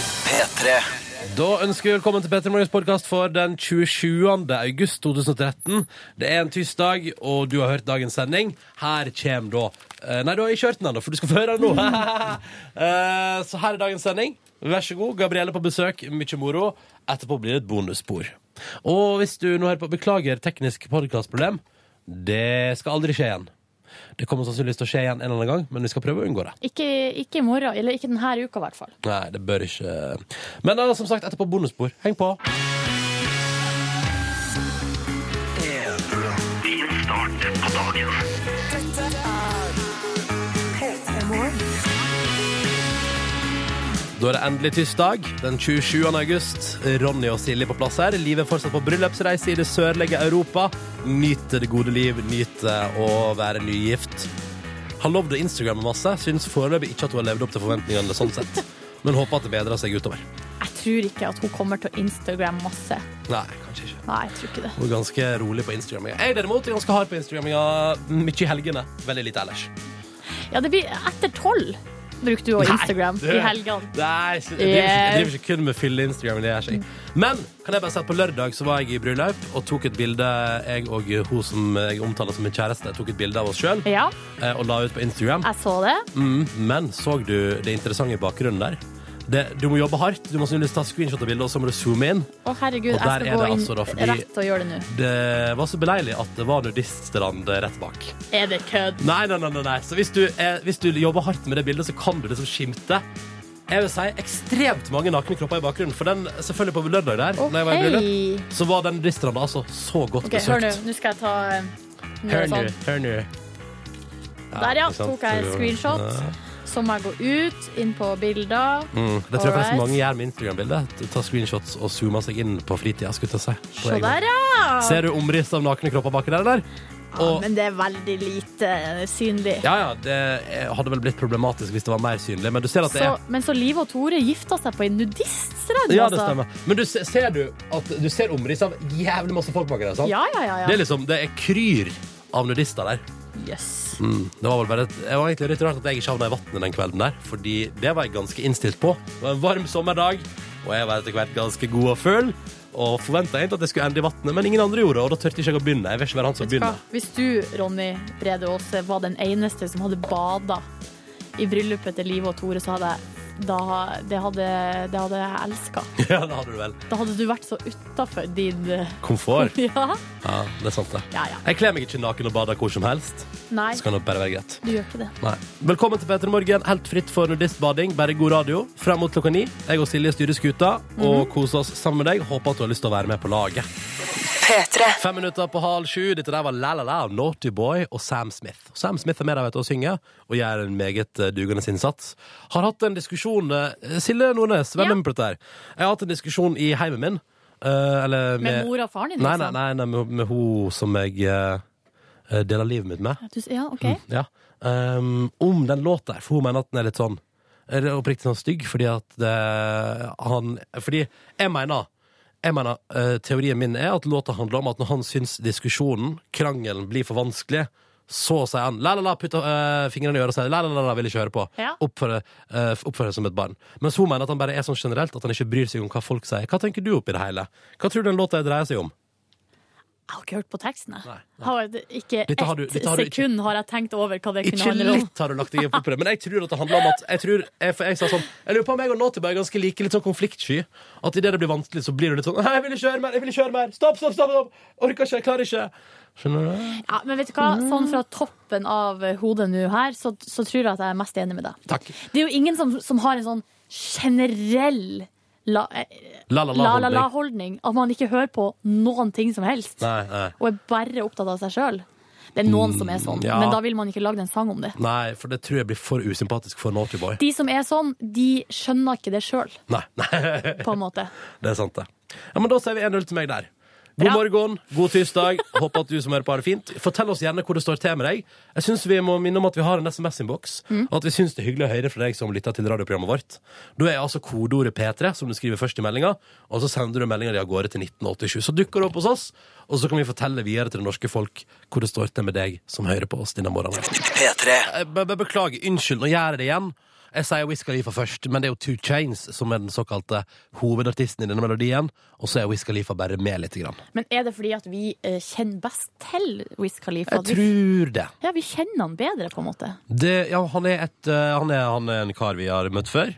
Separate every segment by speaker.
Speaker 1: P3.
Speaker 2: Da ønsker vi velkommen til Petter Morgens podkast for den 27. august 2013. Det er en tirsdag, og du har hørt dagens sending. Her kommer da eh, Nei, du har ikke hørt den ennå, for du skal få høre den nå. Eh, så her er dagens sending. Vær så god. Gabrielle på besøk. Mye moro. Etterpå blir det et bonusspor. Og hvis du nå hører på Beklager teknisk podkastproblem. Det skal aldri skje igjen. Det kommer sannsynligvis til å skje igjen en eller annen gang, men vi skal prøve å unngå det.
Speaker 3: Ikke, ikke i morgen, eller ikke denne uka i hvert fall.
Speaker 2: Nei, det bør ikke Men da, som sagt, etterpå bonusspor. Heng på. Da er det endelig tirsdag, den 27. august. Ronny og Silje på plass her. Livet er fortsatt på bryllupsreise i det sørlige Europa. Nyt det gode liv, nyt eh, å være nygift. Har lovd å Instagramme masse. Syns foreløpig ikke at hun har levd opp til forventningene sånn sett. Men håper at det bedrer seg utover.
Speaker 3: Jeg tror ikke at hun kommer til å Instagram masse.
Speaker 2: Nei, kanskje ikke.
Speaker 3: Nei, jeg tror ikke det.
Speaker 2: Hun er ganske rolig på Instagramminga. Jeg derimot er ganske hard på Instagramminga. Mye i helgene, veldig lite ellers.
Speaker 3: Ja, det blir etter tolv bruker du å Instagram
Speaker 2: Nei, du-
Speaker 3: i helgene.
Speaker 2: Nei, jeg driver ikke, jeg driver ikke kun med fylle Instagram. Det gjør jeg ikke. Men kan jeg bare si at på lørdag så var jeg i bryllup og tok et bilde, jeg og hun som jeg omtaler som min kjæreste, tok et bilde av oss sjøl
Speaker 3: Ja,
Speaker 2: og la ut på Instagram.
Speaker 3: jeg så det.
Speaker 2: Mm, men så du det interessante i bakgrunnen der? Det, du må jobbe hardt. Du må sannsynligvis ta screenshot av bildet, og så må du zoome inn.
Speaker 3: Å
Speaker 2: Og
Speaker 3: herregud, jeg
Speaker 2: der
Speaker 3: skal
Speaker 2: er
Speaker 3: gå
Speaker 2: det
Speaker 3: inn
Speaker 2: altså da, fordi-
Speaker 3: rett og gjøre det nå.
Speaker 2: Det var så beleilig at det var nudiststrand rett bak.
Speaker 3: Er det kødd?
Speaker 2: Nei, nei, nei, nei, nei. Så hvis du, er, hvis du jobber hardt med det bildet, så kan du liksom skimte Jeg vil si ekstremt mange nakne kropper i bakgrunnen. For den, selvfølgelig på lørdag der,
Speaker 3: Å,
Speaker 2: når jeg var i bryllup,
Speaker 3: hei.
Speaker 2: så var den nudiststranda altså så godt
Speaker 3: Ok, hør nå.
Speaker 2: besøkt.
Speaker 3: Nå skal jeg ta eh, nå er det sånn.
Speaker 2: hør nå.
Speaker 3: Der, ja.
Speaker 2: ikke sant?
Speaker 3: Tok jeg et screenshot.
Speaker 2: Ja.
Speaker 3: Så må jeg gå ut, inn på bilder.
Speaker 2: Mm. Det tror jeg
Speaker 3: Alright.
Speaker 2: faktisk mange gjør med Instagram-bilde. Ta screenshots og zoome seg inn på fritida. skulle jeg til å si. På
Speaker 3: Se
Speaker 2: egen hånd.
Speaker 3: der, ja!
Speaker 2: Ser du omrisset av nakne kropper baki der, eller?
Speaker 3: ja!
Speaker 2: Og,
Speaker 3: Men det er veldig lite synlig.
Speaker 2: ja, ja, det hadde vel blitt problematisk hvis det var mer synlig, men du ser at det
Speaker 3: Så,
Speaker 2: er
Speaker 3: men så Liv og Tore gifta seg på en nudiststrand?
Speaker 2: Ja, det
Speaker 3: altså.
Speaker 2: stemmer. Men du, se- ser du at du ser omriss av jævlig masse folk bak der? sant?
Speaker 3: Ja, ja, ja.
Speaker 2: Det
Speaker 3: ja.
Speaker 2: er liksom, det er kryr av nudister der.
Speaker 3: Yes.
Speaker 2: Det var vel bare et, det var egentlig litt rart at jeg ikke havna i vannet den kvelden der, fordi det var jeg ganske innstilt på. Det var en varm sommerdag, og jeg var etter hvert ganske god og full. Og forventa egentlig at jeg skulle ende i vannet, men ingen andre gjorde det, og da turte ikke jeg å begynne. Jeg vil ikke være han som
Speaker 3: Hva?
Speaker 2: begynner.
Speaker 3: Hvis du, Ronny Brede Aase, var den eneste som hadde bada i bryllupet til Liv og Tore, så hadde jeg da, det, hadde, det hadde jeg elska.
Speaker 2: Ja, det hadde du vel.
Speaker 3: Da hadde du vært så utafor din
Speaker 2: Komfort.
Speaker 3: Ja,
Speaker 2: Ja, det er sant, det.
Speaker 3: ja. ja.
Speaker 2: Jeg kler meg ikke naken og bader hvor som helst.
Speaker 3: Nei,
Speaker 2: Så kan det bare være greit.
Speaker 3: du gjør ikke det.
Speaker 2: Nei. Velkommen til Peter Morgen, helt fritt for nudistbading. Bare god radio. Frem mot klokka ni. Jeg og Silje styrer skuta
Speaker 3: Mhm.
Speaker 2: og koser oss sammen med deg. Håper at du har lyst til å være med på laget. Fem minutter på halv sju. Dette der var La-La-La av Naughty Boy og Sam Smith. Og Sam Smith er med der vet du, og synger, og gjør en meget eh, dugende innsats. Har hatt en diskusjon eh, Silje Nordnes, vær
Speaker 3: Ja.
Speaker 2: med på dette her. Jeg har hatt en diskusjon i heimen min. eh, eller med,
Speaker 3: Med mora og faren din,
Speaker 2: Nei, nei,
Speaker 3: liksom?
Speaker 2: nei, nei med, med hun som jeg eh, eh, deler livet mitt med.
Speaker 3: Du, ja, OK.
Speaker 2: Mm. Ja. Ehm, om den låta her, for hun mener at den er litt sånn er det oppriktig sånn stygg, fordi at eh, han Fordi jeg mener jeg mener, eh, Teorien min er at låta handler om at når han syns diskusjonen, krangelen, blir for vanskelig, så sier han la-la-la, putter eh, fingrene i øret og sier la-la-la, vil ikke høre på.
Speaker 3: Ja.
Speaker 2: Oppfører eh, oppfører seg som et barn. Mens hun mener at han bare er sånn generelt, at han ikke bryr seg om hva folk sier. Hva tenker du oppi det hele? Hva tror du den låta her dreier seg om?
Speaker 3: Jeg har ikke hørt på teksten, jeg.
Speaker 2: Nei,
Speaker 3: Har jeg- Ikke
Speaker 2: Dette har du-
Speaker 3: ett
Speaker 2: dette har du ikke-
Speaker 3: sekund har jeg tenkt over hva det kunne
Speaker 2: Ikke
Speaker 3: handle om.
Speaker 2: litt har du lagt deg opp på det, men jeg tror at det handler om at Jeg, tror, jeg, for jeg sa sånn Jeg lurer på om jeg og Nåtiberg er ganske like, litt sånn konfliktsky. At idet det blir vanskelig, så blir du litt sånn Nei, jeg vil ikke høre mer! jeg vil ikke høre mer Stopp, stopp, stopp! stopp Orker ikke, jeg klarer ikke. Skjønner du?
Speaker 3: Ja, men vet du hva? Sånn fra toppen av hodet nå her, så, så tror jeg at jeg er mest enig med deg.
Speaker 2: Takk.
Speaker 3: Det er jo ingen som, som har en sånn generell eh, la-la-la-holdning.
Speaker 2: La-la-la-holdning.
Speaker 3: At man ikke hører på noen ting som helst,
Speaker 2: Nei, nei.
Speaker 3: og er bare opptatt av seg sjøl. Det er noen som er sånn,
Speaker 2: Mm, ja.
Speaker 3: men da vil man ikke lage en sang om det.
Speaker 2: nei, for det tror jeg blir for usympatisk for Naughtyboy.
Speaker 3: De som er sånn, de skjønner ikke det sjøl,
Speaker 2: Nei, nei.
Speaker 3: på en måte.
Speaker 2: Det er sant, det. Ja, men Da sier vi 1-0 til meg der. God
Speaker 3: Bra.
Speaker 2: morgen, god tirsdag. Håper at du som hører på, har det fint. Fortell oss gjerne hvor det står til med deg. Jeg synes Vi må minne om at vi har en SMS-innboks, og at vi syns det er hyggelig å høre fra deg som lytter til radioprogrammet vårt. Da er altså kodeordet P3, som du skriver først i meldinga, og så sender du meldinga di av gårde til 1987. Så dukker det opp hos oss, og så kan vi fortelle videre til det norske folk hvor det står til med deg som hører på oss denne morgenen.
Speaker 1: P3.
Speaker 2: Jeg be- be- Beklager, unnskyld, nå gjør jeg det igjen. Jeg sier Wiz Khalifa først, men det er jo Two Chains som er den såkalte hovedartisten i denne melodien. Og så er Wiz Khalifa bare med lite grann.
Speaker 3: Men er det fordi at vi eh, kjenner best til Wiz Khalifa?
Speaker 2: Jeg
Speaker 3: At vi,
Speaker 2: tror det.
Speaker 3: ja, vi kjenner han bedre, på en måte.
Speaker 2: det ja, han, er et, eh, han, er, han er en kar vi har møtt før.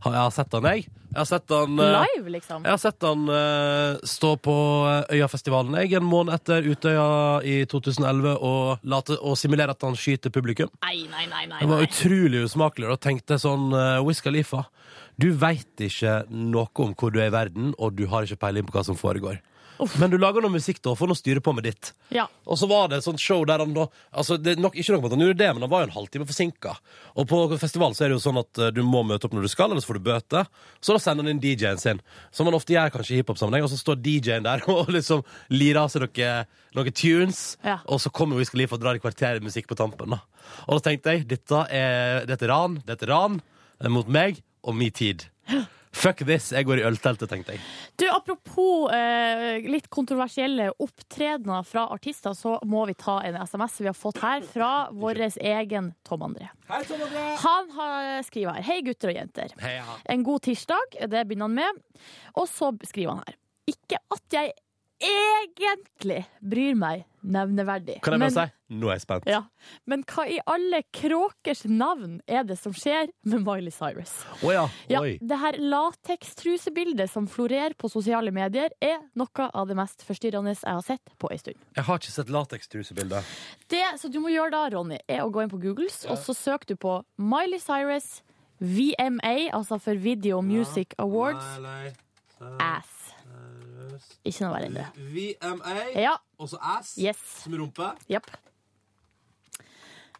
Speaker 2: Han- Jeg har sett han, jeg. Jeg har sett han eh,
Speaker 3: Live, liksom.
Speaker 2: Jeg har sett han eh, stå på eh, Øyafestivalen jeg, en måned etter Utøya i 2011 og, late, og simulere at han skyter publikum.
Speaker 3: Nei, nei, nei. nei,
Speaker 2: Det var
Speaker 3: nei.
Speaker 2: utrolig usmakelig. Da tenkte jeg sånn uh, Wiz Khalifa, du veit ikke noe om hvor du er i verden, og du har ikke peiling på hva som foregår. Men du lager noe musikk da, får noe styre på med ditt.
Speaker 3: Ja.
Speaker 2: Og så var det et sånt show der han da altså det er nok, Ikke noe med at han gjorde det, men han var jo en halvtime forsinka. Og på festival så er det jo sånn at eh, du må møte opp når du skal, ellers får du bøte. Så da sender han inn DJ-en sin, som han ofte gjør kanskje i hiphop-sammenheng. Og så står DJ-en der og liksom lirer av seg noen, noen tunes.
Speaker 3: Ja.
Speaker 2: Og så kommer Wiz Khalifa og drar i kvarteret musikk på tampen. da. Og da tenkte jeg dette er, dette er ran, dette er ran eh, mot meg og min tid. Fuck this, jeg går i ølteltet, tenkte jeg.
Speaker 3: Du, apropos eh, litt kontroversielle opptredener fra artister, så må vi ta en SMS vi har fått her fra vår egen Tom André.
Speaker 2: Hei, Tom André!
Speaker 3: Han har, skriver her Hei gutter og jenter.
Speaker 2: Hei, ja.
Speaker 3: En god tirsdag, det begynner han med. Og så skriver han her. Ikke at jeg egentlig bryr meg nevneverdig.
Speaker 2: Kan jeg
Speaker 3: men-
Speaker 2: bare si nå er jeg spent.
Speaker 3: Ja, Men hva i alle kråkers navn er det som skjer med Miley Cyrus?
Speaker 2: Å ja.
Speaker 3: Ja,
Speaker 2: Oi.
Speaker 3: det her latekstrusebildet som florerer på sosiale medier, er noe av det mest forstyrrende jeg har sett på ei stund.
Speaker 2: Jeg har ikke sett latekstrusebildet.
Speaker 3: Det som du må gjøre da, Ronny, er å gå inn på Googles, og så søker du på Miley Cyrus VMA, altså for Video Music Awards, ass. Ikke noe verre enn det.
Speaker 2: VMA,
Speaker 3: Ja,
Speaker 2: og så ass,
Speaker 3: yes.
Speaker 2: som rumpe.
Speaker 3: Jepp.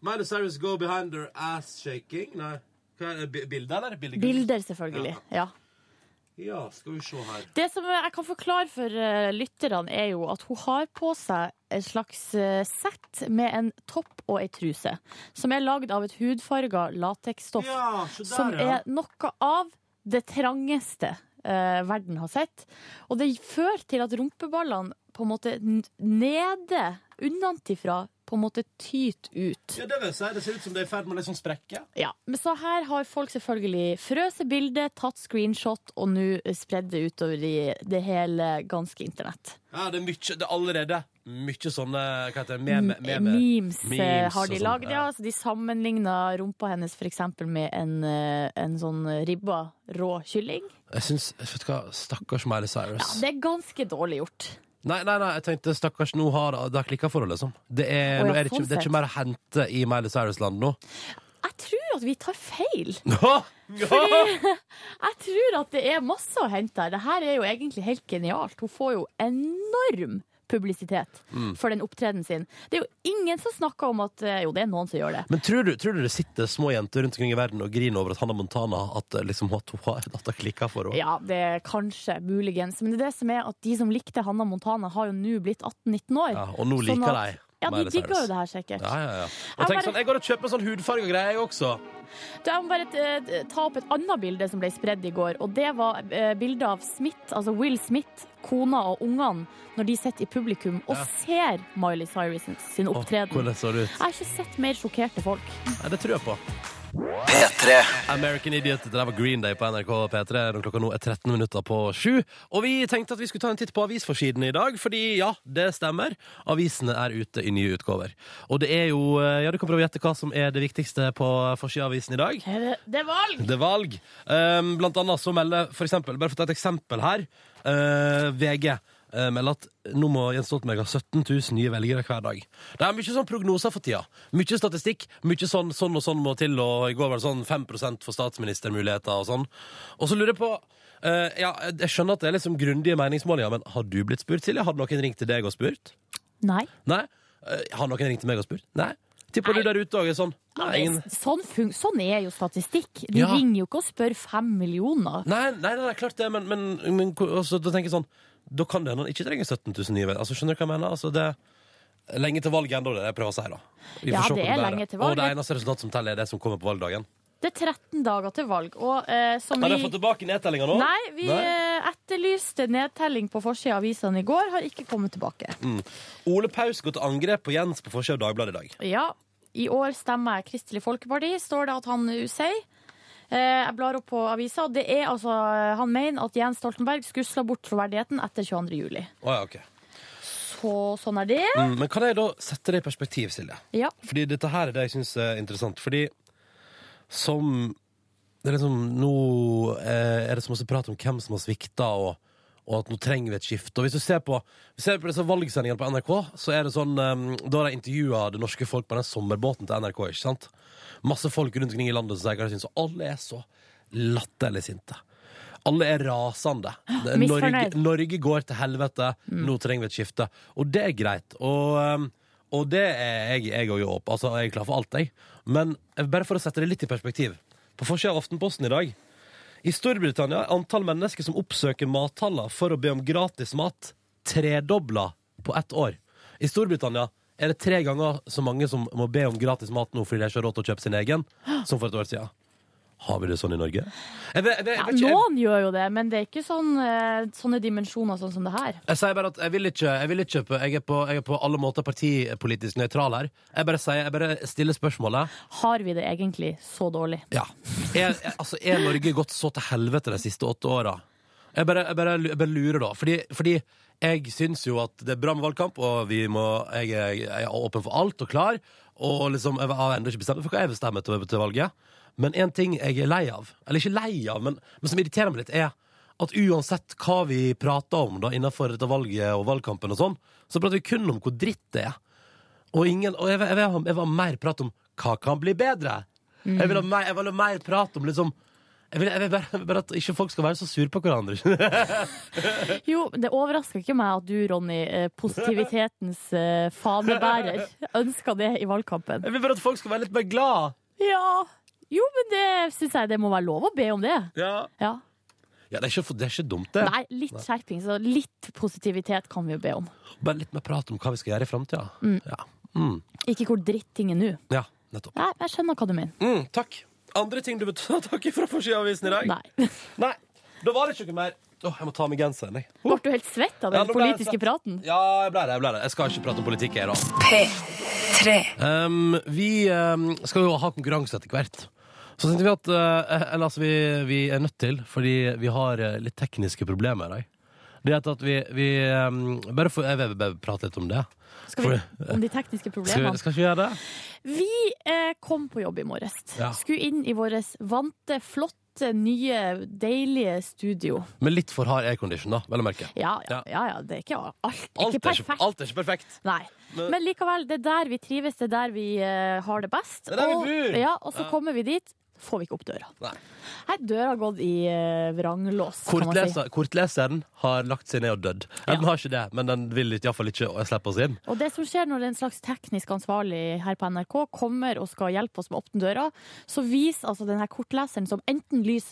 Speaker 2: Miley Cyrus go behind her ass shaking. Nei, hva er det? Bi- Bilder, eller? Bildekunst?
Speaker 3: Bilder, selvfølgelig. Ja.
Speaker 2: Ja, skal vi se her.
Speaker 3: Det som jeg kan forklare for eh, lytterne, er jo at hun har på seg et slags eh, sett med en topp og ei truse, som er lagd av et hudfarga lateksstoff.
Speaker 2: Ja, se
Speaker 3: som
Speaker 2: der, ja.
Speaker 3: er noe av det trangeste eh, verden har sett. Og det fører til at rumpeballene på en måte n- nede, unnantifra, på en måte tyter ut.
Speaker 2: Ja, det vil jeg si. Det ser ut som det er i ferd med å liksom sprekke.
Speaker 3: Ja, men Så her har folk selvfølgelig frøset bildet, tatt screenshot og nå eh, spredd det utover i det hele ganske internett.
Speaker 2: Ja, det er mye, det er allerede mye sånne, hva heter det, meme,
Speaker 3: Eh,
Speaker 2: meme.
Speaker 3: Memes, eh,
Speaker 2: Memes
Speaker 3: har
Speaker 2: og
Speaker 3: de
Speaker 2: sånn,
Speaker 3: lagd, ja.
Speaker 2: ja.
Speaker 3: Så de sammenligna rumpa hennes f.eks. med en, eh, en sånn ribba rå kylling.
Speaker 2: Jeg synes, jeg vet hva, stakkars Miley Cyrus.
Speaker 3: Ja, det er ganske dårlig gjort.
Speaker 2: Nei, nei, nei, jeg tenkte stakkars, nå har det har klikket for henne, liksom. Det er,
Speaker 3: Å, ja,
Speaker 2: nå er det,
Speaker 3: sånn
Speaker 2: ikke, det er
Speaker 3: sett.
Speaker 2: ikke mer å hente i Miley Cyrus-land nå.
Speaker 3: Jeg tror at vi tar feil.
Speaker 2: Fordi...
Speaker 3: Jeg tror at det er masse å hente her. Dette er jo egentlig helt genialt. Hun får jo enorm publisitet
Speaker 2: Mm.
Speaker 3: for den opptredenen sin. Det er jo ingen som snakker om at eh, Jo, det er noen som gjør det.
Speaker 2: Men tror du, tror du det sitter små jenter rundt omkring i verden og griner over at Hannah Montana at, eh, liksom, at hun har at hun klikker for henne?
Speaker 3: Ja, det er kanskje, muligens. Men det er det som er at de som likte Hanna Montana, har jo nå blitt 18-19 år.
Speaker 2: Ja, og nå
Speaker 3: Sånn
Speaker 2: liker
Speaker 3: at-
Speaker 2: de
Speaker 3: Ja, de
Speaker 2: Miley
Speaker 3: digger
Speaker 2: Cyrus.
Speaker 3: jo det her sikkert.
Speaker 2: Ja, ja, ja.
Speaker 3: Jeg
Speaker 2: Og tenk
Speaker 3: bare-
Speaker 2: sånn, jeg går og kjøper sånn hudfarga greier, jeg også.
Speaker 3: Da Jeg må bare eh, ta opp et annet bilde som ble spredd i går. Og det var eh, bildet av Smith, altså Will Smith, kona og ungene, når de sitter i publikum og
Speaker 2: Ja.
Speaker 3: ser Miley Cyrus sin- sin
Speaker 2: Åh,
Speaker 3: opptreden.
Speaker 2: hvordan så det ut?
Speaker 3: Jeg har ikke sett mer sjokkerte folk.
Speaker 2: Nei, det tror jeg på.
Speaker 1: P3
Speaker 2: American Idiot, det der var Green Day på NRK P3. når Klokka nå er 13 minutter på sju. Og vi tenkte at vi skulle ta en titt på avisforsidene i dag, fordi ja, det stemmer. Avisene er ute i nye utgaver. Og det er jo eh, Ja, du kan prøve å gjette hva som er det viktigste på forsida av avisen i dag.
Speaker 3: Det, er valg!
Speaker 2: Det er valg. Um, blant annet så melder for eksempel, Bare for å ta et eksempel her. eh, VG eh, melder at nå må Jens Stoltenberg ha 17 000 nye velgere hver dag. Det er mye sånn prognoser for tida. Mye statistikk. Mye sånn, sånn og sånn må til, og i går var det sånn 5 for statsministermuligheter og sånn. Og så lurer jeg på eh, ja, Jeg skjønner at det er liksom grundige meningsmålinger, men har du blitt spurt, Silje? Har noen ringt til deg og spurt?
Speaker 3: Nei.
Speaker 2: Nei. Eh, har noen ringt til meg og spurt? Nei. Tipper du der ute òg er sånn? Nei, ingen...
Speaker 3: Sånn, fun sånn er jo statistikk. De
Speaker 2: Ja.
Speaker 3: ringer jo ikke og spør fem millioner.
Speaker 2: Nei, nei, nei, det er klart det, men, men, men ko- altså, da tenker jeg sånn Da kan det hende han ikke trenger 17 000 nye venner. Altså, skjønner du hva jeg mener? Altså, det er lenge til valget ennå, det er det jeg prøver å si. da Vi får se
Speaker 3: Ja, det
Speaker 2: hvordan
Speaker 3: er
Speaker 2: bærer.
Speaker 3: lenge til
Speaker 2: Og det
Speaker 3: valget.
Speaker 2: eneste resultatet som teller, er det som kommer på valgdagen.
Speaker 3: Det er 13 dager til valg, og eh, som
Speaker 2: Har dere
Speaker 3: vi
Speaker 2: fått tilbake nedtellinga nå?
Speaker 3: Nei, vi eh, etterlyste nedtelling på forsida av avisene i går, har ikke kommet tilbake.
Speaker 2: Ole Paus går til angrep på Jens på forsida av Dagbladet i dag.
Speaker 3: Ja, i år stemmer Kristelig Folkeparti, står det at han sier. Eh, Jeg blar opp på avisa, og det er altså Han mener at Jens Stoltenberg skusla bort troverdigheten etter 22. juli.
Speaker 2: Å, ja, ok.
Speaker 3: Så sånn er det.
Speaker 2: Mm, men kan jeg da sette det i perspektiv, Silje?
Speaker 3: Ja.
Speaker 2: Fordi dette her er det jeg syns er interessant. Fordi som det er liksom, Nå eh, er det så masse prat om hvem som har svikta, og, og at nå trenger vi et skifte. Og Hvis du ser på, hvis du ser på disse valgsendingene på NRK, så er det sånn eh, da de intervjua det norske folk på den sommerbåten til NRK. ikke sant? Masse folk rundt omkring i landet som sier hva de syns. Og alle er så latterlig sinte. Alle er rasende. Det er Norge,
Speaker 3: Misfornøyd.
Speaker 2: Norge går til helvete, nå trenger vi et skifte. Og det er greit. Og, um, og det er jeg jeg òg opp. Altså, jeg er klar for alt, jeg. Men eh, bare for å sette det litt i perspektiv. På forsida av Aftenposten i dag I Storbritannia er antall mennesker som oppsøker mathaller for å be om gratis mat, tredobla på ett år. I Storbritannia er det tre ganger så mange som må be om gratis mat nå fordi de ikke har råd til å kjøpe sin egen, som for et år siden. Har vi det sånn i Norge? Jeg vet, jeg vet, jeg
Speaker 3: Ja,
Speaker 2: vet ikke- jeg-
Speaker 3: noen gjør jo det, men det er ikke sånn, eh, sånne dimensjoner sånn som det her.
Speaker 2: Jeg sier bare at jeg vil ikke, jeg vil ikke på, jeg er på, jeg er på alle måter partipolitisk nøytral her. Jeg bare, sier, jeg bare stiller spørsmålet.
Speaker 3: Har vi det egentlig så dårlig?
Speaker 2: Ja. Er, er, altså, er Norge gått så til helvete de siste åtte åra? Jeg bare, jeg, bare, jeg bare lurer, da. Fordi, fordi jeg syns jo at det er bra med valgkamp, og vi må, jeg, er- jeg er åpen for alt og klar. Og liksom, jeg har ennå ikke bestemt meg for hva jeg vil stemme til, til valget. Men én ting jeg er lei av, eller ikke lei av, men, men som irriterer meg litt, er at uansett hva vi prater om da innenfor dette valget og valgkampen og sånn, så prater vi kun om hvor dritt det er. Og, ingen, og jeg, vil- jeg, vil ha- jeg vil ha mer prat om hva kan bli bedre. Jeg, vil ha mer, jeg vil ha mer prat om liksom jeg vil, jeg vil bare, jeg vil bare at ikke folk skal være så sure på hverandre.
Speaker 3: Jo, det overrasker ikke meg at du, Ronny, eh, positivitetens eh, fanebærer, ønska det i valgkampen.
Speaker 2: Jeg vil bare at folk skal være litt mer glad.
Speaker 3: Ja. Jo, men det syns jeg det må være lov å be om det.
Speaker 2: Ja,
Speaker 3: Ja.
Speaker 2: det, er ikke, for- det er ikke dumt, det.
Speaker 3: Nei, litt skjerping, så litt positivitet kan vi jo be om.
Speaker 2: Bare litt mer prat om hva vi skal gjøre i framtida. Ja.
Speaker 3: Ikke hvor dritt ting er nå.
Speaker 2: ja, nettopp.
Speaker 3: Nei, jeg skjønner hva du mener.
Speaker 2: Mm, takk. Andre ting du bør ta tak i fra forsida av avisen i dag?
Speaker 3: Nei.
Speaker 2: Nei. Da var det ikke noe mer. Åh, jeg må ta av meg genseren, jeg.
Speaker 3: Ble du helt svett av
Speaker 2: Ja,
Speaker 3: den
Speaker 2: nå ble jeg
Speaker 3: politiske
Speaker 2: svett.
Speaker 3: praten?
Speaker 2: Ja, jeg ble det. Jeg ble det. Jeg skal ikke prate om politikk her, da.
Speaker 1: P3.
Speaker 2: Um, vi um, skal jo ha konkurranse etter hvert. Så tenkte vi at uh, Eller altså, vi, vi er nødt til, fordi vi har uh, litt tekniske problemer her. Det er at vi, vi um, Bare for jeg vil bare prate litt om det.
Speaker 3: Skal vi,
Speaker 2: For-
Speaker 3: om de tekniske
Speaker 2: Skal vi,
Speaker 3: problemene.
Speaker 2: skal ikke vi gjøre det?
Speaker 3: Vi eh, kom på jobb i morges.
Speaker 2: Ja.
Speaker 3: Skulle inn i vårt vante, flotte, nye, deilige studio.
Speaker 2: Med litt for hard aircondition, da, vel å merke.
Speaker 3: Ja,
Speaker 2: Ja.
Speaker 3: ja, ja, ja det er ikke alt.
Speaker 2: Alt
Speaker 3: ikke
Speaker 2: er ikke,
Speaker 3: perfekt.
Speaker 2: alt er ikke perfekt.
Speaker 3: Nei.
Speaker 2: Men-
Speaker 3: Men likevel, det er der vi trives, det er der vi eh, har det best.
Speaker 2: Det er der vi bor.
Speaker 3: Og, ja, og
Speaker 2: Ja.
Speaker 3: så kommer vi dit, får vi ikke opp døra.
Speaker 2: Nei.
Speaker 3: Her døra har gått i eh, vranglås, kan man si.
Speaker 2: Kortleser, kortleseren har lagt seg ned og dødd. Ja. Den har ikke det, men den vil iallfall ikke slippe oss inn.
Speaker 3: Og det som skjer når en slags teknisk ansvarlig her på NRK kommer og skal hjelpe oss med å åpne døra, så viser altså denne kortleseren som enten lys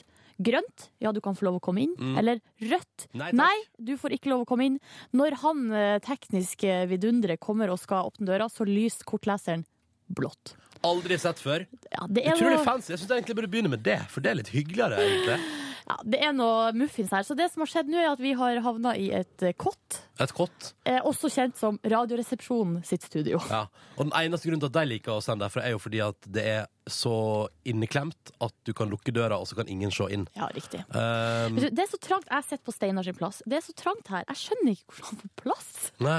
Speaker 3: grønt, ja du kan få lov å komme inn, eller rødt,
Speaker 2: Mm. Nei, takk.
Speaker 3: du får ikke lov å komme inn. Når han eh, tekniske vidunderet kommer og skal åpne døra, så lyser kortleseren blått.
Speaker 2: Aldri sett før.
Speaker 3: Ja, det er
Speaker 2: Utrolig
Speaker 3: noe-
Speaker 2: fancy. Jeg syns jeg egentlig burde begynne med det, for det er litt hyggeligere, egentlig.
Speaker 3: Ja, det er noe muffins her. Så det som har skjedd nå, er at vi har havna i et eh, kott.
Speaker 2: Et kott.
Speaker 3: Eh, også kjent som Radioresepsjonen sitt studio.
Speaker 2: Ja. Og den eneste grunnen til at de liker å sende derfra, er jo fordi at det er så inneklemt at du kan lukke døra, og så kan ingen se inn.
Speaker 3: Ja, riktig.
Speaker 2: Ehm,
Speaker 3: Vet du, Det er så trangt. Jeg sitter på Steinar sin plass. Det er så trangt her. Jeg skjønner ikke hvordan han får plass.
Speaker 2: nei.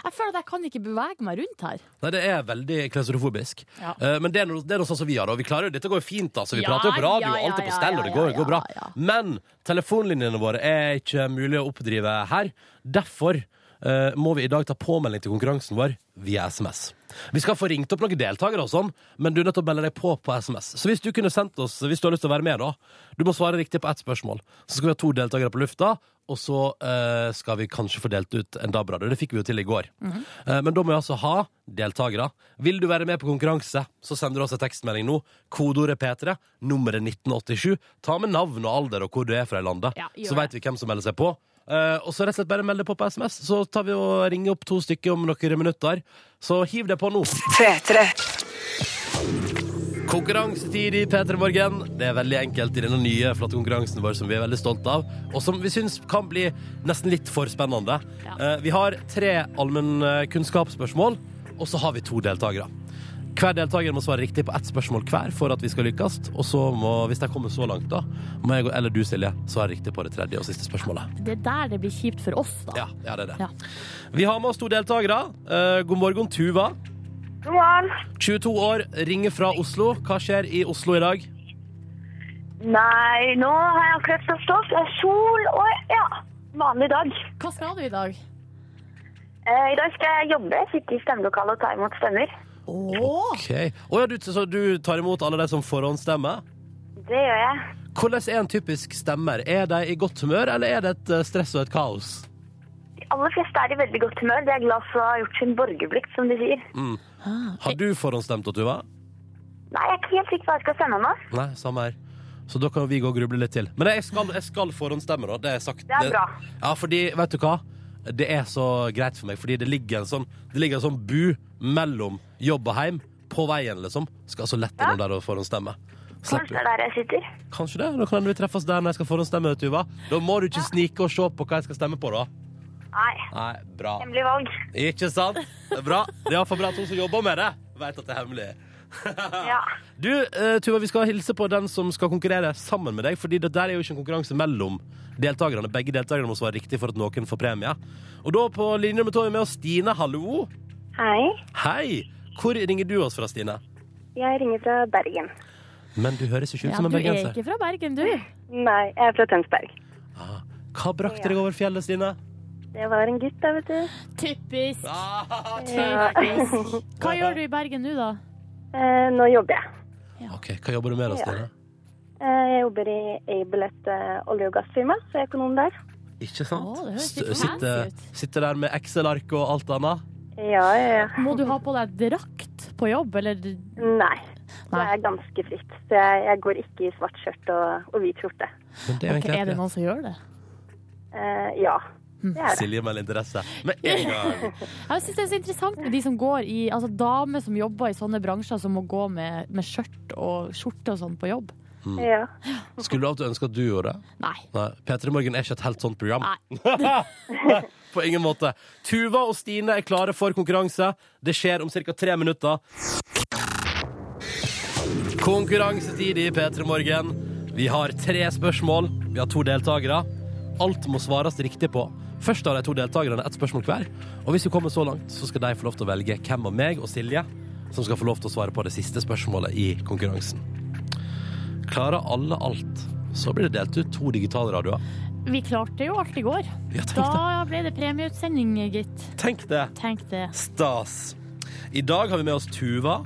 Speaker 3: Jeg føler at jeg kan ikke bevege meg rundt her.
Speaker 2: nei, det er veldig klaustrofobisk.
Speaker 3: Ja.
Speaker 2: Eh, men det er, noe, det er noe sånn som vi har, og vi klarer jo dette. går jo fint, altså. Vi
Speaker 3: Ja,
Speaker 2: prater jo på radio,
Speaker 3: ja,
Speaker 2: og alt er
Speaker 3: ja,
Speaker 2: på stell, og det går,
Speaker 3: ja,
Speaker 2: går bra.
Speaker 3: ja, ja.
Speaker 2: Men telefonlinjene våre er ikke mulig å oppdrive her. Derfor eh, må vi i dag ta påmelding til konkurransen vår via SMS. Vi skal få ringt opp noen deltakere, og sånn, men du er nødt til å melde deg på på SMS. Så hvis du kunne sendt oss, hvis du har lyst til å være med, da Du må svare riktig på ett spørsmål. Så skal vi ha to deltakere på lufta, og så eh, skal vi kanskje få delt ut en DAB-radio. Det fikk vi jo til i går.
Speaker 3: Mhm.
Speaker 2: Eh, men da må vi altså ha deltakere. Vil du være med på konkurranse, så sender du oss en tekstmelding nå. Kodeordet P3, nummeret 1987. Ta med navn og alder og hvor du er fra i landet.
Speaker 3: Ja, gjør
Speaker 2: så veit
Speaker 3: det.
Speaker 2: vi hvem som melder seg på. Eh, og så rett og slett bare meld deg på på SMS, så tar vi og ringer opp to stykker om noen minutter. Så hiv deg på nå.
Speaker 1: P3.
Speaker 2: Konkurransetid i P3 Morgen. Det er veldig enkelt i denne nye flotte konkurransen vår som vi er veldig stolte av, og som vi syns kan bli nesten litt for spennende.
Speaker 3: Ja.
Speaker 2: Eh, Vi har tre allmennkunnskapsspørsmål, og så har vi to deltakere. Hver deltaker må svare riktig på ett spørsmål hver for at vi skal lykkes. Og så må, hvis de kommer så langt, da, må jeg og- eller du, Silje, svare riktig på det tredje og siste spørsmålet.
Speaker 3: Det er der det blir kjipt for oss, da.
Speaker 2: Ja, ja det er det.
Speaker 3: Ja.
Speaker 2: Vi har med oss to deltakere. Eh, god morgen, Tuva.
Speaker 4: God morgen.
Speaker 2: 22 år, ringer fra Oslo. Hva skjer i Oslo i dag?
Speaker 4: Nei, nå har jeg akkurat stått opp. Det er sol og ja, vanlig dag.
Speaker 3: Hva skal du i dag?
Speaker 4: Eh, I dag skal jeg jobbe, sitte i stemmelokalet og ta imot stemmer.
Speaker 2: Ok. Å ja, du, så du tar imot alle de som forhåndsstemmer?
Speaker 4: Det gjør jeg.
Speaker 2: Hvordan er en typisk stemmer? Er de i godt humør, eller er det et eh, stress og et kaos?
Speaker 4: De aller fleste er i veldig godt humør. De er glad for å ha gjort sin borgerplikt, som de sier.
Speaker 2: Har du forhåndsstemt, Tuva?
Speaker 4: Nei, jeg er ikke helt sikker på hva jeg skal stemme nå.
Speaker 2: Nei, samme her. Så da kan vi gå og gruble litt til. Men jeg skal, jeg skal forhåndsstemme, da. Det er sagt.
Speaker 4: Det er bra.
Speaker 2: Ja, fordi, vet du hva? Det er så greit for meg, fordi det ligger en sånn, det ligger en sånn bu mellom jobb og heim. På veien, liksom. Skal så lett innom der og forhåndsstemme. Slipper-
Speaker 4: Kanskje det er der jeg sitter.
Speaker 2: Kanskje det? Da kan vi treffes der når jeg skal forhåndsstemme, Tuva. Da må du ikke snike og se på hva jeg skal stemme på, da.
Speaker 4: Nei,
Speaker 2: Nei, bra.
Speaker 4: hemmelig valg.
Speaker 2: Ikke sant? Det er bra. Det er iallfall bra at hun som jobber med det, vet at det er hemmelig.
Speaker 4: Ja.
Speaker 2: Du, eh, Tuva, vi skal hilse på den som skal konkurrere sammen med deg, fordi det der er jo ikke en konkurranse mellom deltakerne. Begge deltakerne må svare riktig for at noen får premie. Og da på linje nummer to er vi med oss Stine, hallo.
Speaker 4: Hei,
Speaker 2: Hei! Hvor ringer du oss fra, Stine?
Speaker 4: jeg ringer fra Bergen.
Speaker 2: Men du høres jo ikke ut
Speaker 3: Ja,
Speaker 2: som en
Speaker 3: du er
Speaker 2: bergenser.
Speaker 3: ikke fra Bergen, du.
Speaker 4: Nei, jeg er fra Tønsberg.
Speaker 2: Ah, hva brakte deg over fjellet, Stine?
Speaker 4: Det var en gutt da, vet du.
Speaker 3: Typisk.
Speaker 2: Ah,
Speaker 3: Typisk. Hva gjør du i Bergen nå, da?
Speaker 4: eh, nå jobber jeg. Eh,
Speaker 2: OK, hva jobber du med da, Stine?
Speaker 4: Jeg jobber i Able, et eh, olje- og gassfirma, så jeg er økonom der.
Speaker 2: Ikke
Speaker 3: Å,
Speaker 2: sant?
Speaker 3: det høres
Speaker 2: St-
Speaker 3: litt
Speaker 2: Sitter
Speaker 3: fancy ut.
Speaker 2: sitter der med Excel-ark og alt annet.
Speaker 4: Ja, ja, ja.
Speaker 3: Må du ha på deg drakt på jobb, eller du-
Speaker 4: Nei. Det
Speaker 3: Nei.
Speaker 4: er ganske fritt. Så jeg, jeg går ikke i svart skjørt og, og hvit skjorte.
Speaker 2: Men det er jo
Speaker 3: Ok,
Speaker 2: egentlig
Speaker 3: Er
Speaker 2: helt
Speaker 3: det
Speaker 2: greit.
Speaker 3: noen som gjør det?
Speaker 4: Eh, ja.
Speaker 3: Hmm.
Speaker 4: Det er det.
Speaker 2: Silje melder interesse. Med en gang.
Speaker 3: Jeg synes det er så interessant med de som går i Altså damer som jobber i sånne bransjer, som må gå med, med skjørt og skjorte og sånn på jobb.
Speaker 4: Ja.
Speaker 2: Skulle du alltid ønske at du gjorde det?
Speaker 3: Nei.
Speaker 2: Nei. P3 Morgen er ikke et helt sånt program.
Speaker 3: Nei.
Speaker 2: På ingen måte. Tuva og Stine er klare for konkurranse. Det skjer om ca. tre minutter. Konkurransetid i P3 Morgen. Vi har tre spørsmål. Vi har to deltakere. Alt må svares riktig på. Først har de to deltakerne ett spørsmål hver. Og hvis vi kommer så langt, så skal de få lov til å velge hvem av meg og Silje som skal få lov til å svare på det siste spørsmålet i konkurransen. Klarer alle alt, så blir det delt ut to digitalradioer.
Speaker 3: Vi klarte jo alt i går.
Speaker 2: Ja, tenk det.
Speaker 3: Da ble det premieutsending, gitt.
Speaker 2: Tenk det.
Speaker 3: Tenk det.
Speaker 2: Stas. I dag har vi med oss Tuva,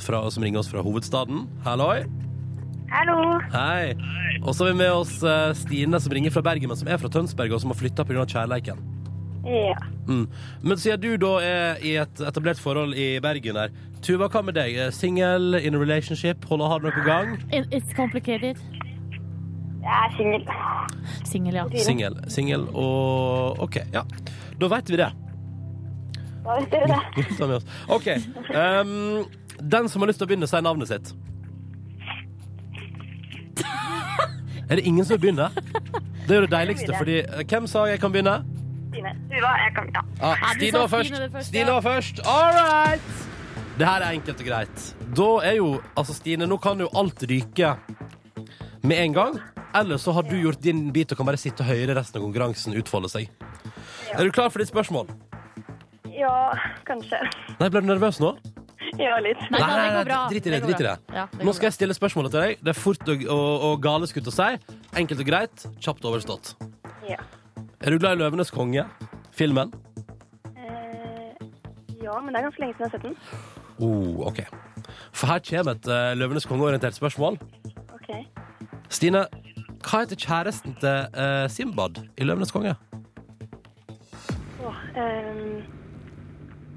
Speaker 2: fra, som ringer oss fra hovedstaden. Halloi.
Speaker 4: Hallo.
Speaker 2: Hei. Og så har vi med oss eh, Stine, som ringer fra Bergen, men som er fra Tønsberg, og som har flytta pga. kjærleiken.
Speaker 4: Ja.
Speaker 2: Mm. Men siden du da er i et etablert forhold i Bergen her, Tuva, hva med deg? Singel, in a relationship, holder har du noe på gang?
Speaker 3: It- It's complicated.
Speaker 4: Jeg er singel.
Speaker 3: Singel, ja.
Speaker 2: Singel. Singel og OK, ja. Da veit vi det.
Speaker 4: Da vet dere det.
Speaker 2: Gutta med oss. Sånn, OK. ehm, den som har lyst til å begynne, sier navnet sitt. Er det ingen som vil begynne? Det er jo det deiligste, fordi eh, Hvem sa jeg kan begynne?
Speaker 4: Stine. Du hva, jeg kan ja.
Speaker 2: Ah,
Speaker 3: Ja, du
Speaker 2: Stine
Speaker 3: sa
Speaker 2: var
Speaker 3: Stine
Speaker 2: først.
Speaker 3: det først,
Speaker 2: Stine
Speaker 3: ja.
Speaker 2: var først. All right! Det her er enkelt og greit. Da er jo Altså, Stine, nå kan jo alt ryke med en gang. Eller så har du gjort din bit og kan bare sitte og høre resten av konkurransen utfolde seg. Er du klar for ditt spørsmål?
Speaker 4: ja, kanskje.
Speaker 2: Nei, ble du nervøs nå?
Speaker 4: Ja, litt.
Speaker 3: Nei, da, det går bra.
Speaker 2: Drit i det.
Speaker 3: går
Speaker 2: drit i
Speaker 3: bra.
Speaker 2: det.
Speaker 3: Ja, det
Speaker 2: Nå
Speaker 3: går
Speaker 2: skal jeg stille spørsmålet til deg. Det er fort og, og, og gale skutt å si. Enkelt og greit. Kjapt overstått.
Speaker 4: Ja.
Speaker 2: Er du glad i 'Løvenes konge'? Filmen?
Speaker 4: Eh, ja, men det er ganske lenge siden jeg har sett den.
Speaker 2: Oh, OK. For her kommer et eh, 'Løvenes konge'-orientert spørsmål.
Speaker 4: Ok.
Speaker 2: Stine, hva heter kjæresten til eh, Simbad i 'Løvenes konge'?
Speaker 4: Åh, ehm,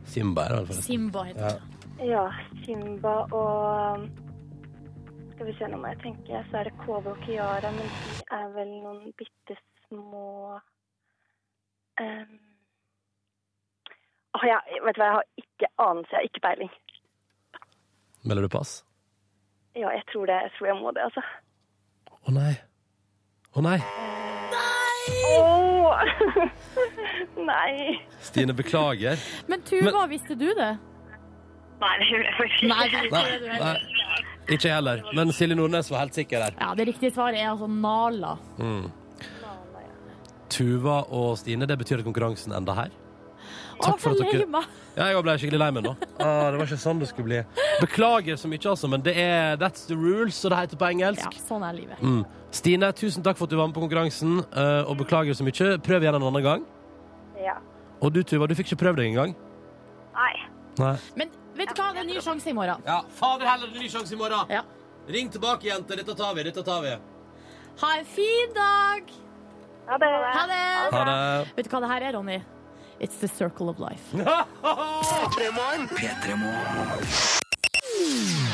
Speaker 2: Simba er det vel
Speaker 3: bra.
Speaker 2: forresten.
Speaker 3: Simba heter det.
Speaker 4: ja, Simba og um, Skal vi se, nå må jeg tenke. Så er det Kove og Kiara, men de er vel noen bitte små ehm, Åh, ja, vet du hva, jeg har ikke anelse, jeg har ikke peiling.
Speaker 2: Melder du pass?
Speaker 4: Ja, jeg tror det. Jeg tror jeg må det, altså.
Speaker 2: Å nei. Å nei.
Speaker 4: Åh! Nei.
Speaker 2: Stine, beklager.
Speaker 3: Men Tuva, visste du det?
Speaker 4: Nei, det gjorde jeg faktisk
Speaker 3: Nei, det
Speaker 4: ikke.
Speaker 3: er
Speaker 2: Nei,
Speaker 3: ikke det du
Speaker 2: nei.
Speaker 3: heller.
Speaker 2: Ikke jeg heller. Men Silje Nordnes var helt sikker der.
Speaker 3: Ja, det riktige svaret er altså Nala.
Speaker 2: Tuva og Stine, det betyr at konkurransen enda her.
Speaker 3: Å,
Speaker 2: for
Speaker 3: så
Speaker 2: at dere-
Speaker 3: lei meg!
Speaker 2: Ja, jeg ble skikkelig lei meg nå. Ah, det var ikke sånn det skulle bli. Beklager så mye, altså, men det er that's the rules, som det heter på engelsk.
Speaker 3: Ja, sånn er livet.
Speaker 2: Mm. Stine, tusen takk for at du var med på konkurransen, eh, og beklager så mye. Prøv igjen en annen gang.
Speaker 4: Ja.
Speaker 2: Og du, Tuva, du fikk ikke prøvd deg engang.
Speaker 4: Nei.
Speaker 2: Nei.
Speaker 3: Men vet du hva, det er en ny sjanse i morgen.
Speaker 2: Ja, fader heller, ny sjanse i morgen.
Speaker 3: Ja.
Speaker 2: Ring tilbake, jenter. Dette tar vi. Dette tar vi.
Speaker 3: Ha en fin dag!
Speaker 4: Ha det.
Speaker 3: Ha det!
Speaker 2: Ha det.
Speaker 3: Vet du hva det her er, Ronny? It's the circle of life.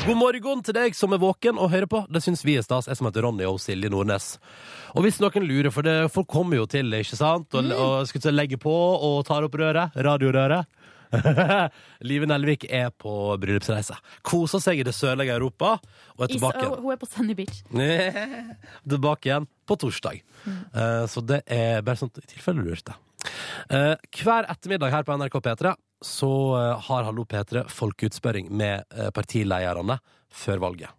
Speaker 2: God morgen til deg som er våken og hører på. Det syns vi er stas. Jeg som heter Ronny og Silje Nordnes. Og hvis noen lurer, for det, folk kommer jo til, ikke sant? Og, og skal til å legge på og tar opp røret. Radiorøret. Live Nelvik er på bryllupsreise. Koser seg i det sørlige Europa og er
Speaker 3: Is,
Speaker 2: tilbake igjen.
Speaker 3: hun er på Sunny Beach.
Speaker 2: tilbake igjen på torsdag. Eh, så det er bare sånn i tilfelle du lurte. Eh, hver ettermiddag her på NRK P3 så eh, har Hallo P3 folkeutspørring med eh, partilederne før valget.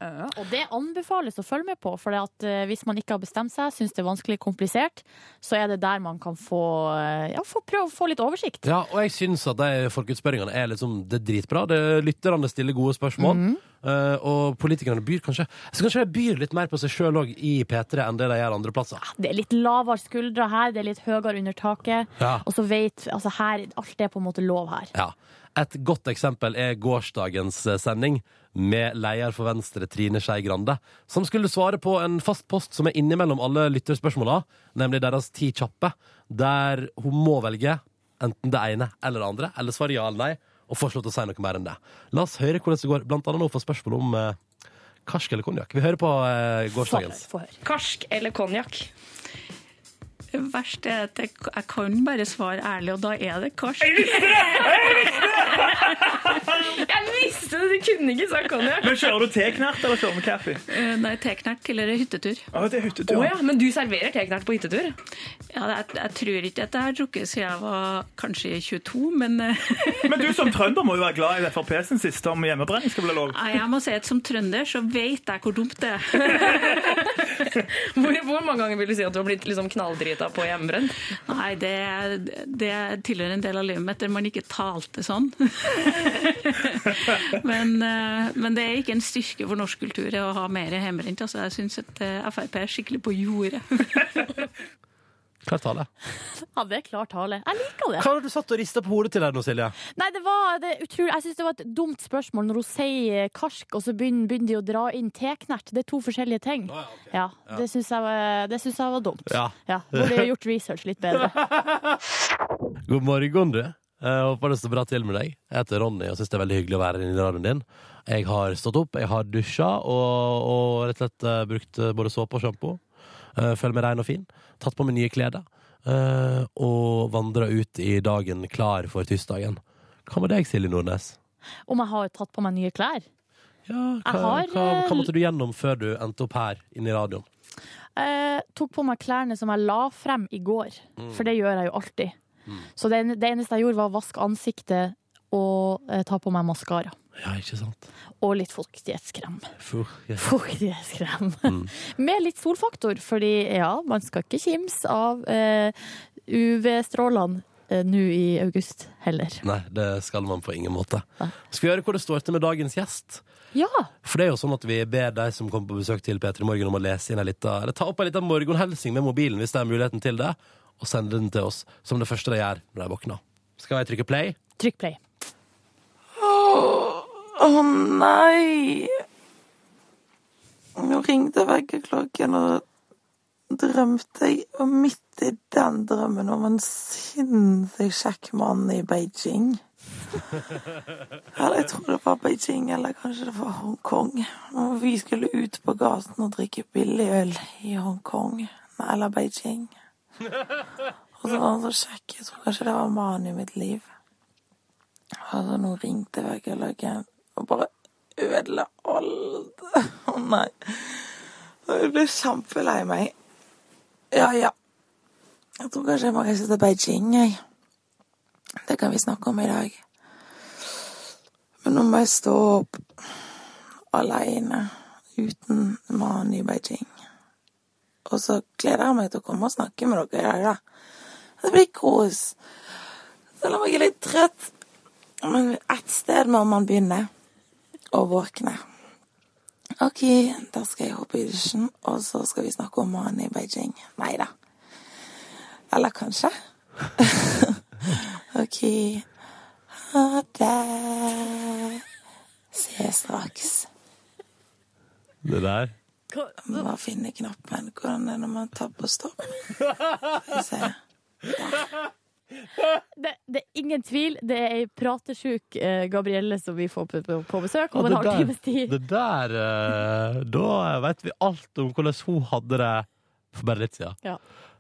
Speaker 3: Og det anbefales å følge med på, for det at, eh, hvis man ikke har bestemt seg, syns det er vanskelig komplisert, så er det der man kan få, eh, ja, få prøve å få litt oversikt.
Speaker 2: Ja, og jeg syns at de folkeutspørringene er liksom, det er dritbra. Det, lytterne stiller gode spørsmål. eh, og politikerne byr kanskje Så kanskje de byr litt mer på seg sjøl òg i P3 enn det de gjør andre plasser.
Speaker 3: Det er litt lavere skuldre her, det er litt høyere under taket,
Speaker 2: Ja.
Speaker 3: og så vet altså her, Alt er på en måte lov her.
Speaker 2: Ja. Et godt eksempel er gårsdagens eh, sending med leder for Venstre, Trine Skei Grande, som skulle svare på en fast post som er innimellom alle lytterspørsmåla, nemlig deres ti kjappe, der hun må velge enten det ene eller det andre, eller svare ja eller nei, og få ikke lov til å si noe mer enn det. La oss høre hvordan det går, blant annet nå for spørsmål om eh, karsk eller konjakk. Vi hører på eh,
Speaker 3: Få høre.
Speaker 2: gårsdagens.
Speaker 3: Få høre.
Speaker 5: Karsk eller konjakk?
Speaker 6: Det verste er at jeg, jeg kan bare svare ærlig, og da er det karsk.
Speaker 5: Jeg visste det! Du kunne ikke sagt konjakk.
Speaker 7: Men kjører du teknert, eller kjører du kaffe?
Speaker 6: Eh, Nei, teknert tilhører hyttetur.
Speaker 7: Å, det er hyttetur.
Speaker 5: Å ja, men du serverer teknert på hyttetur?
Speaker 6: Ja, jeg, jeg tror ikke at jeg har drukket siden jeg var kanskje 22, men eh,
Speaker 7: Men du som trønder må jo være glad i Frp sin siste om hjemmebrenning skal bli lov.
Speaker 6: nei, jeg må si at som trønder så vet jeg hvor dumt det er.
Speaker 5: Hvor, hvor mange ganger vil du si at du har blitt liksom knalldrita på hjemmebrent?
Speaker 6: Nei, det, det tilhører en del av livet mitt der man ikke talte sånn. men, eh, men det er ikke en styrke for norsk kultur å ha mer hjemmebrent. Altså, jeg syns at eh, Frp er skikkelig på jordet.
Speaker 2: Klar tale.
Speaker 3: Ja, det er klar tale. Jeg liker det.
Speaker 2: Hva har du satt og rista på hodet til her nå, Silje?
Speaker 3: Nei, det var det er utrolig. Jeg syns det var et dumt spørsmål når hun sier eh, karsk, og så begynner, begynner de å dra inn teknert. Det er to forskjellige ting.
Speaker 2: ja, ok.
Speaker 3: Ja, det syns jeg, var- det synes jeg var dumt.
Speaker 2: Ja.
Speaker 3: Burde gjort research litt bedre.
Speaker 2: God morgen, du. Jeg håper det står bra til med deg. Jeg heter Ronny og syns det er veldig hyggelig å være inne i radioen din. Jeg har stått opp, jeg har dusja og, og rett og slett eh, brukt eh, både såpe og sjampo. Eh, Føler meg rein og fin. Tatt på meg nye klær. eh, Og vandra ut i dagen klar for tirsdagen. Hva med deg, Silje Nordnes?
Speaker 3: Om jeg har tatt på meg nye klær?
Speaker 2: Ja, hva,
Speaker 3: Jeg har,
Speaker 2: hva,
Speaker 3: eh,
Speaker 2: hva måtte du gjennom før du endte opp her inne i radioen?
Speaker 3: Eh, tok på meg klærne som jeg la frem i går, for det gjør jeg jo alltid. Så det, en- det eneste jeg gjorde, var å vaske ansiktet og eh, ta på meg maskara.
Speaker 2: Ja, ikke sant?
Speaker 3: Og litt fuktighetskrem.
Speaker 2: Fuh, yes.
Speaker 3: Fuktighetskrem. Med litt solfaktor, fordi ja, man skal ikke kimse av eh, UV-strålene eh, nå i august heller.
Speaker 2: Nei, det skal man på ingen måte. Skal vi høre hvor det står til med dagens gjest?
Speaker 3: Ja!
Speaker 2: For det er jo sånn at vi ber de som kommer på besøk til P3 Morgen om å lese inn en liten, eller ta opp en liten morgenhelsing med mobilen hvis de har muligheten til det, og sende den til oss som det første de gjør når de våkner. Skal jeg trykke play?
Speaker 3: Trykk play.
Speaker 8: Å nei! Nå ringte vekkerklokken, og drømte jeg Og midt i den drømmen om en sinnssykt kjekk mann i Beijing. Eller jeg tror det var Beijing, eller kanskje det var Hongkong. Og vi skulle ut på gaten og drikke billig øl i Hongkong. Nei, eller Beijing. Og så var han så kjekk. Jeg tror kanskje det var mannen i mitt liv. Altså, nå ringte vekkerklokka og bare ødela alt. Å nei. Jeg ble kjempelei meg. Ja, ja. Jeg tror kanskje jeg må reise til Beijing, jeg. Det kan vi snakke om i dag. Men nå må jeg stå opp aleine uten mannen i Beijing. Og så gleder jeg meg til å komme og snakke med dere i dag, da. Det blir kos. Selv om jeg er litt trøtt. Men ett sted må man begynne å våkne. OK, da skal jeg hoppe i dusjen, og så skal vi snakke om mannen i Beijing. Nei da. Eller kanskje. OK. Ha det. Ses straks.
Speaker 2: Det der.
Speaker 8: Må bare finne knappen. Hvordan er det når man tar på stopp? Skal vi se.
Speaker 3: Det, det er ingen tvil. Det er ei pratesjuk eh, Gabrielle som vi får på, på, på besøk om en halv times tid.
Speaker 2: det der eh, Da vet vi alt om hvordan hun hadde det for bare litt siden.
Speaker 3: Ja.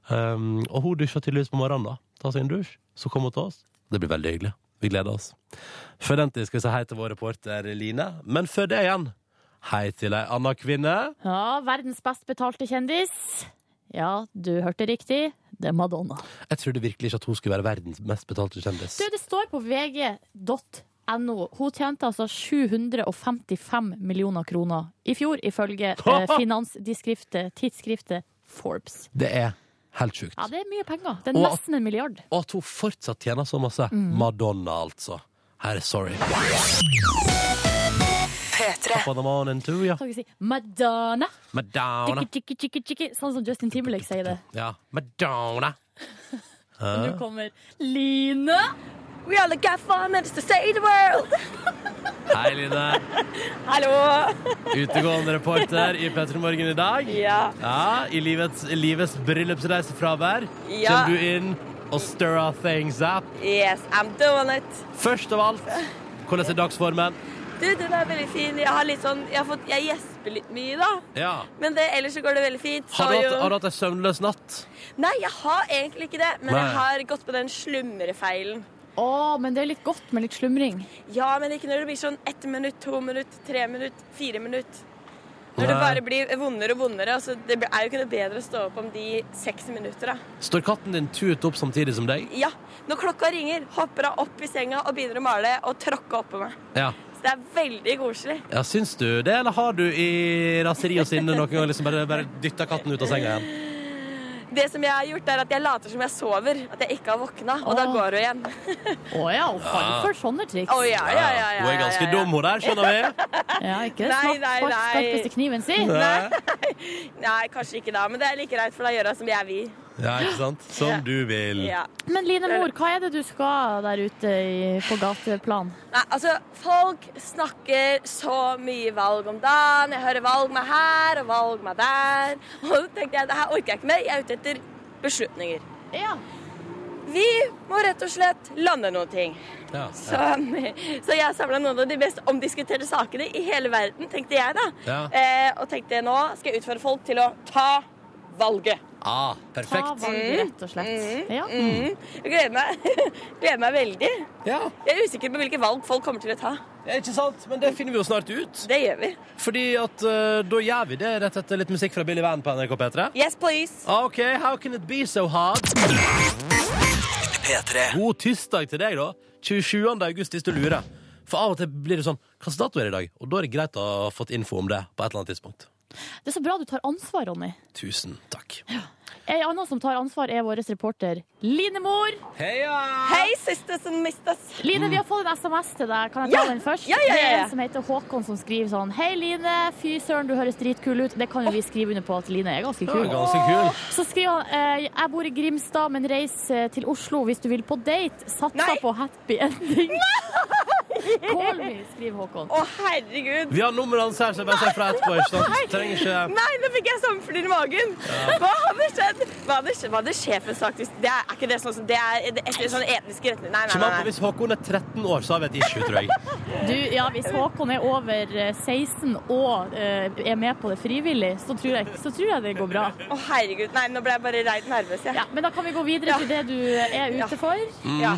Speaker 2: Um, og hun dusjer tydeligvis på morgenen, da. Ta seg en dusj, så kommer hun til oss. Det blir veldig hyggelig. Vi gleder oss. Før den tid skal vi si hei til vår reporter Line. Men før det igjen, hei til ei anna kvinne.
Speaker 3: Ja, verdens best betalte kjendis. Ja, du hørte riktig. Det er Madonna.
Speaker 2: Jeg trodde virkelig ikke at hun skulle være verdens mest betalte kjendis.
Speaker 3: Du, det står på vg.no. Hun tjente altså 755 millioner kroner i fjor, ifølge eh, finanstiskriftet tidsskriftet Forbes.
Speaker 2: Det er helt sjukt.
Speaker 3: Ja, det er mye penger. Det er nesten en milliard.
Speaker 2: Og at hun fortsatt tjener så masse. Madonna, altså. Her er sorry.
Speaker 1: P3.
Speaker 2: På the morning too, ja.
Speaker 3: Kan ikke si Madonna.
Speaker 2: Madonna.
Speaker 3: Tiki, tiki, tiki, tiki. Sånn som Justin Timberlake sier det.
Speaker 2: Ja, Madonna.
Speaker 3: Nå kommer Line.
Speaker 9: We all got five minutes to save the world.
Speaker 2: Hei, Line.
Speaker 9: Hallo.
Speaker 2: Utegående reporter i P3 Morgen i dag.
Speaker 9: Ja.
Speaker 2: Ja, I livets, livets bryllupsreise fra hver
Speaker 9: Ja.
Speaker 2: kommer du inn og stirrer things up.
Speaker 9: Yes, I'm doing it.
Speaker 2: Først av alt, hvordan er dagsformen?
Speaker 9: Du, den er veldig fin. Jeg har litt sånn Jeg, har fått, jeg gjesper litt mye, da.
Speaker 2: Ja.
Speaker 9: Men det, ellers så går det veldig fint. Så
Speaker 2: Har du hatt,
Speaker 9: jo-
Speaker 2: har du hatt en søvnløs natt?
Speaker 9: Nei, jeg har egentlig ikke det. Men
Speaker 2: Nei.
Speaker 9: jeg har gått på den slumrefeilen.
Speaker 3: Å, men det er litt godt med litt slumring.
Speaker 9: Ja, men ikke når det blir sånn ett minutt, to minutt, tre minutt, fire minutt. Når det
Speaker 2: Nei.
Speaker 9: bare blir vondere og vondere. Altså, det er jo ikke noe bedre å stå opp om de seks minutter, da.
Speaker 2: Står katten din tut opp samtidig som deg?
Speaker 9: Ja, når klokka ringer, hopper hun opp i senga og begynner å male og tråkke oppå meg.
Speaker 2: Ja.
Speaker 9: Så det er veldig koselig.
Speaker 2: ja. Syns du det, eller har du i raseri og sinne noen gang liksom bare, bare dytta katten ut av senga igjen?
Speaker 9: Det som jeg har gjort, er at jeg later som jeg sover, at jeg ikke har våkna, og da
Speaker 3: Åh.
Speaker 9: går hun igjen.
Speaker 3: Å ja, hun faller for sånne triks.
Speaker 9: Å ja, ja, ja, ja, ja,
Speaker 2: Hun er ganske
Speaker 9: ja, ja.
Speaker 2: dum, hun der, skjønner vi.
Speaker 3: Ja, ikke
Speaker 9: Nei,
Speaker 3: snakk
Speaker 9: nei,
Speaker 3: for
Speaker 9: nei.
Speaker 3: skarpeste kniven sin.
Speaker 2: Nei.
Speaker 9: Nei, kanskje ikke da, men det er like greit, for da gjør hun som jeg vil.
Speaker 2: Ja, ikke sant? Som du vil.
Speaker 9: Ja.
Speaker 3: Men Line Mor, hva er det du skal der ute i, på gateplan?
Speaker 9: Nei, altså, folk snakker så mye valg om dagen. Jeg hører valg meg her og valg meg der. Og så tenkte jeg, det her orker jeg ikke mer. Jeg er ute etter beslutninger.
Speaker 3: Ja.
Speaker 9: Vi må rett og slett lande noen ting.
Speaker 2: Ja.
Speaker 9: Så, så jeg samla noen av de mest omdiskuterte sakene i hele verden, tenkte jeg da.
Speaker 2: Ja.
Speaker 9: Eh, og tenkte nå skal jeg utfordre folk til å ta valget.
Speaker 2: Ah,
Speaker 3: Ta
Speaker 2: perfekt.
Speaker 3: valget, rett og slett. Ja.
Speaker 9: Mm. Jeg gleder meg. gleder meg veldig.
Speaker 2: Ja,
Speaker 9: Jeg er usikker på hvilke valg folk kommer til å ta.
Speaker 2: Ikke sant? Men det finner vi jo snart ut.
Speaker 9: Det gjør vi.
Speaker 2: Fordi at eh, da gjør vi det rett etter litt musikk fra Billy Van på NRK P3.
Speaker 9: Yes, please.
Speaker 2: OK, how can it be so hard? God tirsdag til deg, da. 27. august, hvis du lurer. For av og til blir det sånn Hva slags dato er det i dag? Og da er det greit å ha fått info om det på et eller annet tidspunkt.
Speaker 3: Det er så bra du tar ansvar, Ronny.
Speaker 2: Tusen takk.
Speaker 3: En annen som tar ansvar, er vår reporter Line Mor.
Speaker 2: Heia!
Speaker 9: Hei, sisters and misters.
Speaker 3: Line, vi har fått en SMS til deg. Kan jeg ta
Speaker 9: Ja.
Speaker 3: den først?
Speaker 9: Ja, ja, ja, ja.
Speaker 3: Det er en som heter Håkon, som skriver sånn Hei, Line. Fy søren, du høres dritkul ut. Det kan jo vi skrive under på at Line er ganske
Speaker 2: Det var
Speaker 3: kul.
Speaker 2: ganske kul.
Speaker 3: Så skriver han eh, Jeg bor i Grimstad, men reis eh, til Oslo hvis du vil på date. Satsa
Speaker 9: Nei.
Speaker 3: på happy ending. Call me, skriver Håkon.
Speaker 9: Å, herregud.
Speaker 2: Vi har nummeret hans her, så jeg bare sier fra etterpå. ikke sant? Trenger ikke
Speaker 9: Nei, nå fikk jeg sommerfugl i magen. Hva hadde skjedd? Hva hadde, skje- hva hadde sjefen sagt hvis Det er, er ikke det sånn som Det er etter sånne sånn etniske retninger. Nei, nei,
Speaker 2: Kjem an på
Speaker 9: nei. nei.
Speaker 2: hvis Håkon er 13 år, så har vi et issue, tror jeg.
Speaker 3: Du, ja, hvis Håkon er over eh, 16 og eh, er med på det frivillig, så tror jeg, så tror jeg det går bra.
Speaker 9: Å, herregud. Nei, nå ble jeg bare reint nervøs, jeg.
Speaker 3: Ja, men da kan vi gå videre
Speaker 9: Ja.
Speaker 3: til det du er ute eh, for.
Speaker 9: Ja.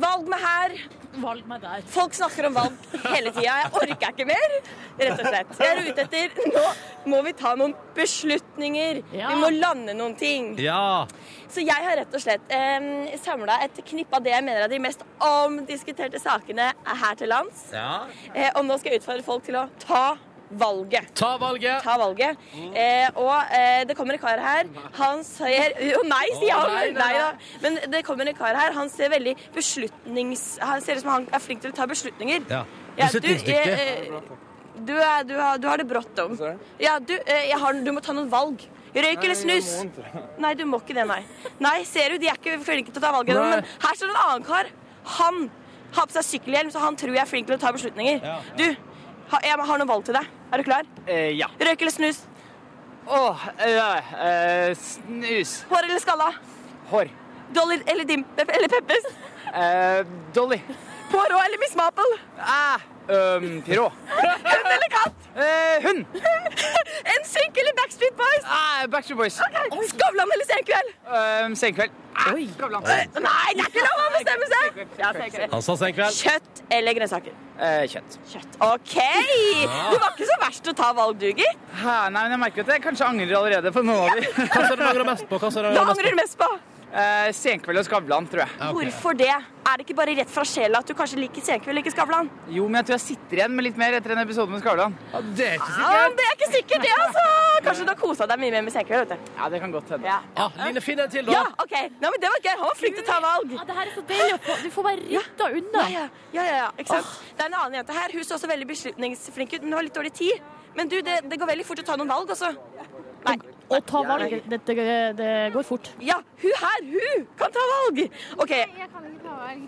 Speaker 4: Valg meg her.
Speaker 3: Valg meg der.
Speaker 4: Folk snakker om valg hele tida. Jeg orker ikke mer, rett og slett. Jeg er ute etter Nå må vi ta noen beslutninger.
Speaker 3: Ja.
Speaker 4: Vi må lande noen ting.
Speaker 2: Ja.
Speaker 4: Så jeg har rett og slett eh, samla et knippe av det jeg mener er de mest omdiskuterte sakene her til lands.
Speaker 2: ja.
Speaker 4: Eh, og nå skal jeg utfordre folk til å ta valget
Speaker 2: Ta valget.
Speaker 4: ta valget. Eh, og eh, det kommer en kar her. Han ser Å nei, sier han! Nei, da. Men det kommer en kar her. Han ser veldig beslutnings... Han ser ut som han er flink til å ta beslutninger.
Speaker 2: Ja.
Speaker 4: Ja, du,
Speaker 2: Beslutningsdyktig.
Speaker 4: eh, du, er, du, har, du har det brått om. Ja, du, eh, jeg har, du må ta noen valg. Røyk eller snus? Nei, du må ikke det, nei. Nei, ser du, de er ikke flinke til å ta valg ennå.
Speaker 2: Nei.
Speaker 4: Men her står det en annen kar. Han har på seg sykkelhjelm, så han tror jeg er flink til å ta beslutninger.
Speaker 2: Ja, ja.
Speaker 4: Du, ha, jeg har noen valg til deg. Er du klar?
Speaker 10: Eh, ja.
Speaker 4: Røyk eller snus?
Speaker 10: Åh, eh, snus.
Speaker 4: Hår eller skalla?
Speaker 10: Hår.
Speaker 4: Dolly eller Dim... Eller Peppes?
Speaker 10: Eh, Dolly.
Speaker 4: Poirot eller Miss Maple?
Speaker 10: Ah, Pirå.
Speaker 4: Hund eller katt?
Speaker 10: Eh, hund.
Speaker 4: En synk eller Backstreet Boys?
Speaker 10: Ah, Backstreet Boys. Ehm,
Speaker 4: Skavlan eller Senkveld?
Speaker 10: senkveld. Oi.
Speaker 4: Nei, det er ikke lov å bestemme seg! Ja, Senkveld.
Speaker 2: Han sa senkveld.
Speaker 4: Kjøtt eller grønnsaker?
Speaker 10: Eh, kjøtt.
Speaker 4: Kjøtt. OK! Du var ikke så verst til å ta valg, du, gitt.
Speaker 10: Ha, Ah, nei, men jeg merker at jeg kanskje angrer allerede på noen av de.
Speaker 2: Hva sa du angrer mest på? Hva sa du
Speaker 4: Hva
Speaker 2: angrer mest
Speaker 4: angrer du mest på?
Speaker 10: Eh, senkveld og Skavlan, tror
Speaker 11: Ah,
Speaker 10: jeg.
Speaker 4: Hvorfor det? Er det ikke bare rett fra sjela at du kanskje liker Senkveld eller ikke Skavlan?
Speaker 10: Jo, men jeg tror jeg sitter igjen med litt mer etter en episode med Skavlan.
Speaker 4: Ja, det er ikke sikkert, det, altså. Kanskje du har kosa deg mye mer med Senkveld, vet du.
Speaker 10: Ja, det kan godt hende.
Speaker 4: Ja.
Speaker 2: på? Ah, Line, finn en til, da.
Speaker 4: Ja, OK. Nei, men det var gøy. Han var flink til å ta valg.
Speaker 3: Ja, det her er så deilig å få Du får bare rydda unna.
Speaker 4: Ja, ja, ja, ja, ja. Ikke sant? Det er en annen jente her. Hun så også veldig beslutningsflink ut, men hun har litt dårlig tid. Men du, det, det går veldig fort å ta noen valg, altså. Nei.
Speaker 3: Å ta valg, det, det, det går fort.
Speaker 4: Ja, hun her, hun kan ta valg! OK. Jeg kan ikke ta valg.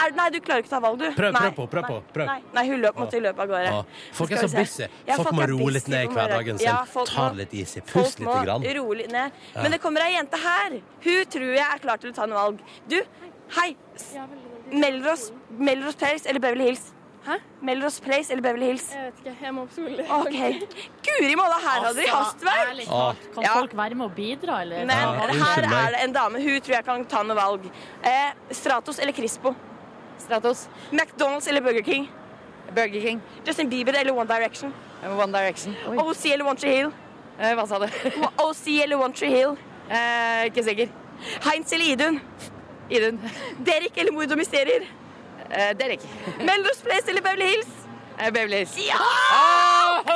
Speaker 4: Er, nei, du klarer ikke å ta valg, du.
Speaker 2: Prøv,
Speaker 4: Nei.
Speaker 2: prøv på, prøv på, prøv.
Speaker 4: Nei, nei hun løp, måtte løpe av gårde.
Speaker 2: Ja. Folk er
Speaker 4: Skal
Speaker 2: så
Speaker 4: vi se.
Speaker 2: busy. Folk må
Speaker 4: er
Speaker 2: roe
Speaker 4: busy
Speaker 2: litt ned i
Speaker 4: på morgenen.
Speaker 2: hverdagen sin. Ta det litt easy. Pust
Speaker 4: folk
Speaker 2: lite
Speaker 4: må
Speaker 2: grann.
Speaker 4: roe litt ned. Men det kommer ei jente her. Hun tror jeg er klar til å ta noen valg. Du, hei. S- Melrose, Melrose Place eller Beverly Hills? Hæ? Melrose Place eller Beverly Hills?
Speaker 12: Jeg vet ikke. Jeg må opp Altså, skole.
Speaker 4: OK. Guri malla, her hadde de hastverk!
Speaker 3: Ærlig talt, kan
Speaker 4: Ja.
Speaker 3: folk være med å bidra, eller?
Speaker 4: Men
Speaker 2: Ja,
Speaker 4: her
Speaker 2: unnskyld meg.
Speaker 4: er det en dame. Hun tror jeg kan ta noe valg. Eh, Stratos eller Crispo? Stratos. McDonald's eller Burger King?
Speaker 9: Burger King.
Speaker 4: Justin Bieber eller One Direction?
Speaker 9: One Direction. Eh,
Speaker 4: OC eller One Tree Hill?
Speaker 9: hva sa du? Eh,
Speaker 4: OC eller One Tree Hill?
Speaker 9: ikke sikker.
Speaker 4: Heinz eller Idun?
Speaker 9: Idun. Eh,
Speaker 4: Derek eller Mord og mysterier?
Speaker 9: Derek. Eh,
Speaker 4: Melrose Place eller Beverly Hills?
Speaker 9: Beverly
Speaker 4: Ja!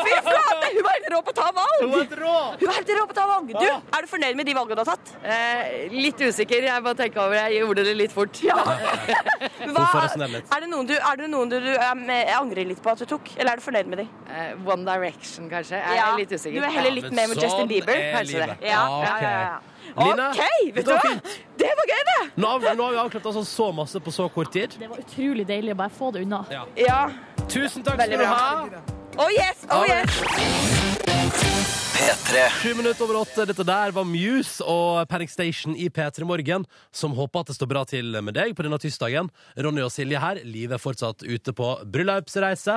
Speaker 4: Fy flate! Hun var helt rå på å ta valg!
Speaker 2: Hun er et rå!
Speaker 4: Hun var helt rå på å ta valg. Du, er du fornøyd med de valgene du har tatt?
Speaker 9: Eh, litt usikker. Jeg bare tenker over det. Jeg gjorde det litt fort. Ja.
Speaker 4: Hva,
Speaker 2: Hvorfor er det sånn her litt?
Speaker 4: er det noen du, er det noen du, du em, angrer litt på at du tok, eller er du fornøyd med de?
Speaker 9: Eh, One Direction, kanskje. Jeg
Speaker 4: Ja,
Speaker 9: er litt usikker.
Speaker 4: Du er heller litt mer med Justin Bieber,
Speaker 2: Sånn er
Speaker 4: kanskje
Speaker 2: livet.
Speaker 4: det. Ja,
Speaker 2: Ah,
Speaker 4: ja,
Speaker 2: ok.
Speaker 4: ja, ja.
Speaker 2: Line,
Speaker 4: OK, vet
Speaker 2: dette
Speaker 4: du
Speaker 2: var
Speaker 4: hva?
Speaker 2: fint.
Speaker 4: Det var gøy, det!
Speaker 2: Nå har, nå har vi avklart altså så masse på så kort tid.
Speaker 3: Det var utrolig deilig å bare få det unna.
Speaker 2: Ja.
Speaker 4: Ja.
Speaker 2: Tusen takk skal du
Speaker 4: Veldig bra.
Speaker 2: ha.
Speaker 4: Oh yes, oh yes!
Speaker 2: Sju minutter over åtte. Dette der var Muse og Panic Station i P3 Morgen, som håper at det står bra til med deg på denne tirsdagen. Ronny og Silje her. Live er fortsatt ute på bryllupsreise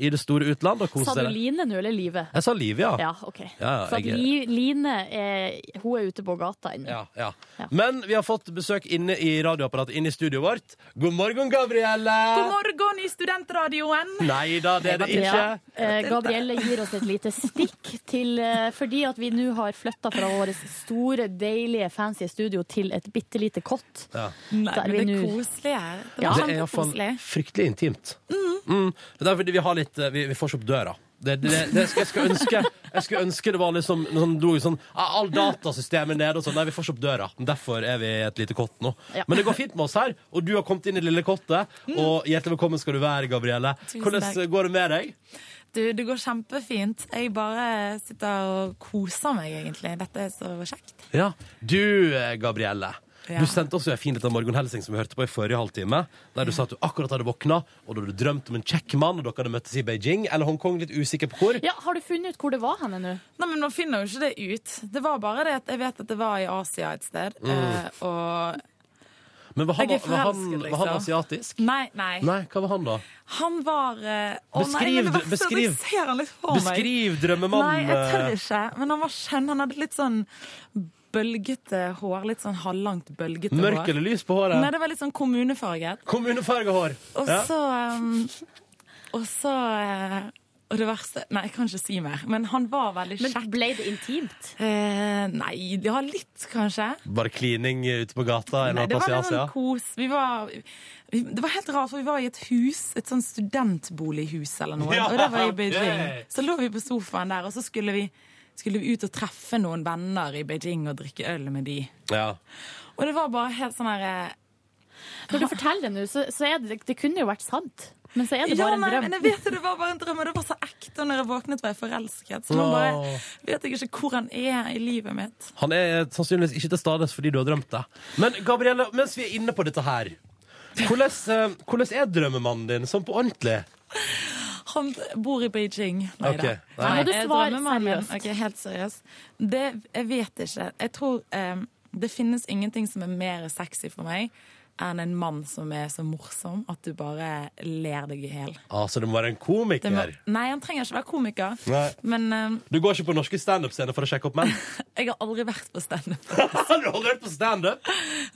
Speaker 2: i det store utland og
Speaker 3: Sa
Speaker 2: koser
Speaker 3: du
Speaker 2: deg.
Speaker 3: Line nå, eller Live?
Speaker 2: Jeg sa Liv, ja.
Speaker 3: Ja, OK.
Speaker 2: Ja,
Speaker 3: Så at
Speaker 2: jeg-
Speaker 3: Li, Line er, hun er ute på gata ennå.
Speaker 2: Ja, ja.
Speaker 3: Ja.
Speaker 2: Men vi har fått besøk inne i radioapparatet, inne i studioet vårt. God morgen, Gabrielle!
Speaker 13: God morgen i studentradioen.
Speaker 2: Nei da, det er det ikke.
Speaker 3: Ja. Eh, Gabrielle gir oss et lite stikk til eh, Fordi at vi nå har flytta fra vårt store, deilige, fancy studio til et bitte lite kott.
Speaker 2: Ja.
Speaker 3: Nei, der vi nå
Speaker 9: koselig her.
Speaker 3: Ja.
Speaker 2: Det er iallfall fryktelig intimt. Mm. Det er fordi vi har litt eh, Vi, vi får ikke opp døra. Det, det, det, det skal, jeg, skulle ønske, jeg skulle ønske det var liksom sånn, du, sånn ah, All datasystemet nede og sånn. Nei, vi får ikke opp døra. Derfor er vi et lite kott nå.
Speaker 3: Ja.
Speaker 2: Men det går fint med oss her, og du har kommet inn i det lille kottet. Og hjertelig velkommen skal du være, Gabrielle.
Speaker 11: Tusen
Speaker 2: Hvordan
Speaker 11: takk.
Speaker 2: går det med deg?
Speaker 11: Du, det går kjempefint. Jeg bare sitter og koser meg, egentlig. Dette er så kjekt.
Speaker 2: Ja. Du, eh, Gabrielle.
Speaker 11: Ja.
Speaker 2: Du sendte oss jo en fin liten morgenhelsing som vi hørte på i forrige halvtime. Der du sa at du akkurat hadde våkna, og da hadde du drømt om en kjekk mann, og dere hadde møttes i Beijing eller Hongkong, litt usikker på hvor.
Speaker 3: Ja, Har du funnet ut hvor det var henne nå?
Speaker 11: Nei, men Man finner jo ikke det ut. Det var bare det at jeg vet at det var i Asia et sted.
Speaker 2: Mm.
Speaker 11: eh, Og
Speaker 2: Men var han,
Speaker 11: Jeg er
Speaker 2: var han,
Speaker 11: forelsket,
Speaker 2: var han
Speaker 11: liksom.
Speaker 2: asiatisk?
Speaker 11: Nei, nei.
Speaker 2: Nei, hva var han da?
Speaker 11: Han var eh, å, nei,
Speaker 2: Beskriv
Speaker 11: men det
Speaker 2: det-
Speaker 11: verste er at
Speaker 2: beskriv.
Speaker 11: Jeg ser han litt for meg.
Speaker 2: Beskriv drømmemannen.
Speaker 11: Nei, jeg tør
Speaker 2: eh,
Speaker 11: ikke. Men han var skjønn. Han hadde litt sånn bølgete hår. Litt sånn halvlangt bølgete hår.
Speaker 2: Mørk eller lys på håret?
Speaker 11: Nei, det var litt sånn kommunefarget.
Speaker 2: Kommunefarga hår.
Speaker 11: Og
Speaker 2: Ja.
Speaker 11: så um, Og så eh, Og det verste Nei, jeg kan ikke si mer. Men han var veldig kjekk. Men
Speaker 3: ble det intimt?
Speaker 11: Eh, nei, ja, litt kanskje.
Speaker 2: Bare klining ute på gata en
Speaker 11: Nei,
Speaker 2: eller
Speaker 11: det
Speaker 2: annen plass
Speaker 11: var
Speaker 2: i
Speaker 11: litt
Speaker 2: Asia?
Speaker 11: sånn kos. Vi var, vi, det var helt rart, for vi var i et hus, et sånn studentbolighus eller noe.
Speaker 14: Ja,
Speaker 11: og det var i Beijing.
Speaker 14: ok.
Speaker 11: Så lå vi på sofaen der, og så skulle vi, skulle vi ut og treffe noen venner i Beijing og drikke øl med de.
Speaker 2: Ja.
Speaker 11: Og det var bare helt sånn her eh,
Speaker 3: Når du forteller det nå, så, så er det Det kunne jo vært sant, men så er det
Speaker 11: ja,
Speaker 3: bare en
Speaker 11: nei,
Speaker 3: drøm.
Speaker 11: men jeg vet det, det var bare en drøm, og det var så ekte. Og når jeg våknet, var jeg forelsket. Så nå
Speaker 2: Åh.
Speaker 11: bare vet jeg ikke hvor han er i livet mitt.
Speaker 2: Han er sannsynligvis ikke til stades fordi du har drømt det. Men Gabrielle, mens vi er inne på dette her Hvordan, eh, hvordan er drømmemannen din sånn på ordentlig?
Speaker 11: Han bor i Beijing. Nei
Speaker 2: Ok,
Speaker 11: da.
Speaker 2: nei. Her må du
Speaker 11: Eh,
Speaker 3: svare
Speaker 11: drømmemannen min.
Speaker 3: seriøst.
Speaker 11: Ok, helt seriøst. Det, jeg vet ikke. Jeg tror eh, det finnes ingenting som er mer sexy for meg enn en mann som er så morsom at du bare ler deg i hjel.
Speaker 2: Altså, det må være en
Speaker 11: Det må-
Speaker 2: komiker.
Speaker 11: Nei, han trenger ikke være komiker,
Speaker 2: Nei.
Speaker 11: men eh,
Speaker 2: Du går ikke på norske standup-scener for å sjekke opp menn?
Speaker 11: jeg har aldri vært på standup.
Speaker 2: Har du aldri vært på standup?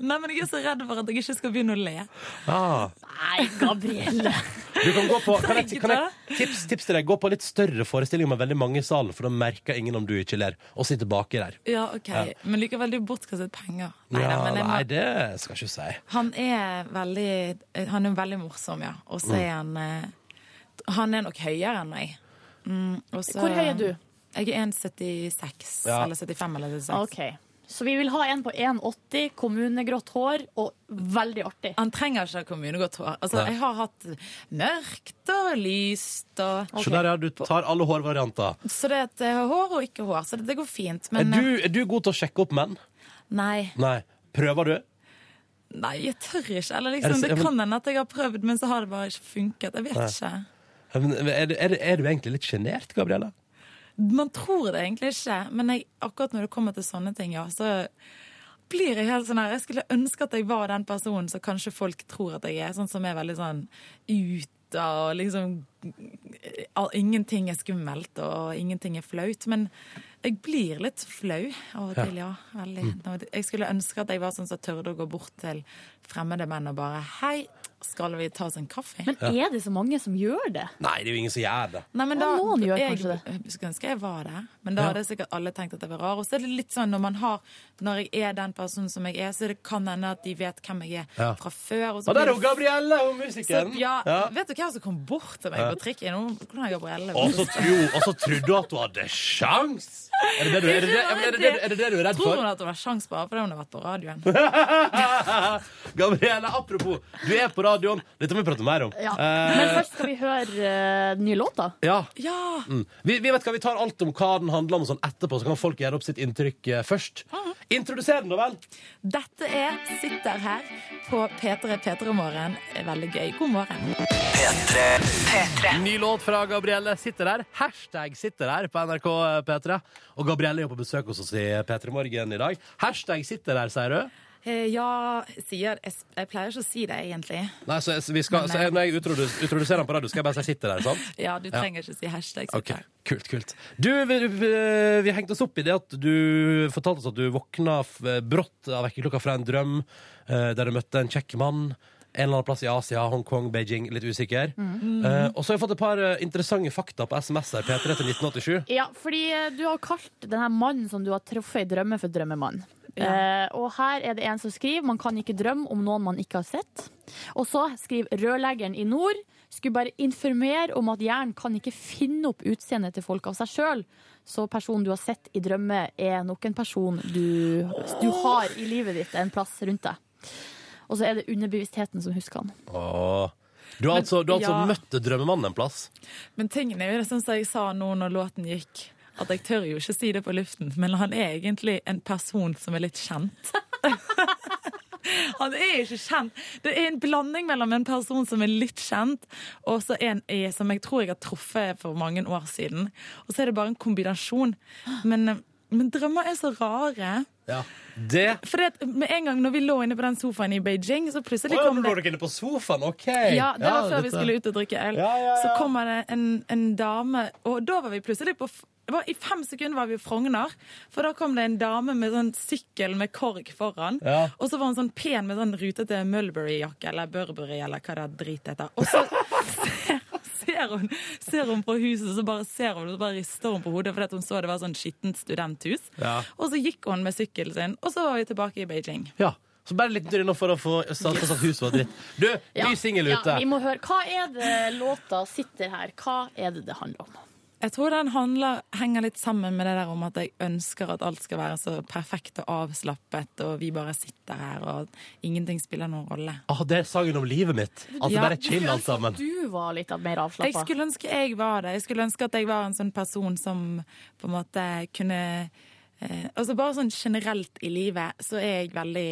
Speaker 11: Nei, men jeg er så redd for at jeg ikke skal begynne å le.
Speaker 2: Ah.
Speaker 3: Nei, Gabrielle.
Speaker 2: Du kan gå på, kan jeg, kan jeg, tips, tips til deg, gå på litt større forestillinger med veldig mange i salen, for da merker ingen om du ikke ler. Og sitter baki der.
Speaker 11: Ja, ok.
Speaker 2: Ja.
Speaker 11: Men likevel, det er jo bortkastet penger.
Speaker 2: Ja,
Speaker 11: Neida, men jeg må-
Speaker 2: nei, det skal jeg ikke si.
Speaker 11: Han er veldig eh, Han er veldig morsom, ja. Og så
Speaker 2: Mm.
Speaker 11: er han eh, Han er nok høyere enn meg. Mm, og så-
Speaker 3: Hvor høy er du?
Speaker 11: Jeg er 1,76
Speaker 3: Ja.
Speaker 11: eller 75 eller 76.
Speaker 3: Ok. Så vi vil ha en på 1,80, kommunegrått hår og veldig artig.
Speaker 11: Han trenger ikke ha kommunegrått hår. Altså,
Speaker 2: Nei.
Speaker 11: jeg har hatt mørkt og lyst og
Speaker 2: Se der, ja. Du tar alle hårvarianter.
Speaker 11: Så det er et eh, hår og ikke hår, så det, det går fint. Men
Speaker 2: er, du, er du god til å sjekke opp menn?
Speaker 11: eh, Nei.
Speaker 2: Nei. Prøver du?
Speaker 11: Nei, jeg tør ikke. Eller
Speaker 2: Er det
Speaker 11: liksom,
Speaker 2: så-
Speaker 11: det
Speaker 2: ja, men-
Speaker 11: kan hende at jeg har prøvd, men så har det bare ikke funket. Jeg vet
Speaker 2: Nei.
Speaker 11: ikke.
Speaker 2: Ja, men Er, du- er, du- er du egentlig litt sjenert, Gabriella?
Speaker 11: Man tror det egentlig ikke, men jeg, akkurat når det kommer til sånne ting, ja, så blir jeg helt sånn her Jeg skulle ønske at jeg var den personen som kanskje folk tror at jeg er, sånn som er veldig sånn ut og liksom all- Ingenting er skummelt, og ingenting er flaut. Men jeg blir litt flau av og
Speaker 14: Ja.
Speaker 11: til, ja. Veldig. Når det- Jeg skulle ønske at jeg var sånn som tørde å gå bort til fremmede menn og bare Hei, skal vi ta oss en kaffe?
Speaker 2: Men Ja. er
Speaker 11: det så mange som gjør det?
Speaker 2: Nei, det er jo ingen som gjør det.
Speaker 11: Nei, men
Speaker 3: Ja,
Speaker 11: da,
Speaker 3: noen gjør
Speaker 11: jeg,
Speaker 3: kanskje
Speaker 11: jeg skulle ønske jeg var der, men da
Speaker 2: Ja.
Speaker 11: hadde sikkert alle tenkt at jeg var rar. Og så er det litt sånn når man har Når jeg er den personen som jeg er, så det kan hende at de vet hvem jeg er
Speaker 2: Ja.
Speaker 11: fra før.
Speaker 2: Og der er hun Gabrielle, hun musikeren.
Speaker 11: Så, ja,
Speaker 2: Ja.
Speaker 11: Vet du hvem som kom bort til meg
Speaker 2: Ja.
Speaker 11: på trikken? Hun- Hvordan er Gabrielle?
Speaker 2: Og så tro- og så trodde du at du hadde sjans! Er det det du er, det, det, er, det, det, er, det, det du er redd
Speaker 11: Tror
Speaker 2: for?
Speaker 11: hun at hun har sjans bare fordi hun har vært på radioen?
Speaker 2: Gabrielle, apropos, du er på radioen. Dette må vi prate mer om.
Speaker 3: Ja.
Speaker 2: Eh,
Speaker 3: Men først skal vi høre eh, den nye låta.
Speaker 2: ja.
Speaker 11: Ja.
Speaker 2: Mm. Vi, vi vet hva, vi tar alt om hva den handler om og sånn etterpå, så kan folk gjøre opp sitt inntrykk eh, først. Introduser den, da vel.
Speaker 11: Dette er Sitter her på P3 P3-morgen. Veldig gøy. God morgen.
Speaker 2: Ny låt fra Gabrielle sitter der. Hashtag sitter der på NRK eh, P3. Og Gabrielle er jo på besøk hos oss i eh, P3 Morgen i dag. Hashtag sitter der, sier du?
Speaker 11: Eh, Ja, sier jeg, jeg pleier ikke å si det, egentlig.
Speaker 2: Nei, så, jeg- vi skal, så jeg, når jeg introdus- introduserer den på radio, skal jeg bare si sitter der, sant?
Speaker 11: Ja, du trenger ikke si hashtag. sitter
Speaker 2: Ok, kult, kult. Du, vi, vi, eh, vi hengte oss opp i det at du fortalte oss at du våkna f- eh, brått av vekkerklokka fra en drøm eh, der du møtte en kjekk mann. En eller annen plass i Asia, Hongkong, Beijing, litt usikker.
Speaker 3: Mm.
Speaker 2: Eh, og så har jeg fått et par eh, interessante fakta på SMS her, P3 til 1987.
Speaker 3: Ja, fordi eh, du har kalt denne mannen som du har truffet i drømme, for drømmemann. Eh, og her er det en som skriver man kan ikke drømme om noen man ikke har sett. Og så skriver rørleggeren i nord skulle bare informere om at hjernen kan ikke finne opp utseendet til folk av seg sjøl. Så personen du har sett i drømme, er nok en person du, du har i livet ditt en plass rundt deg. Og så er det underbevisstheten som husker han.
Speaker 2: Åh. Du har
Speaker 11: Men-
Speaker 2: altså, du har altså
Speaker 11: ja.
Speaker 2: møtt drømmemannen en plass?
Speaker 11: Men tingen er jo det sånn som jeg sa nå når låten gikk, at jeg tør jo ikke si det på luften, men han er egentlig en person som er litt kjent. Han er ikke kjent. Det er en blanding mellom en person som er litt kjent, og så en jeg, som jeg tror jeg har truffet for mange år siden. Og så er det bare en kombinasjon. Men, eh, men drømmer er så rare.
Speaker 2: Ja. Det
Speaker 11: For det, at med en gang når vi lå inne på den sofaen i Beijing, så plutselig
Speaker 2: Åh,
Speaker 11: kom
Speaker 2: nå
Speaker 11: det
Speaker 2: lå dere inne på sofaen, OK!
Speaker 11: ja, det var før vi
Speaker 2: dette-
Speaker 11: skulle ut og drikke øl.
Speaker 2: Ja, ja, ja.
Speaker 11: Så kommer det en, en dame, og da var vi plutselig på f- det var, I fem sekunder var vi i Frogner, for da kom det en dame med sånn sykkel med kork foran.
Speaker 14: Ja.
Speaker 11: Og så var hun sånn pen med sånn rutete Mulberry-jakke eller Burberry eller hva det er drit heter. Og så ser, ser, hun, ser hun på huset, så bare ser hun, og så bare rister hun på hodet fordi at hun så det var sånn skittent studenthus.
Speaker 2: Ja.
Speaker 11: Og så gikk hun med sykkelen sin, og så var vi tilbake i Beijing.
Speaker 2: Ja. Så bare en liten tur innom for å få satt fast at huset var dritt. Du, ny singel ute.
Speaker 3: Ja, vi må høre. Hva er det låta sitter her? Hva er det det handler om?
Speaker 11: Jeg tror den handler, henger litt sammen med det der om at jeg ønsker at alt skal være så perfekt og avslappet, og vi bare sitter her, og ingenting spiller noen rolle.
Speaker 2: Ah, det er sangen om livet mitt. At det
Speaker 11: Ja.
Speaker 2: bare er chill, alt sammen.
Speaker 3: Du var litt mer avslappa.
Speaker 11: Jeg skulle ønske jeg var det. Jeg skulle ønske at jeg var en sånn person som på en måte kunne eh, Altså bare sånn generelt i livet så er jeg veldig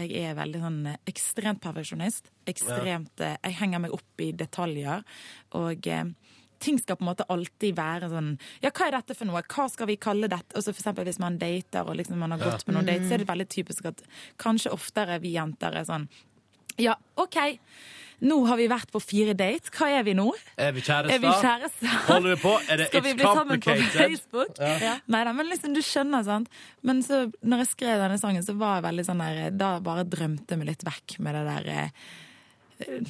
Speaker 11: Jeg er veldig sånn eh, ekstremt perfeksjonist. Ekstremt eh, Jeg henger meg opp i detaljer. Og eh, ting skal på en måte alltid være sånn Ja, hva er dette for noe? Hva skal vi kalle dette? Og så for eksempel hvis man dater, og liksom man har
Speaker 6: Ja.
Speaker 11: gått på noen dates, så er
Speaker 6: Mm.
Speaker 11: det veldig typisk at kanskje oftere vi jenter er sånn Ja, OK. Nå har vi vært på fire dates. Hva er vi nå?
Speaker 2: Er vi kjærester?
Speaker 11: Er vi kjærester?
Speaker 2: Holder vi på? Er det
Speaker 11: Skal vi
Speaker 2: It's
Speaker 11: bli sammen på
Speaker 2: Complicated?
Speaker 11: Facebook?
Speaker 2: Ja.
Speaker 11: Neida, men liksom, du skjønner, sant? Men så, når jeg skrev denne sangen, så var jeg veldig sånn der Da bare drømte jeg meg litt vekk med det der eh,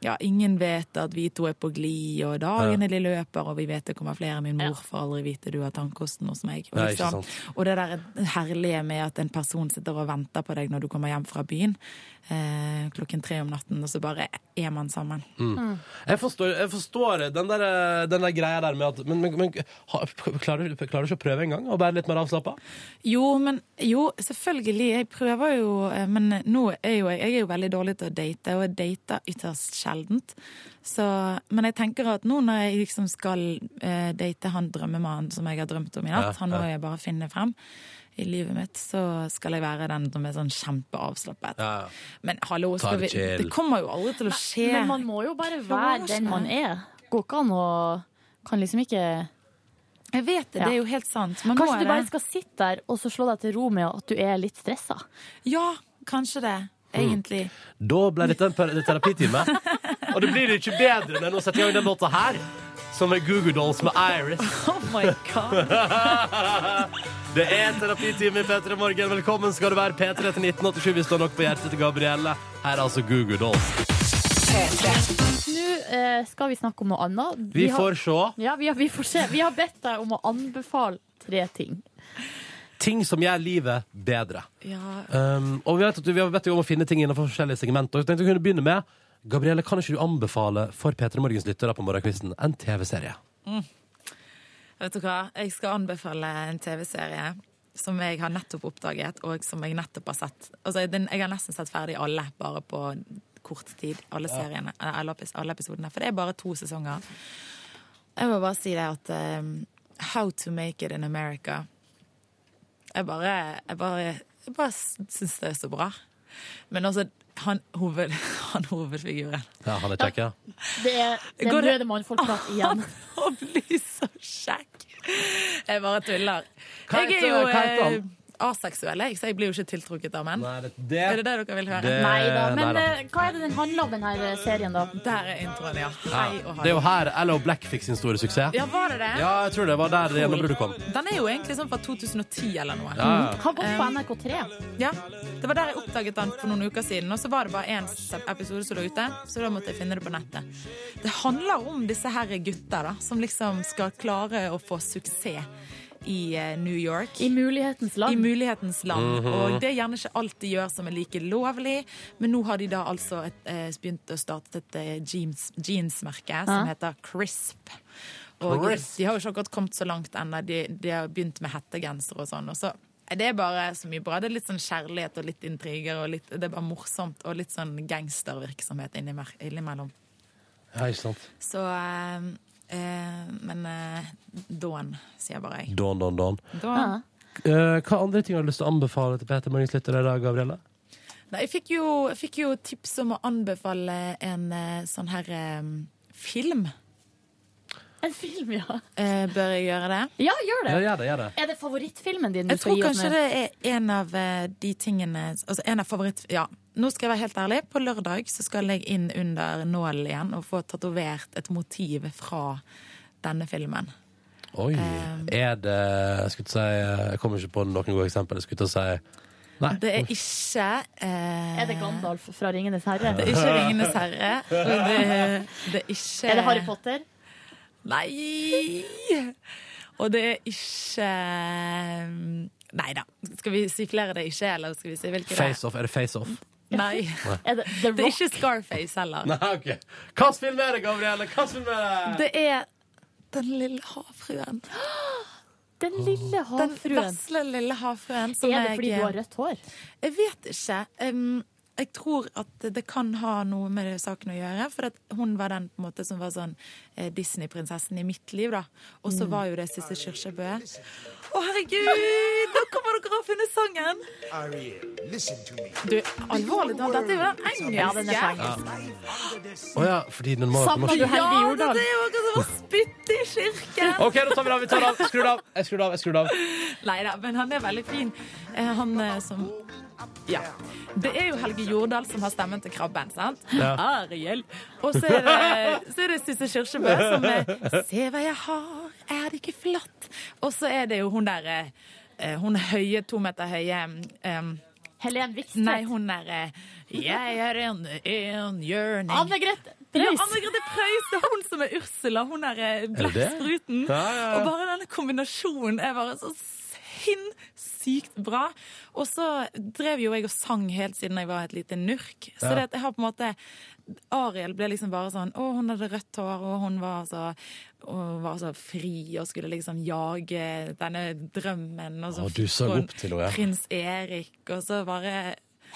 Speaker 11: Ja, ingen vet at vi to er på glid, og dagene de løper, og vi vet det kommer flere. Min mor får aldri vite du har tannkosten hos meg. Og,
Speaker 6: Nei, ikke
Speaker 11: liksom,
Speaker 6: sant.
Speaker 11: og det der herlige med at en person sitter og venter på deg når du kommer hjem fra byen eh, klokken tre om natten, og så bare er man sammen.
Speaker 2: Mm. Jeg forstår, jeg forstår den, der, eh, den der greia der med at Men, men, men ha, klarer, du, klarer du ikke å prøve engang? Og være litt mer avslappa?
Speaker 11: Jo, men, jo, selvfølgelig. Jeg prøver jo, eh, men nå er jo jeg, jeg er jo veldig dårlig til å date, og jeg dater ytterst sjeldent. Så, men jeg tenker at nå når jeg liksom skal eh, date han drømmemannen som jeg har drømt om i natt,
Speaker 6: Ja,
Speaker 11: han må
Speaker 6: ja.
Speaker 11: jeg bare finne frem i livet mitt, så skal jeg være den som er sånn kjempeavslappet. Men hallo,
Speaker 6: Ta
Speaker 11: skal vi,
Speaker 6: det chill.
Speaker 11: det kommer jo aldri til å skje.
Speaker 3: Men man må jo bare være den man er. Går ikke an å Kan liksom ikke
Speaker 11: Jeg vet det, det er jo helt sant. Man må
Speaker 3: Kanskje du
Speaker 11: det.
Speaker 3: bare skal sitte der og så slå deg til ro med at du er litt stressa?
Speaker 11: Ja, kanskje det.
Speaker 6: Mm.
Speaker 11: Egentlig.
Speaker 2: Da ble dette en per- terapitime. Og det blir jo ikke bedre enn å sette i gang den låta her, som er Google Dolls med Iris.
Speaker 11: Oh my
Speaker 2: god. Det er terapitime i P3 Morgen. Velkommen skal du være P3 til 1987. Vi står nok på hjertet til Gabrielle. Her er altså Google Dolls.
Speaker 3: Nå eh, skal vi snakke om noe annet.
Speaker 2: Vi får se.
Speaker 3: Ja, vi, har, vi får se. Vi har bedt deg om å anbefale tre ting.
Speaker 2: Ting som gjør livet bedre.
Speaker 3: Ja.
Speaker 2: Um, og vi, vet at du, vi har bedt deg om å finne ting innenfor forskjellige segmenter. Og Jeg tenkte vi kunne begynne med Gabrielle, kan ikke du anbefale for P3 Morgens lyttere på morgenkvisten en TV-serie?
Speaker 11: Mm. Vet du hva? Jeg skal anbefale en TV-serie som jeg har nettopp oppdaget, og som jeg nettopp har sett. Altså, den, jeg har nesten sett ferdig alle, bare på kort tid. Alle,
Speaker 6: Ja.
Speaker 11: seriene, eller alle, epis- alle episodene. For det er bare to sesonger. Jeg må bare si det at um, How to make it in America Jeg bare, jeg bare, jeg bare syns det er så bra. Men altså, han, hoved, han hovedfiguren
Speaker 2: Ja, han er kjekk, ja.
Speaker 3: Det er, det
Speaker 11: Går
Speaker 3: er
Speaker 11: det-
Speaker 3: røde mannfolkprat igjen.
Speaker 11: kjekk. Jeg bare tuller.
Speaker 3: Hva
Speaker 11: Jeg
Speaker 3: heter-
Speaker 11: er jo
Speaker 3: hva heter han?
Speaker 11: eh, aseksuell, jeg, så jeg blir jo ikke tiltrukket av menn.
Speaker 2: det,
Speaker 11: Er det det dere vil høre?
Speaker 2: det- Nei da,
Speaker 3: Men
Speaker 2: Neida.
Speaker 3: eh, hva er det den handler om, den her serien, da?
Speaker 11: Der er introen, ja.
Speaker 2: ja.
Speaker 11: Hei og hei.
Speaker 2: Det er jo her LO Black fikk sin store suksess.
Speaker 11: Ja, var det det?
Speaker 2: Ja, jeg tror det var der gjennombruddet kom.
Speaker 11: Den er jo egentlig sånn fra 2010 eller noe.
Speaker 2: Ja, ja. Han
Speaker 3: går
Speaker 11: Um,
Speaker 3: på NRK3.
Speaker 11: Ja. Det var der jeg oppdaget den for noen uker siden. Og så var det bare én episode som lå ute, så da måtte jeg finne det på nettet. Det handler om disse her gutta da, som liksom skal klare å få suksess i eh, New York.
Speaker 3: I mulighetens land.
Speaker 11: I mulighetens land.
Speaker 6: Mhm.
Speaker 11: Og det er gjerne ikke alt de gjør som er like lovlig, men nå har de da altså et, eh, begynt å starte et eh, jeans, jeansmerke som
Speaker 6: Ja.
Speaker 11: heter Crisp. Og
Speaker 6: Crisp.
Speaker 11: de har jo ikke akkurat kommet så langt ennå. De, de har begynt med hettegensere og sånn. Og så det er bare så mye bra. Det er litt sånn kjærlighet og litt intriger. Og litt, det er bare morsomt og litt sånn gangstervirksomhet innimer- innimellom.
Speaker 2: Ja, ikke sant.
Speaker 11: Så eh, eh, Men eh, Dawn, sier bare jeg.
Speaker 2: Don, don, don.
Speaker 11: Dawn.
Speaker 2: Eh, hva andre ting har du lyst til å anbefale til P3 Morgens lyttere i dag, Gabrielle?
Speaker 11: Nei, jeg fikk jo, jeg fikk jo tips om å anbefale en eh, sånn her eh, film.
Speaker 3: En film, ja.
Speaker 11: Eh, bør jeg gjøre det?
Speaker 3: Ja, gjør det.
Speaker 2: Ja, gjør det, gjør det.
Speaker 3: Er det favorittfilmen din? du
Speaker 11: Jeg
Speaker 3: skal
Speaker 11: tror
Speaker 3: gi oss
Speaker 11: kanskje
Speaker 3: med?
Speaker 11: det er en av eh, de tingene Altså en av favoritt... Ja. Nå skal jeg være helt ærlig. På lørdag så skal jeg inn under nålen igjen og få tatovert et motiv fra denne filmen.
Speaker 2: Oi. Eh, Er det Jeg skulle til å si eh, Jeg kommer ikke på noen gode eksempler. Jeg skulle til å si Nei.
Speaker 11: Det er ikke eh,
Speaker 3: Er det Gandalf fra 'Ringenes herre'?
Speaker 11: Det er ikke 'Ringenes herre'. Og det, det er ikke
Speaker 3: Er det Harry Potter?
Speaker 11: Nei! Og det er ikke Nei da. Skal vi si flere det ikke, eller skal vi si hvilke det
Speaker 2: Face-off. Er det face-off?
Speaker 11: Nei.
Speaker 2: Nei.
Speaker 11: Er det, det er ikke Scarface heller.
Speaker 2: Nei, OK. Hvilken film er det, Gabrielle? Hvilken film er det?
Speaker 11: Det er Den lille havfruen.
Speaker 3: Den lille havfruen.
Speaker 11: Den vesle lille havfruen. som
Speaker 3: Er det fordi
Speaker 11: jeg-
Speaker 3: du har rødt hår?
Speaker 11: Jeg vet ikke. Um, jeg tror at det kan ha noe med det saken å gjøre. For at hun var den på en måte, som var sånn eh, Disney-prinsessen i mitt liv, da. Og så
Speaker 6: Mm.
Speaker 11: var jo det Sissel Kyrkjebø. Å, herregud! Nå kommer dere å ha funnet sangen! Du, alvorlig talt, dette er jo den engelske.
Speaker 3: Ja, den er på
Speaker 2: Å ja, fordi den må være på
Speaker 11: Savner du
Speaker 2: norsk.
Speaker 11: Helge
Speaker 3: Ja,
Speaker 11: Jordal?
Speaker 3: det er
Speaker 11: jo akkurat som å spytte i kirken!
Speaker 2: OK, da tar vi det av. Vi tar det av. Skru det av. Jeg skrur det av. Jeg skrur det av.
Speaker 11: Nei da, men han er veldig fin. Eh, han eh, som Ja. Det er jo Helge Jordal som har stemmen til krabben, sant?
Speaker 6: Ja.
Speaker 11: Ariel. Og så er det, så er det Sisse Kyrkjebø som er Se hva jeg har, er det ikke flott? Og så er det jo hun der eh, Hun høye, to meter høye eh,
Speaker 3: Helen Vikstvedt.
Speaker 11: Nei, hun der eh, Jeg er en enhjørning.
Speaker 3: Anne Grete Preus.
Speaker 11: Ja, Anne Grete Preus. Det er hun som er Ursula. Hun er eh,
Speaker 6: Er det det?
Speaker 11: blekkspruten.
Speaker 6: Ja, ja, ja.
Speaker 11: Og bare denne kombinasjonen er bare så sinnssykt bra. Og så drev jo jeg og sang helt siden jeg var et lite nurk. Så
Speaker 6: Ja.
Speaker 11: det at jeg har på en måte Ariel ble liksom bare sånn Å, hun hadde rødt hår, og hun var så, og var så fri og skulle liksom jage denne drømmen. Og så
Speaker 2: Å, du
Speaker 11: fikk
Speaker 2: så
Speaker 11: hun
Speaker 2: opp til henne, ja.
Speaker 11: Prins Erik, og så bare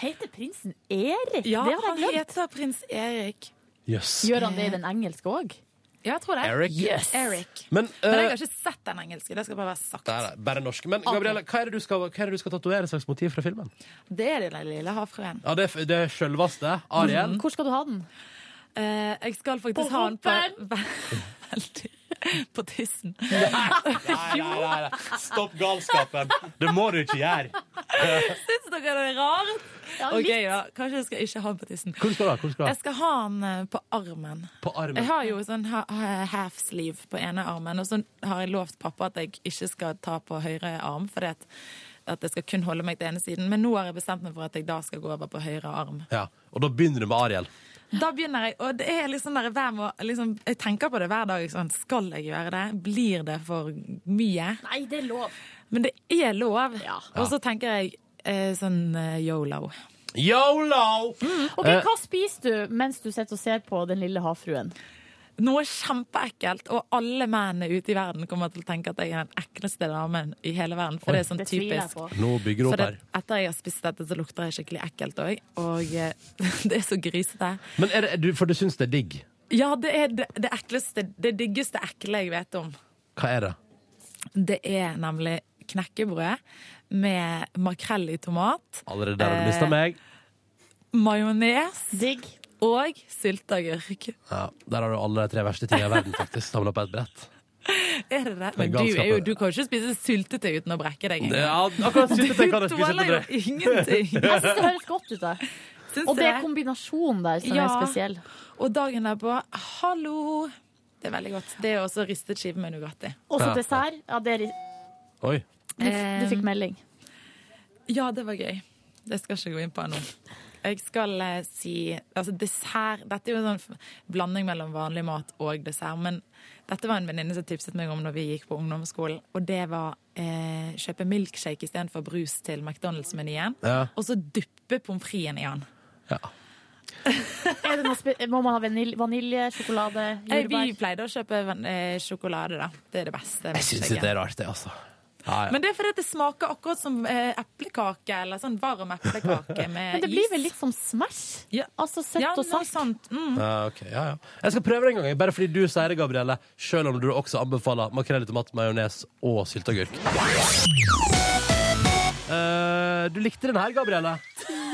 Speaker 3: Heter prinsen Erik?
Speaker 11: Ja,
Speaker 3: Det har jeg
Speaker 11: han
Speaker 3: glemt.
Speaker 11: heter prins Erik.
Speaker 2: Jøss.
Speaker 3: Gjør han det i den engelske òg?
Speaker 11: Ja, jeg tror det.
Speaker 2: Eric.
Speaker 11: Yes. Eric.
Speaker 2: Men,
Speaker 11: Men jeg
Speaker 2: eh,
Speaker 11: har ikke sett den engelske. Det skal bare være sagt.
Speaker 2: Nei, nei, bare norsk. Men Gabrielle, hva er det du skal, hva er det du skal tatovere slags motiv fra filmen?
Speaker 11: Det er den lille havfruen.
Speaker 2: Ja, Det er, det er selveste. Ariel.
Speaker 11: Hvor skal du ha den? Eh, jeg skal faktisk
Speaker 6: På
Speaker 11: ha den på
Speaker 6: rumpen?
Speaker 11: Veldig. På tissen.
Speaker 2: Nei, nei, nei, nei. Stopp galskapen. Det må du ikke gjøre.
Speaker 11: Syns dere det er rart?
Speaker 6: Ja,
Speaker 11: OK,
Speaker 6: litt.
Speaker 11: da. Kanskje jeg skal ikke ha den på tissen.
Speaker 2: Hvor skal du ha? Hvor skal du ha?
Speaker 11: Jeg skal ha den eh, på armen.
Speaker 2: På armen.
Speaker 11: Jeg har jo sånn ha ha- half sleeve på ene armen, og så har jeg lovt pappa at jeg ikke skal ta på høyre arm, fordi at, at jeg skal kun holde meg til ene siden. Men nå har jeg bestemt meg for at jeg da skal gå over på høyre arm.
Speaker 2: Ja, Og da begynner du med Ariel.
Speaker 11: Da begynner jeg, og det er liksom der hver må, liksom, Jeg tenker på det hver dag. Sånn, skal jeg gjøre det? Blir det for mye?
Speaker 3: Nei, det er lov.
Speaker 11: Men det er lov.
Speaker 2: Ja.
Speaker 11: Og så tenker jeg eh, sånn eh, yolo.
Speaker 2: Yolo!
Speaker 3: Ok,
Speaker 11: Eh.
Speaker 3: Hva spiser du mens du sitter og ser på Den lille havfruen?
Speaker 11: Noe kjempeekkelt, og alle mennene ute i verden kommer til å tenke at jeg er den ekleste damen i hele verden. For
Speaker 2: Oi.
Speaker 11: det er sånn
Speaker 2: Det tviler jeg
Speaker 11: typisk.
Speaker 2: på. Nå bygger du opp
Speaker 11: For det-
Speaker 2: her.
Speaker 11: Etter jeg har spist dette, så lukter jeg skikkelig ekkelt òg. Og eh, det er så grisete.
Speaker 2: Men er det, du, For du syns det er digg?
Speaker 11: Ja, det er det, det ekleste, det diggeste ekle jeg vet om.
Speaker 2: Hva er det?
Speaker 11: Det er nemlig knekkebrød med makrell i tomat.
Speaker 2: Allerede der har du
Speaker 11: Eh.
Speaker 2: mista meg.
Speaker 11: Majones. Og sylteagurk.
Speaker 2: Ja, Der har du alle de tre verste tingene i verden faktisk samla på et brett.
Speaker 11: Er det det?
Speaker 2: Det er
Speaker 11: Men du,
Speaker 2: galskap,
Speaker 11: er jo,
Speaker 2: det.
Speaker 11: du kan jo ikke spise syltetøy uten å brekke deg. engang.
Speaker 2: Ja, akkurat syltetøy kan jeg spise
Speaker 11: Du tåler
Speaker 2: uten å brekke.
Speaker 11: jo ingenting.
Speaker 2: Jeg synes det
Speaker 3: høres godt ut, da. Og det er kombinasjonen der som er spesiell.
Speaker 11: Og dagen derpå, hallo! Det er veldig godt. Det er også ristet skive med Nugatti.
Speaker 3: Og så
Speaker 11: Ja.
Speaker 3: dessert. Ja, det er,
Speaker 2: Oi.
Speaker 3: du, du fikk melding.
Speaker 11: Ja, det var gøy. Det skal jeg ikke gå inn på nå. Jeg skal eh, si altså dessert Dette er jo en sånn f- blanding mellom vanlig mat og dessert. Men dette var en venninne som tipset meg om når vi gikk på ungdomsskolen. Og det var eh, kjøpe milkshake istedenfor brus til McDonald's-menyen.
Speaker 2: Ja.
Speaker 11: Og så dyppe pommes fritesen i den.
Speaker 3: Er det noe spe Må man ha vanil- vanilje, sjokolade,
Speaker 11: Eh, Vi
Speaker 3: jordbær?
Speaker 11: pleide å kjøpe van- eh, sjokolade, da. Det er det beste.
Speaker 2: Jeg syns ikke det er rart, det, altså. Ja, ja.
Speaker 11: Men det er fordi at det smaker akkurat som eh, eplekake, eller sånn varm eplekake med
Speaker 3: Men det
Speaker 11: is.
Speaker 3: blir vel litt som Smash? Altså søtt
Speaker 11: Ja,
Speaker 3: og
Speaker 11: noe
Speaker 3: salt?
Speaker 11: sånt. Mm.
Speaker 2: Ja, ok, ja, ja. Jeg skal prøve det en gang, jeg, bare fordi du sier det, Gabrielle. Selv om du også anbefaler makrell i tomat, majones og sylteagurk. Eh, du likte den her, Gabrielle?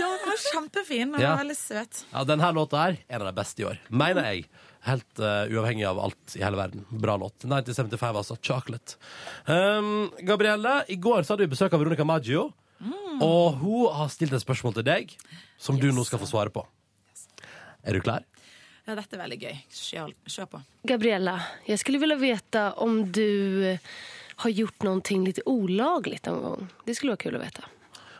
Speaker 11: Ja, den var kjempefin. Den
Speaker 2: Ja.
Speaker 11: var veldig søt.
Speaker 2: Ja, den her låta her er en av de beste i år, mener jeg. Helt eh, uavhengig av alt i hele verden. Bra låt. 1975, altså. Chocolate. Um, Gabrielle, i går så hadde vi besøk av Veronica Maggio. Og hun har stilt et spørsmål til deg som du nå skal få svare på. Er du klar?
Speaker 11: Ja, dette er veldig gøy. Kjør, kjør på.
Speaker 14: Gabriella, jag skulle vilja veta om du eh, har gjort någonting lite olagligt någon gång. Det skulle vara kul att veta.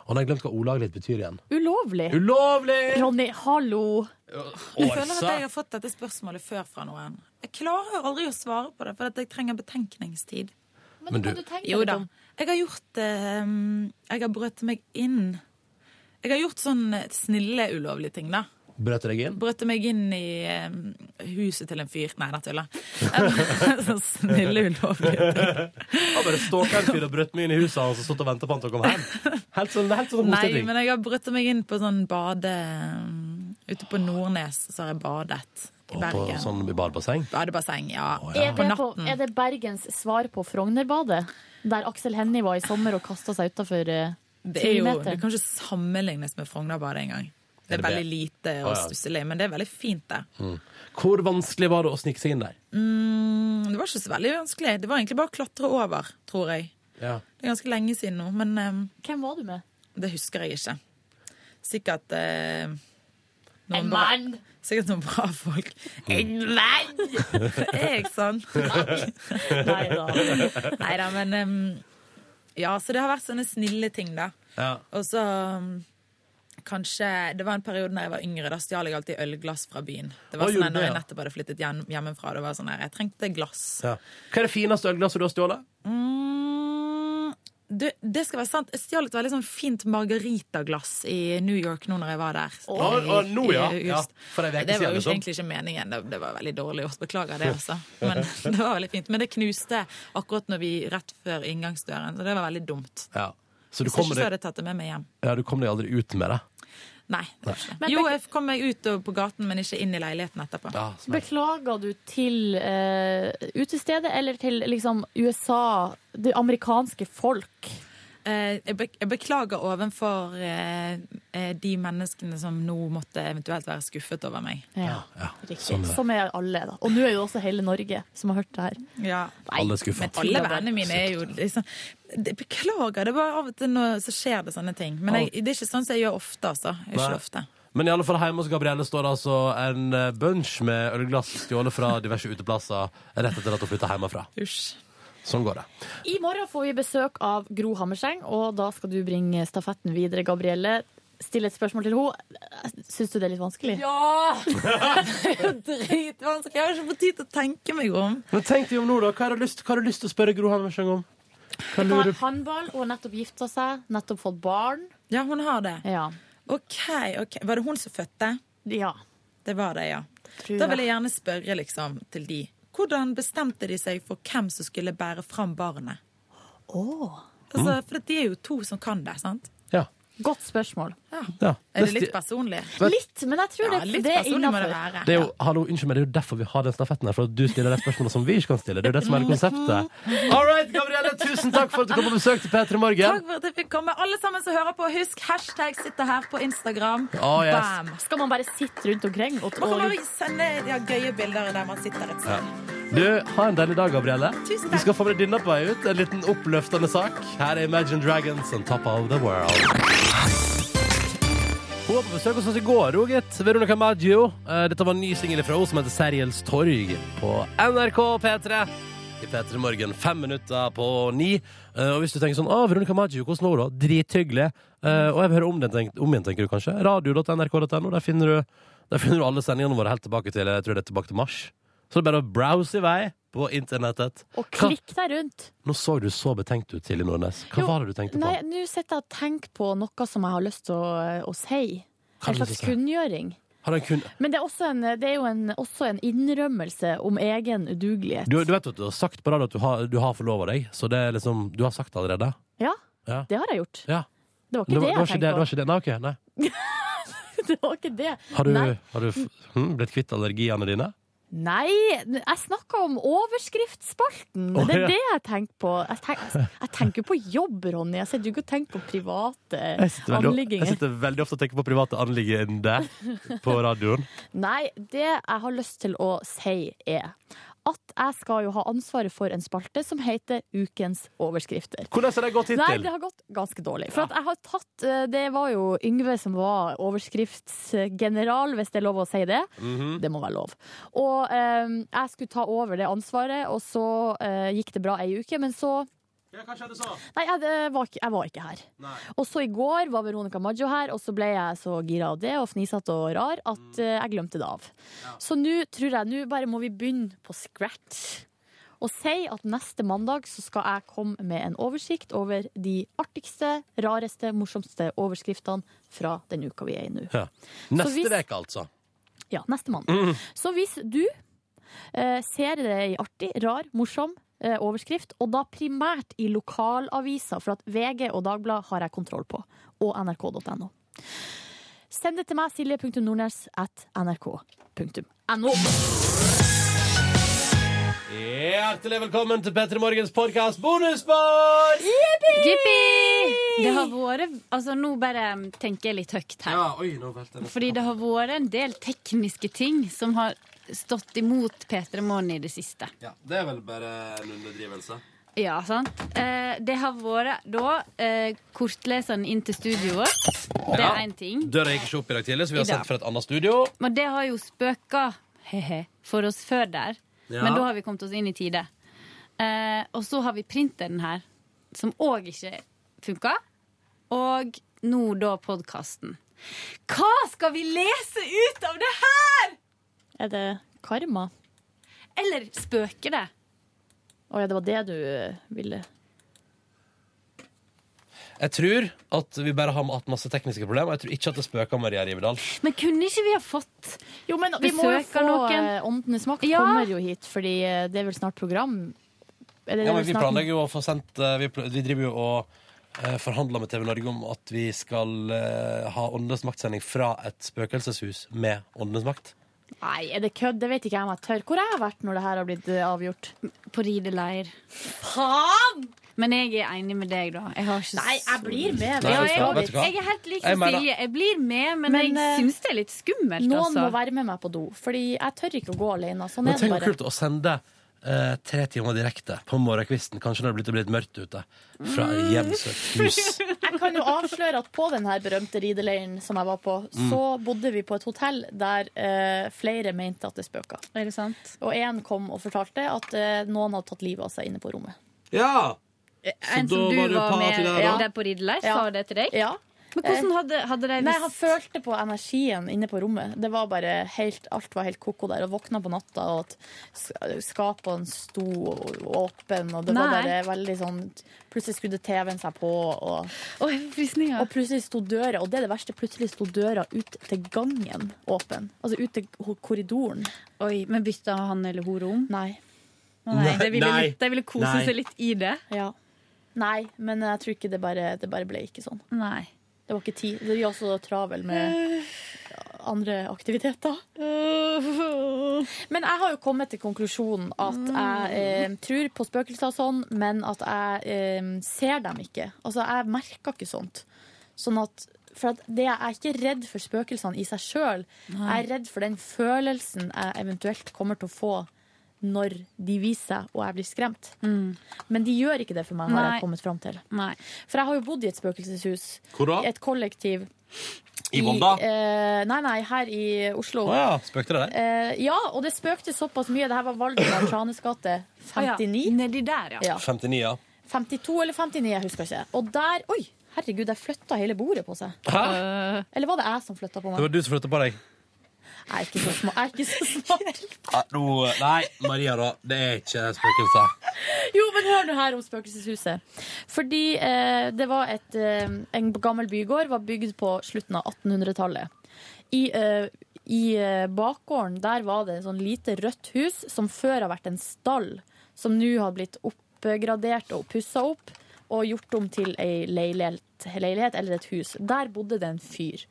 Speaker 2: Og han har glemt hva olaglig betyr igjen.
Speaker 3: Ulovlig.
Speaker 2: Ulovlig!
Speaker 3: Ronny, hallo.
Speaker 11: Jeg føler
Speaker 2: Altså.
Speaker 11: at jeg har fått dette spørsmålet før fra noen. Jeg klarer aldri å svare på det, for at jeg trenger betenkningstid.
Speaker 2: Men Men hva du- du tenker
Speaker 11: Jo
Speaker 2: litt
Speaker 11: da.
Speaker 2: om?
Speaker 11: Jeg har gjort eh, Jeg har brøt meg inn. Jeg har gjort sånn snille, ulovlige ting, da.
Speaker 2: Brøt du deg inn?
Speaker 11: Brøt meg inn i eh, huset til en fyr. Nei, da tuller jeg. Sånn snille, ulovlige ting.
Speaker 2: Han bare stalka en fyr og brøt meg inn i huset hans og stått og venta på han til å komme hjem. Helt sånn, helt sånn
Speaker 11: Nei,
Speaker 2: omstilling.
Speaker 11: men jeg har brutt meg inn på sånn bade... um, Ute på Nordnes så har jeg badet
Speaker 2: Og
Speaker 11: i
Speaker 2: på
Speaker 11: Bergen.
Speaker 2: sånn i badebasseng.
Speaker 11: Badebasseng, ja.
Speaker 3: Er
Speaker 11: På
Speaker 3: det, på,
Speaker 11: natten.
Speaker 3: er det Bergens svar på Frognerbadet? Der Aksel Hennie var i sommer og kasta seg eh, utafor
Speaker 11: Det er jo,
Speaker 3: trimeteren?
Speaker 11: det kan ikke sammenlignes med Frognerbadet engang. Det
Speaker 2: Er
Speaker 11: er
Speaker 2: det
Speaker 11: veldig
Speaker 2: det?
Speaker 11: lite og
Speaker 2: Å, ja.
Speaker 11: stusselig, men det er veldig fint der.
Speaker 2: Mm. Hvor vanskelig var det å snike seg inn der?
Speaker 11: Mm, det var ikke så veldig vanskelig. Det var egentlig bare å klatre over, tror jeg.
Speaker 2: Ja.
Speaker 11: Det er ganske lenge siden nå, men um,
Speaker 3: Hvem var du med?
Speaker 11: Det husker jeg ikke. Sikkert eh,
Speaker 3: En
Speaker 11: bra-
Speaker 3: mann!
Speaker 11: Sikkert noen bra folk.
Speaker 2: Mm.
Speaker 11: En mann! er jeg sånn? Nei da. men em, Ja, så det har vært sånne snille ting, da.
Speaker 2: Ja.
Speaker 11: Og så um, Kanskje, Det var en periode da jeg var yngre. Da stjal jeg alltid ølglass fra byen. Det var
Speaker 2: Å,
Speaker 11: sånn
Speaker 2: gjorde
Speaker 11: at
Speaker 2: du
Speaker 11: når
Speaker 2: det,
Speaker 11: jeg
Speaker 2: ja?
Speaker 11: nettopp hadde flyttet hjem, hjemmefra, det var sånn her, jeg trengte glass.
Speaker 2: Ja. Hva er det fineste ølglasset du har stjålet?
Speaker 11: Mm, du, det skal være sant. Jeg stjal et veldig sånn fint margaritaglass i New York nå når jeg var der.
Speaker 2: Å, å, nå,
Speaker 11: I- i
Speaker 2: ja.
Speaker 11: august.
Speaker 2: Ja, for en uke
Speaker 11: det
Speaker 2: siden,
Speaker 11: var jo
Speaker 2: liksom.
Speaker 11: ikke egentlig ikke meningen. Det, det var veldig dårlig gjort. Beklager det, altså. Men det var veldig fint. Men det knuste akkurat når vi, rett før inngangsdøren, så det var veldig dumt.
Speaker 2: Ja. Så du
Speaker 11: Hvis ikke
Speaker 2: kommer
Speaker 11: så hadde
Speaker 2: deg,
Speaker 11: jeg tatt det med meg hjem.
Speaker 2: ja, du kom deg aldri ut med det?
Speaker 11: Nei.
Speaker 2: Nei.
Speaker 11: jo, jeg kom meg ut og på gaten, men ikke inn i leiligheten etterpå.
Speaker 2: sånn
Speaker 3: Beklager du til eh, utestedet eller til liksom USA, det amerikanske folk?
Speaker 11: Eh, jeg, bek jeg beklager ovenfor eh, eh, de menneskene som nå måtte eventuelt være skuffet over meg.
Speaker 3: Ja,
Speaker 11: riktig.
Speaker 2: sånn
Speaker 3: Som, er alle, da. Og nå er jo også hele Norge som har hørt det her.
Speaker 2: Alle er skuffa.
Speaker 11: Men alle vennene mine er jo liksom det, Beklager, det er bare av og til når, så skjer det sånne ting. Men jeg, det er ikke sånn som jeg gjør ofte, altså. Jeg gjør
Speaker 2: Nei.
Speaker 11: Ikke ofte.
Speaker 2: Men i alle fall hjemme hos Gabrielle står det altså en eh, bunch med ølglass stjålet fra diverse uteplasser rett etter at hun flytta hjemmefra. Sånn går det.
Speaker 3: I morgen får vi besøk av Gro Hammerseng, og da skal du bringe stafetten videre, Gabrielle. Stille et spørsmål til henne. Syns du det er litt vanskelig?
Speaker 11: Ja! Dritvanskelig. Jeg har ikke fått tid til å tenke meg om.
Speaker 2: Men tenk deg om nå, da. Hva har du lyst, hva har du lyst til å spørre Gro Hammerseng om? Hva
Speaker 3: Hun har
Speaker 2: lurer du på?
Speaker 3: håndball, hun har nettopp gifta seg, nettopp fått barn.
Speaker 11: Ja, hun har det.
Speaker 3: Ja.
Speaker 11: OK, ok. Var det hun som fødte?
Speaker 3: Ja.
Speaker 11: Det var det, ja.
Speaker 3: Tror
Speaker 11: Da
Speaker 3: jeg.
Speaker 11: vil jeg gjerne spørre liksom, til de. Hvordan bestemte de seg for hvem som skulle bære fram barnet?
Speaker 3: Oh.
Speaker 11: Altså,
Speaker 2: Mm.
Speaker 11: for de er jo to som kan det, sant?
Speaker 2: Ja.
Speaker 3: Godt spørsmål.
Speaker 2: Ja.
Speaker 11: Er det litt personlig?
Speaker 3: Litt, men jeg tror
Speaker 11: Ja,
Speaker 3: det,
Speaker 11: litt
Speaker 3: det er
Speaker 11: personlig må det
Speaker 3: innafor.
Speaker 11: være.
Speaker 2: Det er jo, hallo, unnskyld meg, det er jo derfor vi har den stafetten her, for at du stiller de spørsmålene som vi ikke kan stille. Det er jo det som er hele konseptet. All right, Gabrielle, tusen takk for at du kom på besøk til P3 Morgen.
Speaker 11: Takk for at jeg fikk komme. Alle sammen som hører på, husk hashtag 'sitter her' på Instagram.
Speaker 2: Å, yes.
Speaker 3: Skal man bare sitte rundt omkring? Og,
Speaker 11: Man kan bare sende ja, gøye bilder der man sitter et
Speaker 2: Ja.
Speaker 11: sted.
Speaker 2: Du, ha en deilig dag, Gabrielle.
Speaker 11: Tusen takk.
Speaker 2: Du skal få med deg denne på vei ut. En liten oppløftende sak. Her er Imagine Dragons on top of the world. Hun var på besøk hos oss i går, hun, gitt. Veronica Maggio. Eh, Dette var en ny singel fra henne som heter Seriels torg på NRK P3. I P3 Morgen fem minutter på ni. Eh, Og hvis du tenker sånn Å, Veronica Maggio, hvordan var hun da? Drithyggelig. Eh, Og jeg vil høre om den, tenk, om igjen, tenker du kanskje. Radio.nrk.no. Der finner du der finner du alle sendingene våre helt tilbake til jeg tror det er tilbake til mars. Så det er bare å browse i vei på internettet.
Speaker 3: og klikk deg rundt.
Speaker 2: Nå så du så betenkt ut, Silje Nordnes. Hva
Speaker 3: Jo,
Speaker 2: var det du tenkte
Speaker 3: Nei,
Speaker 2: på?
Speaker 3: nå sitter jeg og tenker på noe som jeg har lyst til å, eh, å si.
Speaker 2: Hva har
Speaker 3: en
Speaker 2: du lyst til å
Speaker 3: slags
Speaker 2: si?
Speaker 3: kunngjøring.
Speaker 2: Har den kun...
Speaker 3: Men det er også en, det er jo en, også en innrømmelse om egen udugelighet.
Speaker 2: du, du vet at du har sagt på radio at du har, du har forlova deg, så det er liksom Du har sagt det allerede?
Speaker 3: Ja,
Speaker 2: Ja.
Speaker 3: det har jeg gjort.
Speaker 2: Ja.
Speaker 3: Det var ikke det,
Speaker 2: det, var
Speaker 3: jeg
Speaker 2: ikke det, det var ikke
Speaker 3: tenkte
Speaker 2: det. Nei, ok, nei.
Speaker 3: på. Det var ikke det.
Speaker 2: Har du,
Speaker 3: Nei,
Speaker 2: har du f- hm, blitt kvitt allergiene dine?
Speaker 3: nei, jeg snakka om overskriftsspalten.
Speaker 2: Å,
Speaker 3: Det
Speaker 2: ja.
Speaker 3: er det jeg tenker på. Jeg tenker, jeg tenker på jobb, Ronny. Jeg sitter jo ikke og tenker på private
Speaker 2: Jeg sitter veldig, jeg
Speaker 3: anligginger.
Speaker 2: sitter veldig ofte og tenker på private anliggender på radioen.
Speaker 3: Nei, det jeg har lyst til å si er at jeg skal jo ha ansvaret for en spalte som heter Ukens overskrifter.
Speaker 2: Hvordan har det gått hittil?
Speaker 3: Nei, det har gått ganske dårlig. For at jeg har tatt eh, Det var jo Yngve som var overskriftsgeneral, hvis det er lov å si det.
Speaker 15: Mhm.
Speaker 3: Det må være lov. Og eh, jeg skulle ta over det ansvaret, og så eh, gikk det bra ei uke, men så Nei, jeg, det var, ikke, jeg var ikke her. Og så i går var Veronica Maggio her, og så ble jeg så gira av det og fnisete og rar at eh, jeg glemte det av. Så nå tror jeg nå bare må vi begynne på scratch. Og si at neste mandag så skal jeg komme med en oversikt over de artigste, rareste, morsomste overskriftene fra den uka vi er i nå.
Speaker 2: Ja.
Speaker 3: Så hvis-
Speaker 2: Neste uke, altså.
Speaker 3: Ja, neste mandag.
Speaker 2: Mm.
Speaker 3: Så hvis du eh, ser det i artig, rar, morsom eh, overskrift, og da primært i lokalaviser, for at VG og Dagbladet har jeg kontroll på, og nrk.no. Send det til meg, silje.nordnes at nrk.no.
Speaker 2: Hjertelig velkommen til Petter Morgens podkast bonusspor!
Speaker 16: Jippi! Det har vært Altså, nå bare tenker jeg litt høyt her.
Speaker 2: Ja, oi, nå velter jeg.
Speaker 16: Fordi det har vært en del tekniske ting som har stått imot P3 Morgen i det siste.
Speaker 2: Ja, det er vel bare en underdrivelse.
Speaker 16: Ja, sant? Eh, det har vært da eh, kortleseren inn til studioet vårt. Det
Speaker 2: Ja.
Speaker 16: er én ting.
Speaker 2: Døra gikk ikke opp i dag tidlig, så vi
Speaker 16: I
Speaker 2: har
Speaker 16: dag.
Speaker 2: sendt fra et annet studio.
Speaker 16: Men det har jo spøka hehe, for oss før der.
Speaker 2: Ja.
Speaker 16: Men da har vi kommet oss inn i tide. Eh, og så har vi printeren her, som òg ikke funka. Og nå da podkasten. Hva skal vi lese ut av det her?!
Speaker 3: Er det karma?
Speaker 16: Eller spøker det?
Speaker 3: Å ja, det var det du eh, ville
Speaker 2: Jeg tror at vi bare har hatt masse tekniske problemer. Jeg tror ikke at det spøker Maria Rivedal.
Speaker 16: Men kunne ikke vi ha fått
Speaker 3: Jo, men
Speaker 16: vi
Speaker 3: vi må jo
Speaker 16: søker
Speaker 3: få
Speaker 16: noen.
Speaker 3: eh, Åndenes makt
Speaker 16: Ja.
Speaker 3: kommer jo hit, fordi eh, det er vel snart program? Eller det
Speaker 2: Ja,
Speaker 3: er
Speaker 2: men
Speaker 3: vel
Speaker 2: vi
Speaker 3: snart-
Speaker 2: planlegger jo å få sendt eh, Vi, pl- vi driver jo og eh, forhandler med TV Norge om at vi skal eh, ha Åndenes maktsending fra et spøkelseshus med Åndenes makt.
Speaker 3: Nei, er det kødd? Det vet ikke jeg om jeg tør. Hvor har jeg vært når det her har blitt eh, avgjort?
Speaker 16: På rideleir. Faen! Men jeg er enig med deg, da. Jeg har ikke Nei, jeg
Speaker 3: blir med.
Speaker 16: Ja,
Speaker 3: Nei,
Speaker 16: jeg,
Speaker 3: vet du hva?
Speaker 16: jeg er helt lik
Speaker 3: Jeg
Speaker 16: som
Speaker 3: mener-
Speaker 16: Silje. Jeg blir med, men,
Speaker 3: Men,
Speaker 16: jeg
Speaker 3: eh,
Speaker 16: syns det er litt skummelt.
Speaker 3: Noen
Speaker 16: altså.
Speaker 3: må være med meg på do, Fordi jeg tør ikke å gå alene. Sånn
Speaker 2: Men
Speaker 3: er det
Speaker 2: tenk hvor
Speaker 3: bare.
Speaker 2: kult å sende eh, tre timer direkte på morgenkvisten, kanskje når det er blitt, det er blitt mørkt ute, fra et hjemsøkt hus.
Speaker 3: Jeg kan jo avsløre at på den her berømte rideleiren som jeg var på,
Speaker 2: Mm.
Speaker 3: så bodde vi på et hotell der eh, flere mente at det spøka.
Speaker 16: Er det sant?
Speaker 3: Og én kom og fortalte at eh, noen hadde tatt livet av seg inne på rommet.
Speaker 2: Ja!
Speaker 16: En som du var med der på rideleir,
Speaker 3: Ja.
Speaker 16: sa det til deg?
Speaker 3: Ja.
Speaker 16: Men hvordan hadde, hadde de
Speaker 3: Nei, han følte på energien inne på rommet. Det var bare helt, alt var helt koko der. Og våkna på natta, og at sk- skapene sto åpen og det var
Speaker 16: Nei.
Speaker 3: bare veldig sånn Plutselig skrudde TV-en seg på, og,
Speaker 16: og
Speaker 3: plutselig sto døra Og det er det verste, plutselig sto døra ut til gangen åpen. Altså ut til ho- korridoren.
Speaker 16: Oi, Men bytta han eller hun rom?
Speaker 3: Nei.
Speaker 16: Nei, de ville,
Speaker 3: Nei.
Speaker 16: litt- de ville kose
Speaker 3: Nei.
Speaker 16: seg litt i det.
Speaker 3: Ja. Nei, men jeg tror ikke det bare, det bare ble ikke sånn.
Speaker 16: Nei.
Speaker 3: Det var ikke tid. Vi var også travel med andre aktiviteter. Men jeg har jo kommet til konklusjonen at jeg eh, tror på spøkelser og sånn, men at jeg eh, ser dem ikke. Altså, jeg merker ikke sånt. Sånn at for at det, Jeg er ikke redd for spøkelsene i seg sjøl. Jeg
Speaker 16: Nei.
Speaker 3: er redd for den følelsen jeg eventuelt kommer til å få når de viser seg og jeg blir skremt. Men de gjør ikke det for meg, har
Speaker 16: Mm. Nei.
Speaker 3: jeg kommet fram til.
Speaker 16: Nei.
Speaker 3: For jeg har jo bodd i et spøkelseshus.
Speaker 2: Hvor da?
Speaker 3: I et kollektiv.
Speaker 2: I Volda?
Speaker 3: eh, nei, nei, her i Oslo.
Speaker 2: Å ja, spøkte det der?
Speaker 3: Eh, ja, og det spøkte såpass mye. Dette var Valdemar Tranes gate 59.
Speaker 16: Nedi der, ja.
Speaker 2: 59, ja.
Speaker 3: 52 eller 59, jeg husker ikke. Og der Oi, herregud, der flytta hele bordet på seg.
Speaker 2: Hæ?
Speaker 3: Eller var det jeg som flytta på
Speaker 2: Det
Speaker 3: meg?
Speaker 2: var du som flytta på deg.
Speaker 3: Jeg er ikke så smart. Jeg er ikke så smart.
Speaker 2: Ja, nå, nei, Maria, da. Det er ikke spøkelser.
Speaker 3: Jo, men hør nå her om spøkelseshuset. Fordi eh, det var et eh, En gammel bygård var bygd på slutten av 1800-tallet. I, eh, i eh, bakgården der var det et sånn lite rødt hus som før har vært en stall, som nå har blitt oppgradert og pussa opp og gjort om til ei leilighet, leilighet eller et hus. Der bodde det en fyr.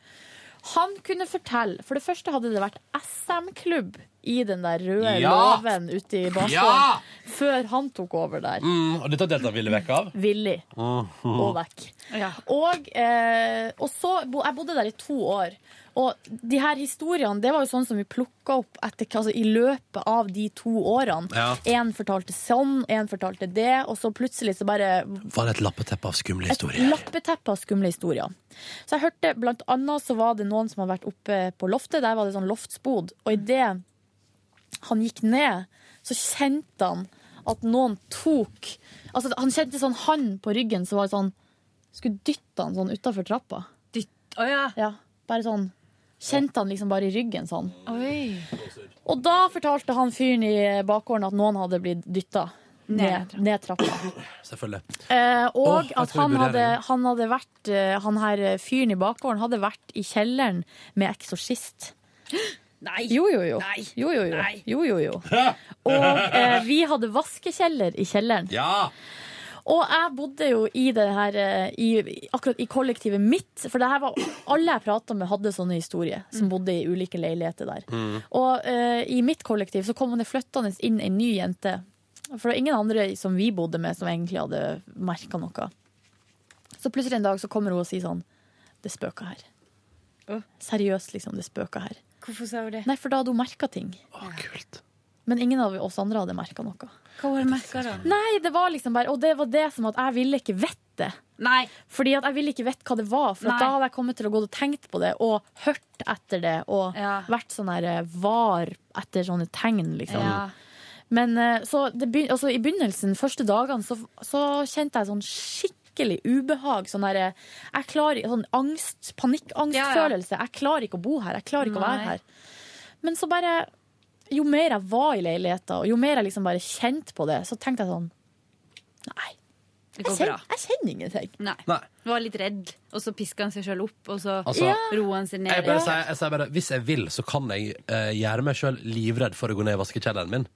Speaker 3: Han kunne fortelle For det første hadde det vært SM-klubb i den der røde
Speaker 2: Ja!
Speaker 3: låven ute i barstolen
Speaker 2: Ja!
Speaker 3: før han tok over der.
Speaker 2: Mm, og dette delte han ville vekk av?
Speaker 3: Villig.
Speaker 2: Mhm.
Speaker 3: og vekk. Og, eh, og så bo, Jeg bodde der i to år. Og de her historiene det var jo sånn som vi plukka opp etter, altså, i løpet av de to årene.
Speaker 2: Ja.
Speaker 3: Én fortalte sånn, én fortalte det, og så plutselig så bare
Speaker 2: Var det et lappeteppe av skumle
Speaker 3: et
Speaker 2: historier?
Speaker 3: lappeteppe av skumle historier. Så jeg hørte blant annet så var det noen som hadde vært oppe på loftet. Der var det sånn loftsbod. Og idet han gikk ned, så kjente han at noen tok Altså han kjente sånn hand på ryggen som var sånn Skulle dytte han sånn utafor trappa. Dytt, ja. Bare sånn. Kjente han liksom bare i ryggen sånn. Og da fortalte han fyren i bakgården at noen hadde blitt dytta
Speaker 2: Ned
Speaker 3: ned, ned trappa.
Speaker 2: Selvfølgelig.
Speaker 3: Eh,
Speaker 2: Åh,
Speaker 3: og
Speaker 2: jeg tror
Speaker 3: at
Speaker 2: jeg
Speaker 3: han
Speaker 2: burde
Speaker 3: hadde,
Speaker 2: gjøre det.
Speaker 3: han hadde vært eh, Han her eh, fyren i bakgården hadde vært i kjelleren med eksorsist. Nei! Jo, jo, jo. Jo, jo, jo. jo, jo, jo. Og eh, vi hadde vaskekjeller i kjelleren.
Speaker 2: Ja!
Speaker 3: Og jeg bodde jo i det her eh, i, akkurat i kollektivet mitt, for det her var alle jeg prata med, hadde sånne historier, som bodde i ulike leiligheter der.
Speaker 2: Mm.
Speaker 3: Og eh, i mitt kollektiv så kom det flyttende inn en ny jente. For det var ingen andre som vi bodde med, som egentlig hadde merka noe. Så plutselig en dag så kommer hun og sier sånn Det spøker her. Seriøst, liksom. Det spøker her.
Speaker 16: Hvorfor sa hun det?
Speaker 3: Nei, for da hadde hun merka ting. Men ingen av oss andre hadde merka noe.
Speaker 16: Hva var det merka da?
Speaker 3: Nei, det var liksom bare Og det var det som at jeg ville ikke vite det.
Speaker 16: Nei.
Speaker 3: Fordi at jeg ville ikke vite hva det var, for at
Speaker 16: Nei.
Speaker 3: da hadde jeg kommet til å gå og tenkt på det og hørt etter det og vært sånn her eh, var etter sånne tegn, liksom.
Speaker 16: Ja.
Speaker 3: Men eh, så det begyn altså, i begynnelsen, første dagene, så, så kjente jeg sånn skikkelig ubehag. Sånn der, eh, jeg klarer, sånn angst, panikkangstfølelse. Jeg klarer ikke å bo her. Jeg klarer ikke å
Speaker 16: Nei.
Speaker 3: være her. Men så bare Jo mer jeg var i leiligheta, og jo mer jeg liksom bare kjente på det, så tenkte jeg sånn
Speaker 16: Det
Speaker 3: Jeg
Speaker 16: går
Speaker 3: kjenner,
Speaker 16: bra.
Speaker 3: jeg kjenner ingenting.
Speaker 2: Eh,
Speaker 16: Nei. Var litt redd, og så piska han seg sjøl opp, og så
Speaker 2: Altså, Ja.
Speaker 16: roa han seg ned.
Speaker 2: Jeg, bare sier, jeg sier bare hvis jeg vil, så kan jeg eh, gjøre meg sjøl livredd for å gå ned i vaskekjelleren min.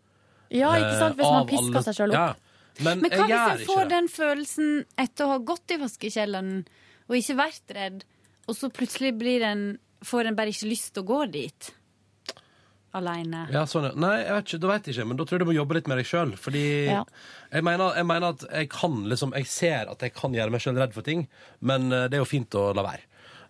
Speaker 16: Ja, ikke sant, hvis
Speaker 2: Eh,
Speaker 16: man
Speaker 2: av
Speaker 16: pisker
Speaker 2: alle-
Speaker 16: seg selv opp.
Speaker 2: Ja. Men,
Speaker 16: Men hva
Speaker 2: jeg
Speaker 16: hvis jeg
Speaker 2: gjør ikke
Speaker 16: får
Speaker 2: det.
Speaker 16: den følelsen etter å ha gått i vaskekjelleren og ikke vært redd, og så plutselig blir en, får en bare ikke lyst til å gå dit? Aleine.
Speaker 2: Ja, sånn, ja. Nei, jeg vet ikke, da vet jeg ikke, men da tror jeg du må jobbe litt med deg sjøl. Fordi
Speaker 16: Ja.
Speaker 2: jeg, mener, jeg mener at jeg kan liksom Jeg ser at jeg kan gjøre meg sjøl redd for ting, men eh, det er jo fint å la være.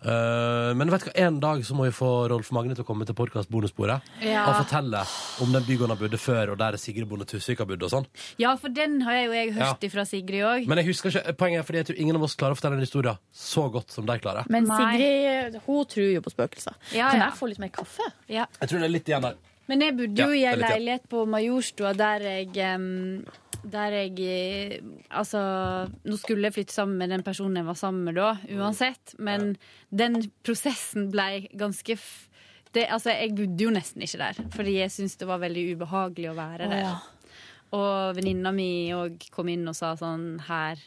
Speaker 2: Eh, men vet du hva, en dag så må vi få Rolf Magne til å komme til podkast Bonussporet
Speaker 16: Ja.
Speaker 2: og fortelle om den bygården han bodde før, og der Sigrid Bonde Tusvik har bodd og sånn.
Speaker 16: Ja, for den har jeg jo jeg hørt
Speaker 2: Ja.
Speaker 16: ifra Sigrid òg.
Speaker 2: Men jeg husker ikke poenget, er fordi jeg tror ingen av oss klarer å fortelle den historien så godt som de klarer.
Speaker 3: Men Sigrid hun tror jo på spøkelser.
Speaker 16: Ja,
Speaker 3: Kan
Speaker 16: ja.
Speaker 3: jeg få litt mer kaffe?
Speaker 16: Ja.
Speaker 2: Jeg tror det er litt igjen der.
Speaker 16: Men jeg bodde
Speaker 2: Ja,
Speaker 16: jo i
Speaker 2: det er
Speaker 16: en
Speaker 2: litt, ja.
Speaker 16: leilighet på Majorstua der jeg em, Der jeg eh, Altså, nå skulle jeg flytte sammen med den personen jeg var sammen med da,
Speaker 2: Mm.
Speaker 16: uansett. Men den prosessen blei ganske f det, Altså, jeg bodde jo nesten ikke der, fordi jeg syntes det var veldig ubehagelig å være
Speaker 3: Å,
Speaker 16: der.
Speaker 3: ja.
Speaker 16: Og venninna mi òg kom inn og sa sånn Her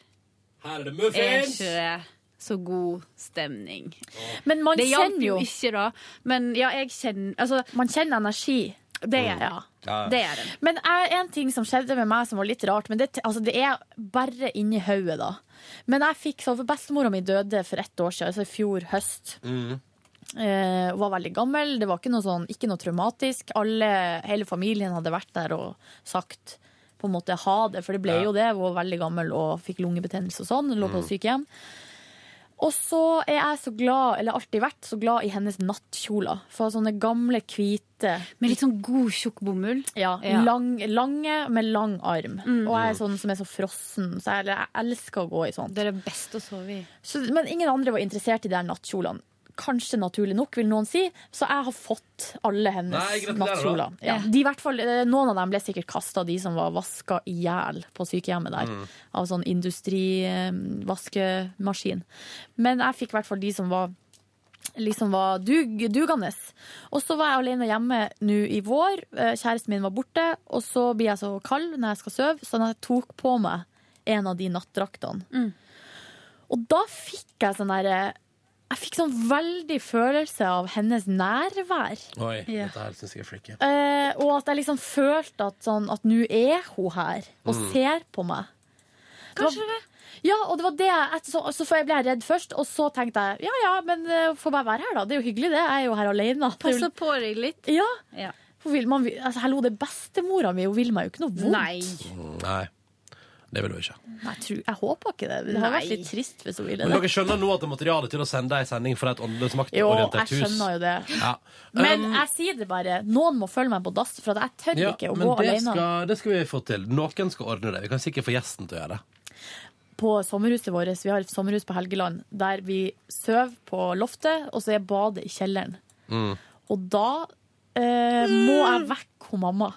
Speaker 2: Her er det
Speaker 16: er ikke
Speaker 2: muffins!
Speaker 16: det så god stemning.
Speaker 3: Men man
Speaker 16: det hjalp
Speaker 3: kjenner jo-
Speaker 16: ikke, da. Men ja, jeg kjenner altså,
Speaker 3: Man kjenner energi.
Speaker 16: Det gjør
Speaker 2: Mm.
Speaker 16: jeg.
Speaker 2: Ja.
Speaker 16: Det gjør jeg.
Speaker 3: Men jeg, en ting som skjedde med meg som var litt rart, men det, altså, det er bare inni hodet, da. Men jeg fikk sånn, for bestemora mi døde for ett år siden, altså i fjor høst.
Speaker 16: Mm.
Speaker 3: Eh, hun var veldig gammel, det var ikke noe, sånn, ikke noe traumatisk. Alle, hele familien hadde vært der og sagt på en måte ha det, for det ble
Speaker 16: Ja.
Speaker 3: jo det. Hun var veldig gammel og fikk lungebetennelse og sånn, lå på
Speaker 16: Mm.
Speaker 3: sykehjem. Og så er jeg så glad, eller alltid vært så glad i hennes nattkjoler. For sånne gamle, hvite
Speaker 16: Med litt sånn god, tjukk bomull?
Speaker 3: Ja.
Speaker 16: Ja.
Speaker 3: Lang, lange med lang arm.
Speaker 16: Mm.
Speaker 3: Og jeg er sånn som er så frossen, så jeg, jeg elsker å gå i sånn. sånt.
Speaker 16: Det er det beste å sove i.
Speaker 3: Så, men ingen andre var interessert i de her nattkjolene. Kanskje naturlig nok, vil noen si. Så jeg har fått
Speaker 16: Nei,
Speaker 3: alle hennes
Speaker 16: gratulerer, da.
Speaker 3: nattkjoler. Ja.
Speaker 16: Ja.
Speaker 3: De, i hvert fall, eh, noen av dem ble sikkert kasta, de som var vaska i hjel på sykehjemmet der.
Speaker 16: Mm.
Speaker 3: Av sånn industrivaskemaskin. Men jeg fikk i hvert fall de som var liksom var dug, dugende. Og så var jeg alene hjemme nå i vår. Eh, Kjæresten min var borte, og så blir jeg så kald når jeg skal sove, så jeg tok på meg en av de nattdraktene. Og da fikk jeg sånn derre Jeg fikk sånn veldig følelse av hennes nærvær.
Speaker 2: Oi,
Speaker 3: Ja.
Speaker 2: dette her syns jeg er freaky.
Speaker 3: Eh, og at jeg liksom følte at sånn At nå er hun her og
Speaker 2: Mm.
Speaker 3: ser på meg. Kanskje det. Var, ja, og det var det jeg etter, så, så for jeg ble redd først, og så tenkte jeg ja ja, men eh, får bare være her, da. Det er jo hyggelig, det. Jeg er jo her alene. Det er jo-
Speaker 16: Passa på deg litt.
Speaker 3: Ja. Hun vil, man, vil- altså, hallo, det er bestemora mi, hun vil meg jo ikke noe vondt.
Speaker 2: Nei, det vil hun ikke.
Speaker 3: Nei, jeg, tror, jeg håper ikke det. Det
Speaker 17: Nei.
Speaker 3: hadde vært litt trist hvis hun ville
Speaker 2: Men dere
Speaker 3: det.
Speaker 2: skjønner nå at det er materiale til å sende ei sending fra et
Speaker 3: Jo,
Speaker 2: åndeløsmaktorientert
Speaker 3: jeg
Speaker 2: hus?
Speaker 3: skjønner jo det.
Speaker 2: Ja.
Speaker 3: Men
Speaker 2: Um,
Speaker 3: jeg sier det bare. Noen må følge meg på dass, for at jeg tør
Speaker 2: ja,
Speaker 3: ikke å
Speaker 2: men
Speaker 3: gå
Speaker 2: det
Speaker 3: alene.
Speaker 2: Skal, det skal vi få til. Noen skal ordne det. Vi kan sikkert få gjesten til å gjøre det.
Speaker 3: På sommerhuset vårt, vi har et sommerhus på Helgeland, der vi sover på loftet, og så er badet i kjelleren.
Speaker 2: Mm.
Speaker 3: Og da eh, må jeg vekke hun mamma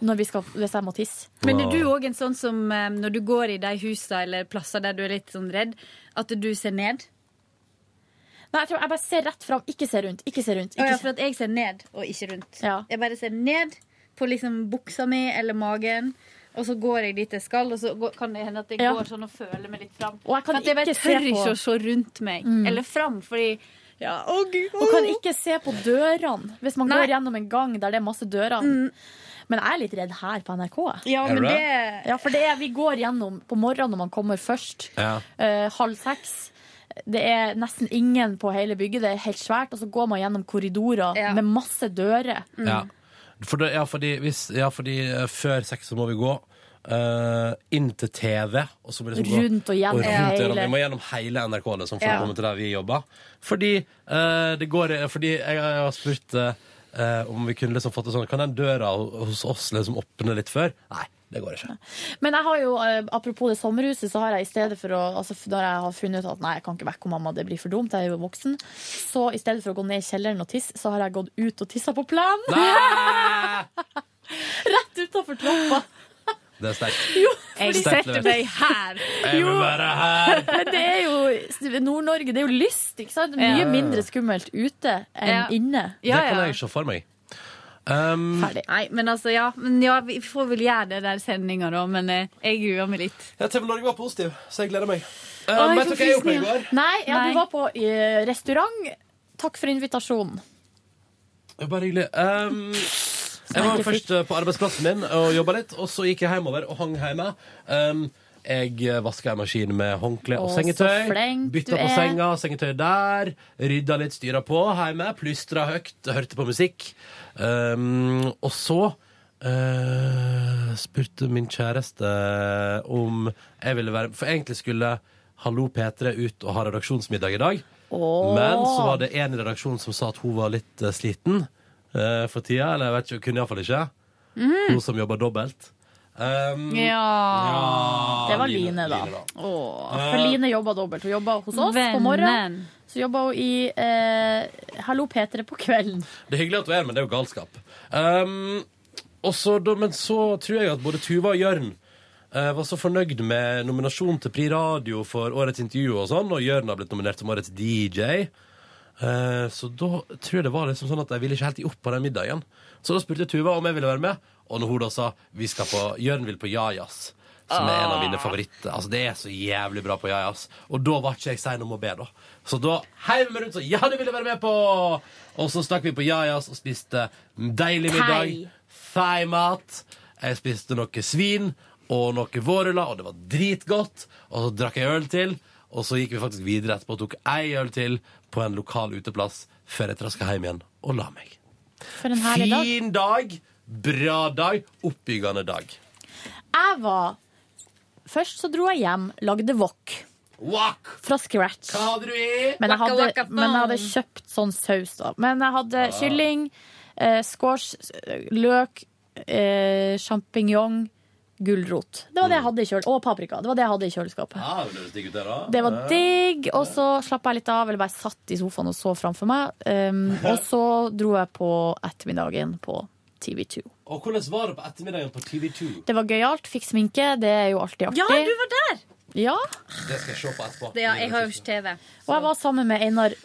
Speaker 3: når vi skal, hvis jeg må tisse.
Speaker 11: Men er du òg en sånn som eh, når du går i de husa eller plasser der du er litt sånn redd, at du ser ned?
Speaker 3: Nei, jeg tror jeg bare ser rett fram. Ikke se rundt. Ikke se rundt.
Speaker 11: Å
Speaker 3: Ikke
Speaker 11: ja, for at jeg ser ned og ikke rundt. Jeg bare ser ned på liksom buksa mi eller magen, og så går jeg dit jeg skal, og så går, kan det hende at jeg
Speaker 3: Ja.
Speaker 11: går sånn og føler meg litt fram.
Speaker 3: Og jeg kan
Speaker 11: For at jeg bare
Speaker 3: ikke se
Speaker 11: tør
Speaker 3: på-
Speaker 11: ikke å se rundt meg
Speaker 3: Mm.
Speaker 11: eller fram, fordi ja, å gud.
Speaker 3: Og kan ikke se på dørene hvis man
Speaker 11: Nei. Mm.
Speaker 3: går gjennom en gang der det er masse dører. Men jeg er litt redd her på NRK.
Speaker 11: Ja,
Speaker 2: Er men du det?
Speaker 3: ja, for det er, vi går gjennom på morgenen når man kommer først.
Speaker 2: Ja.
Speaker 3: Eh, halv seks. Det er nesten ingen på hele bygget, det er helt svært. Og så går man gjennom korridorer med masse dører.
Speaker 2: Ja. For det, ja, fordi, hvis, ja, fordi eh, før seks så må vi gå. eh, inn til TV. Og så må vi liksom gå-
Speaker 3: Rundt og
Speaker 2: rundt
Speaker 3: gjennom hele-
Speaker 2: Vi må gjennom hele NRK liksom, for
Speaker 3: Ja.
Speaker 2: å komme til der vi jobber. Fordi, eh, det går, fordi jeg, jeg har spurt eh, eh, om vi kunne liksom fått det sånn Kan den døra hos oss liksom åpne litt før? Nei, det går ikke.
Speaker 3: Men jeg har jo, eh, apropos det sommerhuset, så har jeg i stedet for å altså, f- Når jeg har funnet ut at nei, jeg kan ikke vekke mamma, det blir for dumt, jeg er jo voksen, så i stedet for å gå ned i kjelleren og tisse, så har jeg gått ut og tissa på plenen! Rett utafor trappa.
Speaker 2: Det er sterkt.
Speaker 3: fordi-
Speaker 2: Sterkt levert.
Speaker 11: her.
Speaker 2: Jeg vil være her.
Speaker 3: Men det er jo Nord-Norge, det er jo lyst, ikke sant? Mye
Speaker 2: Ja.
Speaker 3: mindre skummelt ute enn
Speaker 11: Ja.
Speaker 3: inne.
Speaker 2: det kan jeg ikke se for meg. Um,
Speaker 11: Nei, men altså, ja. Men ja, vi får vel gjøre det der sendinga, da. Men eh, jeg gruer meg litt.
Speaker 2: Ja, TV Norge var positiv, så jeg gleder meg. Eh,
Speaker 11: Oi,
Speaker 2: vet
Speaker 11: så
Speaker 2: dere hva jeg gjorde i
Speaker 11: fristende.
Speaker 2: går?
Speaker 3: Nei, ja,
Speaker 11: Nei.
Speaker 3: du var på eh, restaurant. Takk for invitasjonen.
Speaker 2: Det var Bare hyggelig. Um, jeg var først eh, på arbeidsplassen min og jobba litt, og så gikk jeg hjemover og hang hjemme. Um, jeg vaska en maskin med håndkle og
Speaker 3: Å, så
Speaker 2: sengetøy.
Speaker 3: flink du
Speaker 2: Bytta på
Speaker 3: er.
Speaker 2: senga, sengetøy der. Rydda litt, styra på hjemme. Plystra høyt, hørte på musikk. Um, og så eh, spurte min kjæreste om jeg ville være For egentlig skulle Hallo P3 ut og ha redaksjonsmiddag i dag.
Speaker 3: Åh.
Speaker 2: Men så var det en i redaksjonen som sa at hun var litt eh, sliten eh, for tida. Eller jeg vet ikke, hun kunne iallfall ikke.
Speaker 3: Mhm.
Speaker 2: Hun som jobber dobbelt. Um, ja,
Speaker 3: Det var Line, da.
Speaker 2: Eh.
Speaker 3: For Line jobba dobbelt. Hun jobba hos oss Sånn, på morgenen.
Speaker 11: Vennen.
Speaker 3: Så jobba hun i eh, Hallo P3 på kvelden.
Speaker 2: Det er hyggelig at du er, men det er jo galskap. Um, og så, da, men så tror jeg at både Tuva og Jørn eh, var så fornøyd med nominasjon til Pri Radio for årets intervju og sånn, og Jørn har blitt nominert som årets DJ. Eh, så da tror jeg det var liksom sånn at jeg ville ikke helt gi opp på den middagen. Så da spurte Tuva om jeg ville være med, og når hun da sa vi skal på, Jørn vil på Jajas, som er en av mine favoritter Altså Det er så jævlig bra på Jajas. Og da var ikke jeg sein om å be, da. Så da heiv vi meg rundt og sa ja, det vil jeg være med på! Og så stakk vi på Jajas og spiste deilig middag.
Speaker 18: Thai.
Speaker 2: Thaimat. Jeg spiste noe svin og noe vårruller, og det var dritgodt. Og så drakk jeg øl til, og så gikk vi faktisk videre etterpå og tok ei øl til på en lokal uteplass før jeg traska hjem igjen og la meg.
Speaker 3: For en herlig dag.
Speaker 2: Fin dag, bra dag, oppbyggende dag.
Speaker 3: Jeg var Først så dro jeg hjem, lagde wok. Fra scratch.
Speaker 2: Hva hadde du i?
Speaker 3: Men jeg
Speaker 2: Waka,
Speaker 3: hadde,
Speaker 2: waka,
Speaker 3: men jeg hadde
Speaker 2: boom.
Speaker 3: kjøpt sånn saus, da. Men jeg hadde
Speaker 2: Ah.
Speaker 3: kylling, eh, squash, eh, løk, eh, sjampinjong, gulrot. Det var det jeg hadde i kjøleskapet. Og paprika. Det var det jeg hadde i kjøleskapet.
Speaker 2: Ja, det høres digg ut, det, da.
Speaker 3: Det var digg, og så slapp jeg litt av, eller bare satt i sofaen og så framfor meg. Um, og så dro jeg på ettermiddagen på TV2.
Speaker 2: Og hvordan var det på ettermiddagen på TV2?
Speaker 3: Det var gøyalt. Fikk sminke, det er jo alltid artig.
Speaker 11: Ja, du var der!
Speaker 3: Ja.
Speaker 2: Det skal jeg se på etterpå.
Speaker 11: Ja, jeg har jo ikke TV.
Speaker 3: Og jeg var sammen med Einar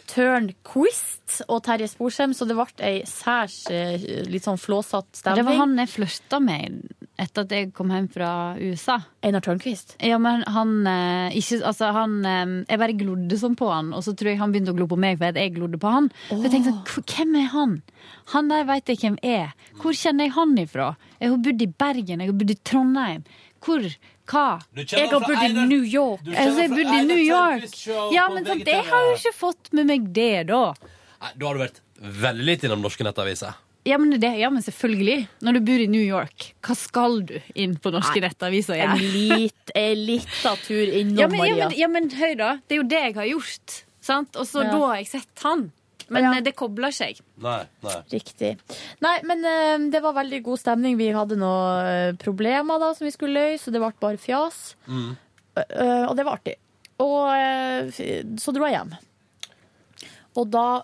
Speaker 3: Tørnquist og Terje Sporsem, så det ble ei særs eh, litt sånn flåsete stemning.
Speaker 11: Det var han jeg flørta med etter at jeg kom hjem fra USA.
Speaker 3: Einar Tørnquist?
Speaker 11: Ja, men han, eh, ikke, altså, han eh, Jeg bare glodde sånn på han, og så tror jeg han begynte å glo på meg fordi at jeg glodde på han. Så jeg tenkte sånn, "Hvor- hvem er han? Han der veit jeg hvem er. Hvor kjenner jeg han ifra? Jeg har bodd i Bergen, jeg har bodd i Trondheim. Hvor? Hva?
Speaker 3: Du kjenner Jeg har han fra bodd i Einar- New York. Du kjenner
Speaker 11: Altså, jeg
Speaker 3: fra
Speaker 11: bodde i New
Speaker 3: Einar
Speaker 11: York.
Speaker 3: Tørnquist show
Speaker 11: Ja,
Speaker 3: på
Speaker 11: men sant,
Speaker 3: VGTV.
Speaker 11: jeg har jo ikke fått med meg det, da.
Speaker 2: Nei, da har du vært veldig lite innom norske nettaviser.
Speaker 11: Ja men, det, ja, men selvfølgelig. Når du bor i New York, hva skal du inn på norske
Speaker 3: Nei,
Speaker 11: nettaviser og
Speaker 3: en
Speaker 11: gjøre?
Speaker 3: lit- En lita tur innom,
Speaker 11: Ja, men, ja,
Speaker 3: Maria.
Speaker 11: men, ja, men høy da. Det er jo det jeg har gjort. Sant? Og så
Speaker 3: Ja.
Speaker 11: da har jeg sett han. Men eh, det kobler seg.
Speaker 2: Nei, nei.
Speaker 11: Riktig.
Speaker 3: Nei, men eh, det var veldig god stemning. Vi hadde noen eh, problemer da som vi skulle løse, og det ble bare fjas.
Speaker 2: Mm.
Speaker 3: Eh, eh, og det var artig. Og eh, f- så dro jeg hjem. Og da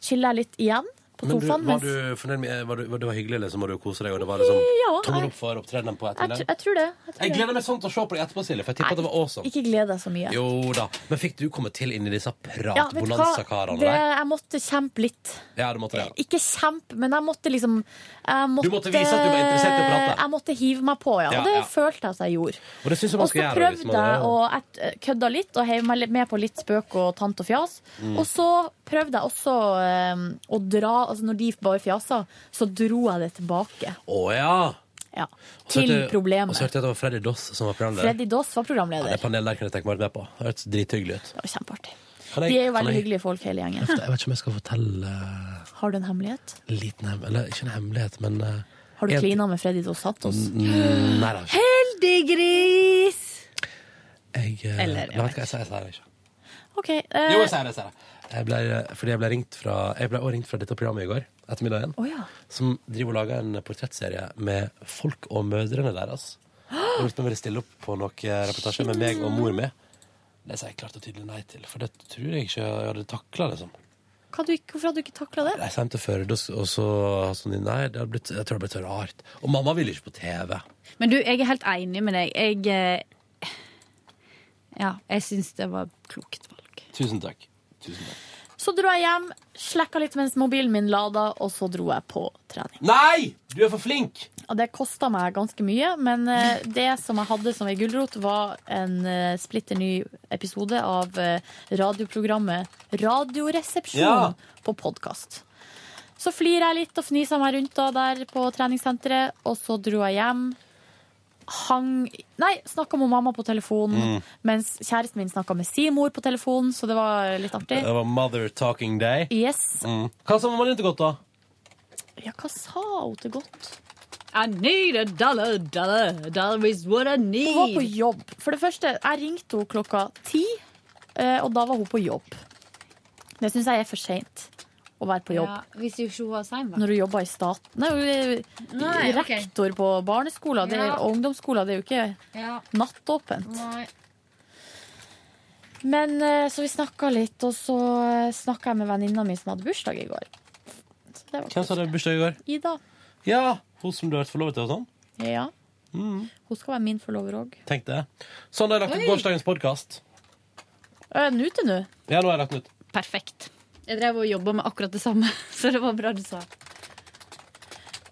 Speaker 3: chilla jeg litt igjen på
Speaker 2: Men du,
Speaker 3: sofaen.
Speaker 2: var
Speaker 3: mens-
Speaker 2: du fornøyd med var, du, var- Det var hyggelig, liksom, og du koser deg, og det var liksom
Speaker 3: Ja,
Speaker 2: tommel
Speaker 3: jeg-
Speaker 2: opp for opptredenen på
Speaker 3: jeg, tr-
Speaker 2: ettermiddagen?
Speaker 3: jeg tror det. Jeg, tror
Speaker 2: Jeg
Speaker 3: det.
Speaker 2: gleder meg sånn til å se på deg etterpå, Silje, for jeg tipper at det var awesome.
Speaker 3: Ikke gled deg så mye.
Speaker 2: Jo da. Men fikk du komme til inn i disse
Speaker 3: Ja, vet du hva?
Speaker 2: pratbonanza-karene
Speaker 3: Det,
Speaker 2: der?
Speaker 3: jeg måtte kjempe litt.
Speaker 2: Ja, du måtte det.
Speaker 3: Ikke kjempe, men jeg måtte liksom jeg måtte,
Speaker 2: måtte vise at du var interessert i å prate.
Speaker 3: Jeg måtte hive meg på, ja.
Speaker 2: Ja,
Speaker 3: Og det
Speaker 2: ja.
Speaker 3: følte jeg at jeg gjorde.
Speaker 2: Og det synes jeg man
Speaker 3: Og
Speaker 2: skal
Speaker 3: så
Speaker 2: gjøre. hvis
Speaker 3: prøvde
Speaker 2: man-
Speaker 3: jeg å jeg kødda litt og heiv meg litt med på litt spøk og tant og fjas.
Speaker 2: Mm.
Speaker 3: Og så prøvde jeg også eh, å dra altså Når de bare fjasa, så dro jeg det tilbake.
Speaker 2: Å ja.
Speaker 3: Ja.
Speaker 2: Og så hørte
Speaker 3: Til
Speaker 2: jeg- Og så
Speaker 3: problemet.
Speaker 2: hørte jeg at det var Freddy Doss som var programleder.
Speaker 3: Freddy Doss var
Speaker 2: ja,
Speaker 3: programleder.
Speaker 2: det panelet der kunne jeg tenke meg å være med på. Det hørtes drithyggelig ut.
Speaker 3: Det var kjempeartig.
Speaker 2: Kan jeg-
Speaker 3: De er jo
Speaker 2: kan
Speaker 3: veldig
Speaker 2: jeg-
Speaker 3: hyggelige folk, hele gjengen.
Speaker 2: Jeg vet ikke om jeg skal fortelle eh,
Speaker 3: Har du en hemmelighet?
Speaker 2: en liten hemmelighet Eller ikke en hemmelighet, men eh,
Speaker 3: Har du
Speaker 2: en-
Speaker 3: klina med Freddy Dos Santos?
Speaker 2: Mm, Nei da.
Speaker 3: Heldiggris!
Speaker 2: Jeg, eh,
Speaker 3: Eller, jeg
Speaker 2: nei, vet du hva, jeg sier jeg sier det ikke.
Speaker 3: OK. eh,
Speaker 2: Jo, jeg sier det. Jeg sier det. Jeg ble, fordi jeg ble ringt fra Jeg ble også ringt fra dette programmet i går ettermiddagen. Som driver og lager en portrettserie med folk og mødrene deres. Og lot meg bare stille opp på noen reportasjer med meg og mor mi. Det sa jeg klart og tydelig nei til, for det tror jeg ikke jeg hadde takla. Liksom.
Speaker 3: hva du, ikke- hvorfor hadde du ikke takla det?
Speaker 2: Jeg sendte Førde, og s- og så sånn, nei, det hadde blitt, jeg tror det hadde blitt så rart. Og mamma ville ikke på TV.
Speaker 11: Men du, jeg er helt enig med deg. Jeg eh, Ja, jeg syns det var klokt.
Speaker 2: Tusen takk. Tusen takk.
Speaker 3: Så dro jeg hjem, slekka litt mens mobilen min lada, og så dro jeg på trening.
Speaker 2: Nei! Du er for flink!
Speaker 3: Og det kosta meg ganske mye, men eh, det som jeg hadde som ei gulrot, var en eh, splitter ny episode av eh, radioprogrammet Radioresepsjon
Speaker 19: Ja.
Speaker 3: på podkast. Så flirer jeg litt og fniser meg rundt da der på treningssenteret, og så dro jeg hjem. Hang Nei, snakka med mamma på telefonen,
Speaker 2: Mm.
Speaker 3: mens kjæresten min snakka med si mor på telefonen, så det var litt artig.
Speaker 2: Det var mother talking day.
Speaker 3: Yes.
Speaker 2: Mm. Hva sa mammaen din til godt, da?
Speaker 3: Ja, hva sa hun til godt?
Speaker 11: I need a dollar, dollar, dollar is what I need.
Speaker 3: Hun var på jobb. For det første, jeg ringte henne klokka ti, eh, og da var hun på jobb. Det syns jeg er for seint å være på jobb.
Speaker 11: Ja, hvis jo ikke hun var sein,
Speaker 3: Når hun jobber i staten Nei, hun er
Speaker 11: Nei, ok.
Speaker 3: rektor på barneskoler det,
Speaker 11: Ja.
Speaker 3: og ungdomsskoler. Det er jo ikke
Speaker 11: Ja.
Speaker 3: nattåpent. Men eh, så vi snakka litt, og så snakka jeg med venninna mi som hadde bursdag i går. Så det var
Speaker 2: Hvem sa det var bursdag i går?
Speaker 3: Ida.
Speaker 2: Ja, hun som du har vært forlovet til og sånn.
Speaker 3: Ja. Hun skal være min forlover òg.
Speaker 2: Tenk det. Sånn har jeg lagt ut
Speaker 3: Oi.
Speaker 2: gårsdagens podkast.
Speaker 3: Er den ute Eh, nå?
Speaker 2: Ja, nå har jeg lagt den ut.
Speaker 11: Perfekt. Jeg drev og jobba med akkurat det samme, så det var bra du sa.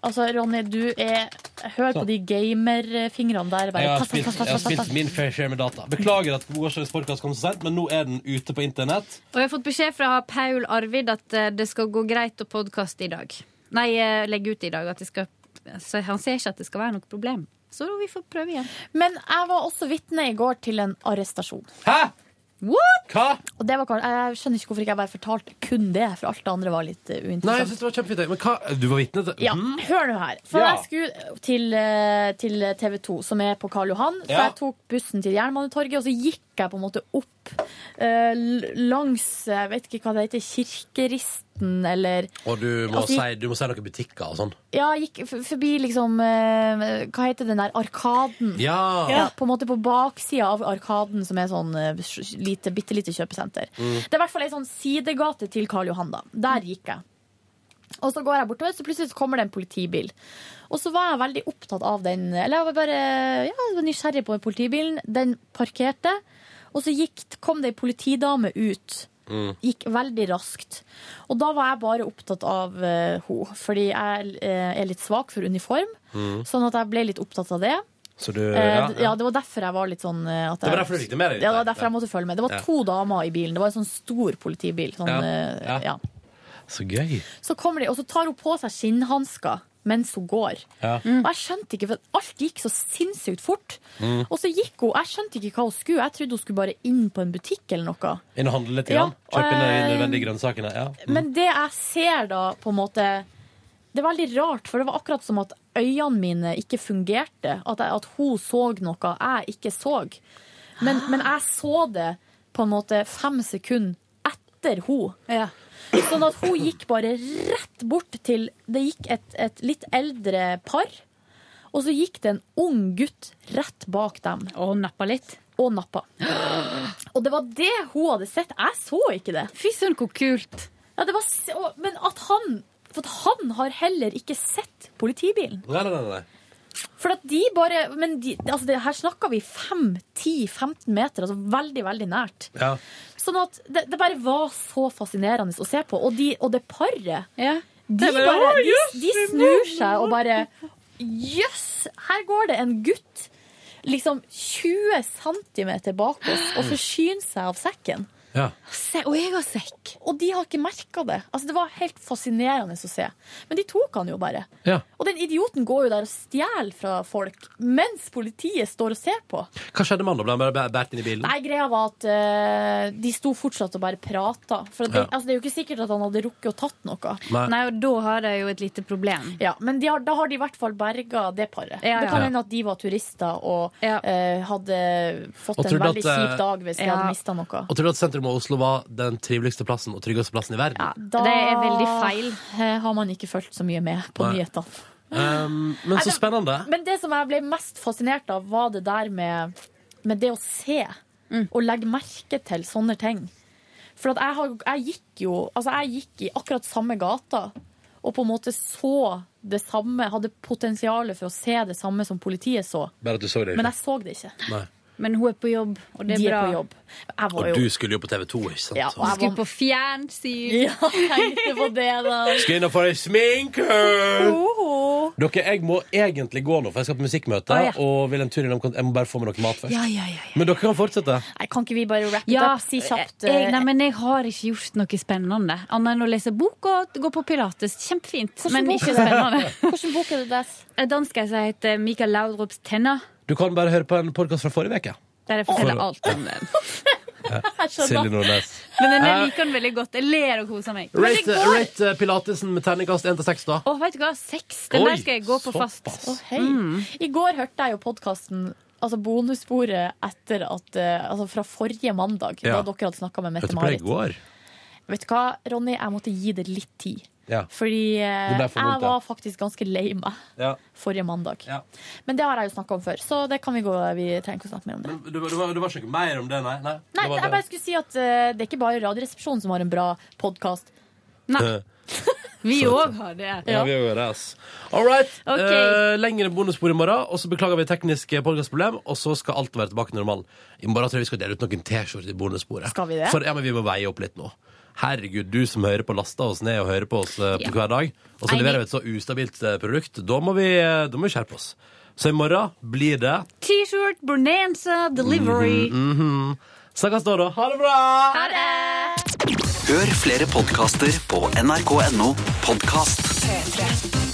Speaker 3: Altså, Ronny, du er Hør på
Speaker 2: Sånn.
Speaker 3: de gamerfingrene der. Bare,
Speaker 2: Jeg har
Speaker 3: tass, tass,
Speaker 2: spilt,
Speaker 3: tass,
Speaker 2: jeg har
Speaker 3: tass, tass,
Speaker 2: spilt
Speaker 3: tass.
Speaker 2: min fair share med data. Beklager at gårsdagens podkast kom så sent, men nå er den ute på internett.
Speaker 11: Og jeg har fått beskjed fra Paul Arvid at eh, det skal gå greit å podkaste i dag. Nei, eh, legge ut i dag. At det skal, så han ser ikke at det skal være noe problem. Så vi får prøve igjen.
Speaker 3: Men jeg var også vitne i går til en arrestasjon.
Speaker 2: Hæ?
Speaker 3: What?
Speaker 2: Hva?
Speaker 3: Og det var, jeg skjønner ikke hvorfor ikke jeg bare fortalte kun det, for alt det andre var litt eh,
Speaker 2: Nei, jeg synes
Speaker 3: uinteressant.
Speaker 2: det var kjempefint. jeg. Men hva? Du var vitne til
Speaker 3: Ja,
Speaker 2: Mhm.
Speaker 3: hør nå her. For
Speaker 2: Ja.
Speaker 3: jeg skulle til, eh, til TV 2, som er på Karl Johan. For
Speaker 2: Ja.
Speaker 3: jeg tok bussen til Jernbanetorget, og så gikk jeg på en måte opp eh, l- langs Jeg vet ikke hva det heter. Kirkeristen, eller
Speaker 2: Og du må,
Speaker 3: Altså,
Speaker 2: si, du må si noen butikker og sånn.
Speaker 3: Ja, jeg gikk f- forbi liksom eh, Hva heter den der arkaden?
Speaker 2: Ja.
Speaker 3: Ja, på en måte på baksida av arkaden, som er sånn eh, s- lite, bitte lite kjøpesenter.
Speaker 19: Mm.
Speaker 3: Det er i hvert fall ei sånn sidegate til Karl Johan, da. Der gikk jeg. Og så går jeg bortover, så plutselig så kommer det en politibil. Og så var jeg veldig opptatt av den Eller jeg var bare ja, jeg var nysgjerrig på den politibilen. Den parkerte, og så gikk, kom det ei politidame ut.
Speaker 2: Mm.
Speaker 3: Gikk veldig raskt. Og da var jeg bare opptatt av uh, henne, fordi jeg eh, er litt svak for uniform.
Speaker 2: Mm.
Speaker 3: Sånn at jeg ble litt opptatt av det.
Speaker 2: Så du
Speaker 3: Eh,
Speaker 2: ja,
Speaker 3: d- ja, det var derfor jeg var litt sånn eh, at
Speaker 2: Det var
Speaker 3: jeg-
Speaker 2: derfor du fikk det med deg,
Speaker 3: Ja, det var
Speaker 2: der.
Speaker 3: derfor jeg måtte følge med. Det var
Speaker 2: Ja.
Speaker 3: to damer i bilen. Det var en sånn stor politibil. Sånn,
Speaker 2: Ja.
Speaker 3: eh,
Speaker 2: Ja.
Speaker 3: Ja.
Speaker 2: Så gøy.
Speaker 3: Så kommer de, og så tar hun på seg skinnhansker mens hun går.
Speaker 2: Ja.
Speaker 3: Og jeg skjønte ikke, for alt gikk så sinnssykt fort.
Speaker 2: Mm.
Speaker 3: Og så gikk hun, jeg skjønte ikke hva hun skulle. Jeg trodde hun skulle bare inn på en butikk eller noe.
Speaker 2: Inn og handle litt?
Speaker 3: Ja,
Speaker 2: grann. Kjøpe inn de
Speaker 3: eh,
Speaker 2: nødvendige grønnsakene? Ja. Mm.
Speaker 3: Men det jeg ser da, på en måte Det er veldig rart, for det var akkurat som at øynene mine ikke fungerte. At, jeg, at hun så noe jeg ikke så. Men, men jeg så det på en måte fem sekunder etter hun. Sånn at hun gikk bare rett bort til Det gikk et, et litt eldre par. Og så gikk det en ung gutt rett bak dem.
Speaker 11: Og nappa litt.
Speaker 3: Og nappa. Og det var det hun hadde sett. Jeg så ikke det.
Speaker 11: Fy søren, hvor kult.
Speaker 3: Ja, det var, s- og- men at han For at han har heller ikke sett politibilen.
Speaker 2: Nei, nei, nei, nei.
Speaker 3: For at de bare Men de, altså det, her snakker vi 5-10-15 meter, altså veldig, veldig nært.
Speaker 2: Ja.
Speaker 3: Sånn at det, det bare var så fascinerende å se på. Og, de, og det paret de,
Speaker 11: Det bare,
Speaker 3: bare,
Speaker 11: «Å,
Speaker 3: de,
Speaker 11: jøss,
Speaker 3: de
Speaker 11: det var-
Speaker 3: snur seg og bare Jøss! her går det en gutt liksom 20 cm bak oss og forsyner seg av sekken.
Speaker 2: Ja.
Speaker 3: Se, og jeg har sekk. Og de har ikke merka det. Altså, det var helt fascinerende å se. Men de tok han jo bare.
Speaker 2: Ja.
Speaker 3: Og den idioten går jo der og stjeler fra folk mens politiet står og ser på.
Speaker 2: Hva skjedde med han da? Ble han bare bæ- båret inn i bilen?
Speaker 3: Nei, greia var at eh, de sto fortsatt og bare prata. For at det,
Speaker 2: Ja.
Speaker 3: altså, det er jo ikke sikkert at han hadde rukket å tatt noe.
Speaker 2: Nei. Nei,
Speaker 3: og da har jeg jo et lite problem. Ja, Men de har, da har de i hvert fall berga det paret.
Speaker 11: Ja,
Speaker 3: Det kan
Speaker 2: ja.
Speaker 3: hende at de var turister og eh, hadde fått
Speaker 2: Og
Speaker 3: en
Speaker 2: trodde
Speaker 3: veldig
Speaker 2: at, eh,
Speaker 3: kjip dag hvis de
Speaker 11: ja.
Speaker 3: hadde mista noe.
Speaker 2: Og tror du at sentrum av Oslo var den triveligste plassen og tryggeste plassen i verden?
Speaker 3: Da
Speaker 11: Det er veldig feil.
Speaker 3: eh, har man ikke fulgt så mye med på
Speaker 2: Nei.
Speaker 3: nyhetene.
Speaker 2: Um, men
Speaker 3: Altså,
Speaker 2: så spennende.
Speaker 3: Men det som jeg ble mest fascinert av, var det der med, med det å se
Speaker 11: Mm.
Speaker 3: og legge merke til sånne ting. For at jeg, har, jeg gikk jo altså jeg gikk i akkurat samme gata og på en måte så det samme, hadde potensialet for å se det samme som politiet så.
Speaker 2: Bare at du så det ikke.
Speaker 3: Men jeg så det ikke.
Speaker 2: Nei.
Speaker 3: Men hun er på jobb, og
Speaker 11: det er
Speaker 3: De
Speaker 11: bra.
Speaker 3: Er på jobb. Jeg var
Speaker 2: Og
Speaker 3: jo,
Speaker 2: du skulle jo på TV 2, ikke sant?
Speaker 3: Ja, og jeg
Speaker 11: Skulle
Speaker 3: var-
Speaker 11: på fjernsyn.
Speaker 3: Ja, tenkte på det, da.
Speaker 2: Skal inn og få deg sminke!
Speaker 3: Oho.
Speaker 2: Dere, jeg må egentlig gå nå, for jeg skal på musikkmøte.
Speaker 3: Å, ja.
Speaker 2: Og vil en tur innom kant- Jeg må bare få meg noe mat først.
Speaker 3: Ja, ja, ja, ja.
Speaker 2: Men dere kan fortsette.
Speaker 3: Nei, kan ikke vi bare wrap it up? Si kjapt. eh,
Speaker 11: Jeg, nei, men jeg har ikke gjort noe spennende. Annet enn å lese bok og gå på pilates. Kjempefint,
Speaker 3: Hvordan
Speaker 11: men
Speaker 3: bok
Speaker 11: ikke
Speaker 3: er det?
Speaker 11: spennende.
Speaker 3: Hvilken bok er det des?
Speaker 11: En danske som heter Mikael Laudrups Tenna.
Speaker 2: Du kan bare høre på en podkast fra forrige uke.
Speaker 11: Der jeg
Speaker 2: Å.
Speaker 11: forteller alt om den.
Speaker 2: Silje Nordnes.
Speaker 11: Men den, jeg
Speaker 2: Eh,
Speaker 11: liker den veldig godt. Jeg ler og koser meg. Men
Speaker 2: Rate,
Speaker 11: det går-
Speaker 2: rate pilatesen med terningkast 1 til 6, da.
Speaker 11: Å, vet du hva? Seks. Den
Speaker 2: Oi,
Speaker 11: der skal jeg gå på fast.
Speaker 3: Å, hei.
Speaker 2: Mm.
Speaker 3: I går hørte jeg jo podkasten Altså bonussporet etter at eh, Altså fra forrige mandag,
Speaker 2: Ja.
Speaker 3: da dere hadde snakka med
Speaker 2: Hørte på det i
Speaker 3: Mette-Marit.
Speaker 2: går.
Speaker 3: Vet du hva, Ronny, jeg måtte gi det litt tid.
Speaker 2: Ja.
Speaker 3: Fordi eh,
Speaker 2: Det ble for vondt,
Speaker 3: jeg
Speaker 2: ja.
Speaker 3: var faktisk ganske lei meg
Speaker 2: Ja.
Speaker 3: forrige mandag.
Speaker 2: Ja.
Speaker 3: Men det har jeg jo snakka om før, så det kan vi gå Vi trenger ikke å snakke mer om det.
Speaker 2: Du, var, ikke noe mer om det, nei? Nei,
Speaker 3: Nei, jeg bare skulle si at eh, det er ikke bare Radioresepsjonen som har en bra podkast.
Speaker 11: Vi
Speaker 2: Så-
Speaker 11: òg har det.
Speaker 2: Ja, vi gjør det, ass. All right.
Speaker 11: Ok.
Speaker 2: Eh, lengre bonusspor i morgen, og så beklager vi tekniske podcastproblem, og så skal alt være tilbake til normalen. I morgen tror jeg vi skal dele ut noen T-skjorter i bonussporet.
Speaker 3: Skal vi det?
Speaker 2: For ja, men vi må veie opp litt nå. Herregud, du som hører på lasta oss ned og hører på oss eh, på
Speaker 11: Ja.
Speaker 2: hver dag, og så
Speaker 11: Enig.
Speaker 2: leverer vi et så ustabilt eh, produkt, da må vi, eh, da må vi skjerpe oss. Så i morgen blir det
Speaker 11: T-shirt, bonanza, delivery.
Speaker 2: Mhm. Snakkes da, da. Ha det bra!
Speaker 11: Ha det!
Speaker 20: Hør flere podkaster på nrk.no podkast.
Speaker 21: P3.